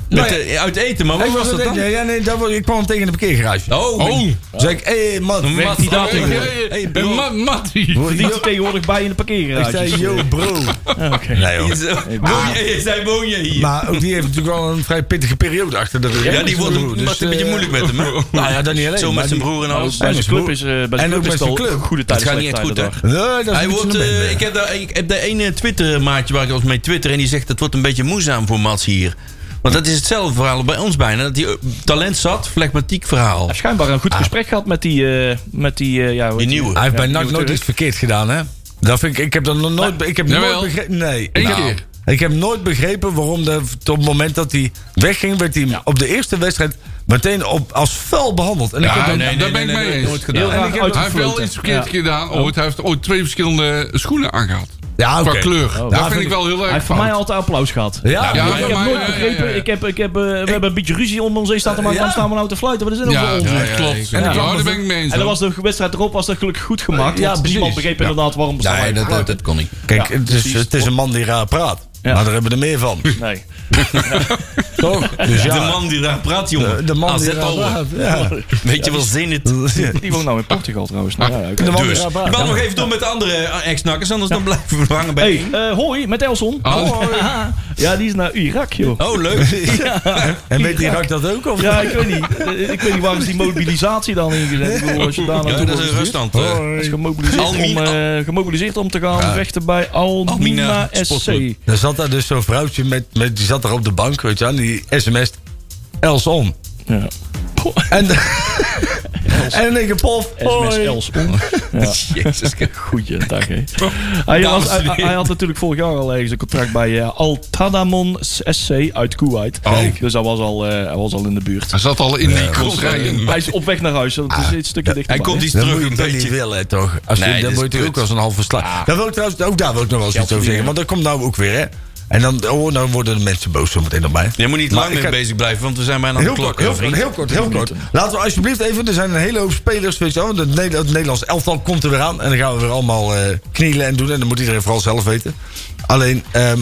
Speaker 3: Nou
Speaker 2: Met, eh, uit eten, maar hoe was dat dan?
Speaker 3: Ja, ja, nee, dat was, ik kwam hem tegen in de parkeergarage.
Speaker 2: Oh,
Speaker 5: Oh,
Speaker 3: Toen zei ik, hé, hey, man.
Speaker 2: Mat,
Speaker 3: Ik
Speaker 2: dat
Speaker 5: hey,
Speaker 2: jongen.
Speaker 5: hey,
Speaker 2: Hey,
Speaker 5: hey,
Speaker 2: bro.
Speaker 5: Eh, Ma- Mattie.
Speaker 4: Die zit tegenwoordig bij in de parkeergarage.
Speaker 3: zei, yo, bro. Nee, joh.
Speaker 2: Woon je- Jij zei, woon je hier?
Speaker 3: Maar ook die heeft natuurlijk wel een vrij pittige periode achter de rug.
Speaker 2: Ja, die wordt een,
Speaker 3: Dus,
Speaker 2: wordt een beetje
Speaker 3: eh,
Speaker 2: moeilijk met hem, hè?
Speaker 3: Nou ja, dat niet alleen.
Speaker 2: Zo
Speaker 3: maar
Speaker 2: met zijn
Speaker 3: die-
Speaker 2: broer en alles.
Speaker 4: Bij zijn
Speaker 3: En
Speaker 4: club
Speaker 3: ook
Speaker 4: is, eh, bij
Speaker 3: met
Speaker 4: zijn club is het
Speaker 3: zijn
Speaker 4: al
Speaker 3: club.
Speaker 4: goede
Speaker 2: Het
Speaker 4: tijden.
Speaker 2: gaat niet echt
Speaker 4: slechte
Speaker 2: goed, hè?
Speaker 4: tijden daar.
Speaker 3: Nee, dat is
Speaker 2: Hij
Speaker 3: niet
Speaker 2: wordt,
Speaker 3: zo'n
Speaker 2: eh,
Speaker 3: bende.
Speaker 2: ik, heb daar, ik heb daar ene Twitter-maatje waar ik altijd mee twitter... en die zegt het wordt een beetje moeizaam voor Mats hier. Want dat is hetzelfde verhaal bij ons bijna. Dat die eh, talent zat, flegmatiek verhaal.
Speaker 4: Hij heeft schijnbaar een goed gesprek gehad met die. eh, met die, eh, ja, hoe
Speaker 2: Die
Speaker 4: heet
Speaker 2: nieuwe.
Speaker 3: Hij heeft bij
Speaker 4: Ja,
Speaker 3: NAC
Speaker 4: die
Speaker 3: nooit
Speaker 4: wordt
Speaker 3: iets verkeerd gedaan, hè? Dat vind ik, ik heb dat nog nooit, be- ik heb nooit
Speaker 5: jawel.
Speaker 3: begrepen. Nee, nou.
Speaker 5: Eén keer.
Speaker 3: ik heb nooit begrepen waarom de, t- op het moment dat hij wegging, werd hij op de eerste wedstrijd meteen op, als vuil behandeld. En ik
Speaker 5: Ja,
Speaker 3: heb dat-
Speaker 5: nee, daar ben ik mee eens.
Speaker 2: nooit
Speaker 4: Heel
Speaker 2: gedaan.
Speaker 4: raar
Speaker 3: heb-
Speaker 4: uit
Speaker 5: Hij heeft wel
Speaker 4: gefloten.
Speaker 5: iets verkeerd
Speaker 4: Ja.
Speaker 5: gedaan ooit. Hij heeft ooit twee verschillende schoenen aangehad.
Speaker 3: ja, Ja, oké.
Speaker 5: Qua kleur.
Speaker 4: Hij
Speaker 5: dat vind
Speaker 3: vind
Speaker 5: ik
Speaker 3: ik-
Speaker 5: wel heel
Speaker 4: Hij
Speaker 5: erg
Speaker 4: heeft van
Speaker 5: fout.
Speaker 4: mij altijd applaus gehad.
Speaker 3: Ja,
Speaker 5: Ja,
Speaker 3: ja,
Speaker 4: Maar ik
Speaker 5: bij
Speaker 4: heb
Speaker 5: mij-
Speaker 4: nooit
Speaker 5: ja, ja,
Speaker 4: begrepen.
Speaker 5: ja, ja.
Speaker 4: Ik heb, ik heb, eh, we hebben een beetje ruzie om ons heen staan. te maken.
Speaker 3: Ja.
Speaker 4: Waarom staan we nou te fluiten? Wat is dit nou
Speaker 5: Ja,
Speaker 4: voor onzin?
Speaker 5: ja,
Speaker 4: En
Speaker 5: klopt. Ja, daar ben ik mee eens.
Speaker 4: dan
Speaker 5: hoor.
Speaker 4: was de wedstrijd erop was dat gelukkig goed gemaakt.
Speaker 3: Ja,
Speaker 4: want
Speaker 3: precies.
Speaker 4: niemand begreep inderdaad waarom we staan.
Speaker 2: Nee, dat, dat, dat kon niet.
Speaker 3: Kijk,
Speaker 4: Ja,
Speaker 3: het, is,
Speaker 4: precies.
Speaker 3: het is een man die raar praat.
Speaker 4: Ja.
Speaker 3: Maar daar hebben we er meer van.
Speaker 4: Nee.
Speaker 3: Toch? Dus ja,
Speaker 2: De man die daar praat, jongen.
Speaker 3: de, de man die raar praat. Ja.
Speaker 2: Weet je wel zin het?
Speaker 4: Die woont nou in Portugal trouwens. Nou, ja, oké.
Speaker 3: De man
Speaker 2: Dus.
Speaker 3: die
Speaker 2: Je
Speaker 3: raar praat.
Speaker 2: mag nog even door met de andere eh, ex-nakkers, anders dan blijven we hangen bij
Speaker 4: Hey,
Speaker 2: één.
Speaker 4: eh, hoi, met Elson. Oh.
Speaker 5: Hallo.
Speaker 4: Ja, die is naar Irak, joh.
Speaker 2: Oh, leuk.
Speaker 3: En weet die Irak dat ook? Of?
Speaker 4: Ja, ik weet niet. Eh, Ik weet niet waarom is die mobilisatie dan ingezet. Ik bedoel, als je daar
Speaker 2: Ja,
Speaker 4: naartoe
Speaker 2: dat is
Speaker 4: wordt
Speaker 2: een
Speaker 4: gestuurd.
Speaker 2: ruststand. eh.
Speaker 4: Hij is gemobiliseerd,
Speaker 2: Almina-
Speaker 4: om, eh, gemobiliseerd om te gaan vechten bij Almina,
Speaker 2: Almina
Speaker 4: SC.
Speaker 2: Sportclub.
Speaker 3: Er zat daar dus zo'n vrouwtje, met, met, die zat daar op de bank, weet je wel. en Die sms Els om.
Speaker 4: Ja.
Speaker 3: En, en in één keer pof.
Speaker 4: SMS
Speaker 3: hoi.
Speaker 4: Els om.
Speaker 2: Jezus. Oh,
Speaker 4: Goeie dag, hè. Hij, was,
Speaker 2: Dames en
Speaker 4: hij,
Speaker 2: heren.
Speaker 4: hij had natuurlijk vorig jaar al ergens een contract bij eh Al Tadamon SC uit Kuwait.
Speaker 2: Oh.
Speaker 5: Kijk.
Speaker 4: Dus hij was, al, eh, hij was al in de buurt.
Speaker 5: Hij zat al in die kontrijen.
Speaker 4: Hij is op weg naar huis. Dat is een stukje dichter.
Speaker 2: Ah. Hij komt iets
Speaker 3: Dat
Speaker 2: terug
Speaker 3: moet je
Speaker 2: een
Speaker 3: toch niet
Speaker 2: beetje.
Speaker 3: willen, toch? Als je,
Speaker 2: Nee, dat
Speaker 3: dan
Speaker 2: is
Speaker 3: word je toch
Speaker 2: kut. Ah.
Speaker 3: ook als een half verslagen. Daar wil ik trouwens, ook daar wil ik nog wel eens iets over zeggen. Want dat komt nou ook weer, hè. En dan, oh, nou worden de mensen boos zometeen op mij.
Speaker 2: Je moet niet
Speaker 3: Maar
Speaker 2: lang
Speaker 3: ik
Speaker 2: mee
Speaker 3: ga-
Speaker 2: bezig blijven, want we zijn bijna aan de
Speaker 3: Heel
Speaker 2: klok.
Speaker 3: kort,
Speaker 2: hè,
Speaker 3: heel kort,
Speaker 2: vriend.
Speaker 3: heel kort, heel kort. Laten we alsjeblieft even, er zijn een hele hoop spelers, weet je wel. want Het Nederla- het Nederlands elftal komt er weer aan. En dan gaan we weer allemaal eh, knielen en doen. En dat moet iedereen vooral zelf weten. Alleen, ehm,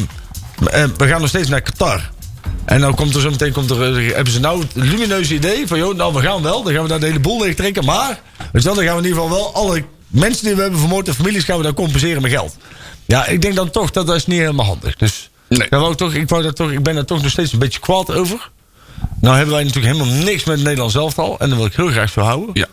Speaker 3: eh, we gaan nog steeds naar Qatar. En nou komt er zo meteen, komt er, eh, hebben ze nou het lumineuze idee van... joh, nou, we gaan wel, dan gaan we daar de hele boel leeg trekken. Maar, weet je wel, dan gaan we in ieder geval wel alle mensen die we hebben vermoord... en families gaan we daar compenseren met geld. Ja, ik denk dan toch dat dat is niet helemaal handig. Dus
Speaker 5: Nee.
Speaker 3: daar wou ik, toch, ik, wou daar toch, ik ben daar toch nog steeds een beetje kwaad over. Nou hebben wij natuurlijk helemaal niks met Nederland zelf al. En dat wil ik heel graag zo houden.
Speaker 5: Ja.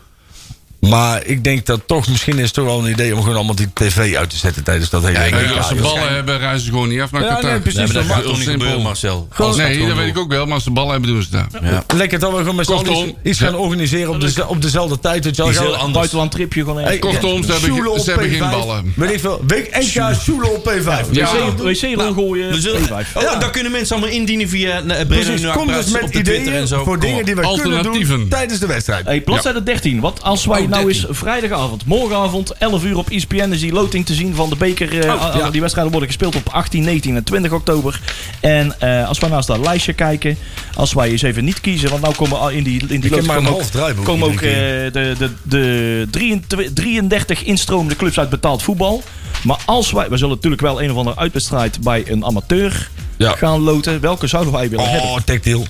Speaker 3: Maar ik denk dat toch, misschien is het toch wel een idee om gewoon allemaal die tv uit te zetten tijdens dat hele
Speaker 2: Ja, ik
Speaker 3: WK,
Speaker 2: denk
Speaker 5: Eh, als ze
Speaker 3: joh.
Speaker 5: ballen hebben, reizen ze gewoon niet af naar
Speaker 3: Ja,
Speaker 5: Qatar.
Speaker 3: nee, precies.
Speaker 2: Nee, maar dat
Speaker 3: dat
Speaker 2: gaat toch
Speaker 3: maakt
Speaker 2: niet
Speaker 5: het
Speaker 2: gebeuren,
Speaker 5: simpel.
Speaker 2: Marcel.
Speaker 3: Gewoon-
Speaker 2: Alles gaat
Speaker 5: Nee,
Speaker 2: gewoon
Speaker 5: dat
Speaker 2: door.
Speaker 5: weet ik ook wel, maar als ze ballen hebben, doen ze het daar.
Speaker 3: Lekker dat we gewoon met z'n allen
Speaker 5: Kortom.
Speaker 3: iets, iets gaan
Speaker 5: Ja.
Speaker 3: organiseren op, de, op dezelfde tijd. Weet je wel.
Speaker 2: Die is heel
Speaker 3: Gaan we-
Speaker 2: anders.
Speaker 4: buitenland tripje gewoon even.
Speaker 3: Hey,
Speaker 5: Kortom, ze hebben
Speaker 3: Sjoelen
Speaker 5: ge-
Speaker 3: op
Speaker 5: ze hebben geen
Speaker 3: P5.
Speaker 5: ballen.
Speaker 3: Weet ik veel. Week NK Sjoelen op P5.
Speaker 5: Ja.
Speaker 4: wc, wc-rol gooien.
Speaker 2: Nou, We zullen,
Speaker 4: P5.
Speaker 2: oh, dan kunnen mensen allemaal indienen via eh, Breda
Speaker 3: Precies,
Speaker 2: nu
Speaker 3: kom dus
Speaker 2: op
Speaker 3: met
Speaker 2: de Twitter en
Speaker 3: ideeën
Speaker 2: zo.
Speaker 3: voor
Speaker 2: Kom
Speaker 3: dingen
Speaker 2: op.
Speaker 3: die wij kunnen doen
Speaker 5: Alternatieven.
Speaker 3: tijdens de wedstrijd.
Speaker 4: Hey, bladzijde 13. Wat als wij
Speaker 3: Oh,
Speaker 4: nou eens vrijdagavond, morgenavond, 11 uur op E ESPN is die loting te zien van de beker. eh,
Speaker 3: Oh,
Speaker 4: a- a- Die wedstrijden worden gespeeld op 18, 19 en 20 oktober. En eh, als wij naast dat lijstje kijken, als wij eens even niet kiezen, want nou komen al in die, in die
Speaker 3: heb
Speaker 4: loting
Speaker 3: maar een
Speaker 4: komen ook,
Speaker 3: half draaiboek
Speaker 4: komen ook
Speaker 3: iedere
Speaker 4: eh, de, de, de 33 33 instromende clubs uit betaald voetbal. Maar als wij, we zullen natuurlijk wel een of andere uitwedstrijd bij een amateur
Speaker 3: Ja.
Speaker 4: gaan loten. Welke zouden wij willen hebben?
Speaker 3: Oh, tactiel.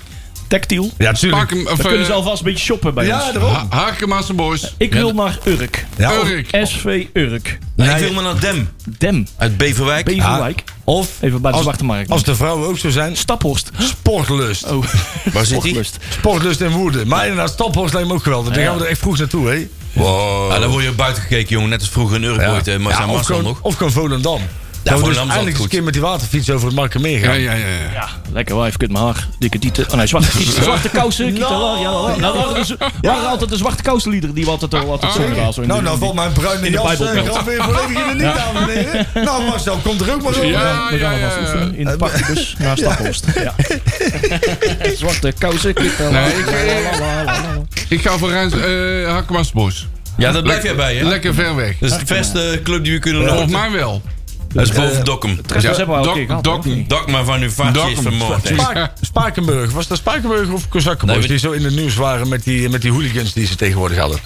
Speaker 4: Tactiel.
Speaker 3: Ja,
Speaker 5: Pak
Speaker 3: natuurlijk.
Speaker 5: hem,
Speaker 4: Dan
Speaker 5: of,
Speaker 4: kunnen ze
Speaker 5: eh,
Speaker 4: alvast een beetje shoppen bij ons.
Speaker 3: Ja, daarom.
Speaker 5: Ha- Hakemaatse boys.
Speaker 4: Ik wil naar Urk.
Speaker 3: Ja, of-
Speaker 5: Urk.
Speaker 4: SV Urk.
Speaker 2: Nee, ik wil maar naar Dem
Speaker 4: Dem.
Speaker 2: uit Beverwijk. Ah,
Speaker 4: Beverwijk.
Speaker 3: Ah, Of,
Speaker 4: Even bij de
Speaker 3: als-
Speaker 4: Zwarte Markt.
Speaker 3: als de vrouwen ook zo zijn,
Speaker 4: Staphorst.
Speaker 3: sportlust.
Speaker 4: Oh.
Speaker 2: Waar zit die?
Speaker 4: Sportlust.
Speaker 3: Sportlust en woede. Maar inderdaad, Staphorst lijkt me ook geweldig. Dan gaan we er echt vroeg naartoe, hè? Wow.
Speaker 2: Ah, dan word je buiten gekeken, jongen. Net als vroeger in Urk ooit, eh, maar zijn
Speaker 3: of,
Speaker 2: Marcel
Speaker 3: gewoon,
Speaker 2: nog.
Speaker 3: of gewoon Volendam.
Speaker 2: Volendam is
Speaker 3: Dan we dus
Speaker 2: altijd
Speaker 3: eindelijk eens een
Speaker 2: goed.
Speaker 3: keer met die waterfiets over het Markermeer
Speaker 5: Ja,
Speaker 3: gaan.
Speaker 5: ja, ja. ja.
Speaker 4: Ja, lekker wijf, kut mijn haar. Dikke tieten. Oh nee, zwarte, tieten, zwarte kousen. Kita, ja, ja, ja. Nou, waren, de, waren altijd de zwarte kousenliederen die we altijd, eh, altijd zongen. daar zo in
Speaker 3: Nou,
Speaker 4: de-
Speaker 3: nou valt mijn bruine
Speaker 4: in de
Speaker 3: jas
Speaker 4: Bijbel.
Speaker 3: eh, gewoon weer volledig in de niet, dames en heren. Nou, Marcel, komt er ook maar over.
Speaker 5: Ja.
Speaker 4: we gaan alvast oefenen
Speaker 3: Eh,
Speaker 4: in de partybus naar Staphorst. Ja. Zwarte kousen. Kita,
Speaker 5: Nee, ik- Ik ga voor Rijns, eh Hakemaatse boys.
Speaker 2: Ja, dat blijf jij bij, hè?
Speaker 5: Lekker ver weg.
Speaker 2: Dat is de beste club die we kunnen
Speaker 5: Volgens
Speaker 2: lopen.
Speaker 5: mij wel.
Speaker 2: Dat is boven Dokkum.
Speaker 4: Dat hebben we al een
Speaker 5: Dok-
Speaker 4: keer gehad,
Speaker 5: Dok-
Speaker 4: hoor, of niet?
Speaker 2: Dak maar van uw vaatje is
Speaker 5: Dokkum.
Speaker 2: vermoord. hè.
Speaker 3: Spaak- Spakenburg, was dat Spakenburg of Kozakkenburg?
Speaker 2: Nee, we-
Speaker 3: die zo in het nieuws waren met die, met die hooligans die ze tegenwoordig hadden.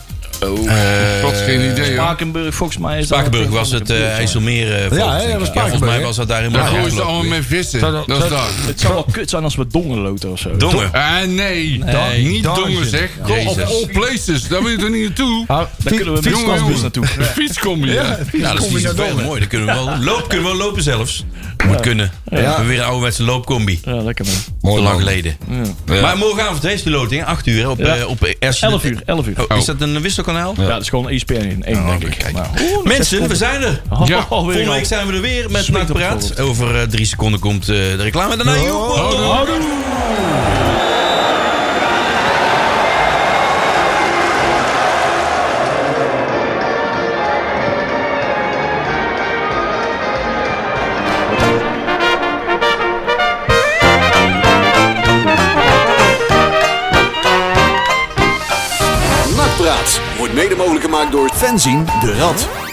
Speaker 5: Wat geen idee, hoor.
Speaker 4: Spakenburg, volgens mij is dat-
Speaker 2: Spakenburg was het eh, IJsselmeer. eh, volgens-
Speaker 3: hè, dat was
Speaker 2: volgens
Speaker 3: Spakenburg,
Speaker 2: mij
Speaker 3: hè?
Speaker 2: was dat daar in
Speaker 5: Daar
Speaker 2: Breda
Speaker 5: gooien ze
Speaker 2: geloof ik.
Speaker 5: allemaal mee vissen. Dat is dat.
Speaker 4: Het zou wel kut zijn als we dongen loten of zo.
Speaker 2: Dongen.
Speaker 5: Ah, nee. Niet
Speaker 3: Dank
Speaker 5: dongen,
Speaker 3: je.
Speaker 5: zeg. Kom op
Speaker 2: Jezus.
Speaker 5: all places. Daar wil je toch niet naartoe?
Speaker 3: Ah,
Speaker 4: Daar kunnen we met
Speaker 5: jongen,
Speaker 4: stadsbus
Speaker 5: jongen.
Speaker 4: naartoe.
Speaker 5: Fiets kom je.
Speaker 2: Nou, dat is niet zo veel mooi. Dan kunnen we wel lopen, kunnen we wel lopen zelfs. Moet kunnen. We hebben weer een ouderwetse loopcombi.
Speaker 4: Ja, lekker man.
Speaker 2: Mooi lang geleden. Maar morgenavond heeft de loting, 8 uur hè, op,
Speaker 4: Ja.
Speaker 2: eh, op RCN.
Speaker 4: 11 uur, 11 uur.
Speaker 2: Oh, is dat een wisselkanaal?
Speaker 4: Ja, dat is gewoon ESPN in één, denk ik. Nou,
Speaker 2: Mensen, we zijn er.
Speaker 5: Ja,
Speaker 4: oh, weer
Speaker 2: Volgende
Speaker 4: al.
Speaker 2: week zijn we er weer met
Speaker 4: Smeet op
Speaker 2: Nakpraat.
Speaker 4: voorhand.
Speaker 2: Over eh, drie seconden komt eh, de reclame. Daarna Joep Bortel.
Speaker 4: Houdoe.
Speaker 1: Nakpraat wordt mede mogelijk gemaakt door Fenzin de Rad.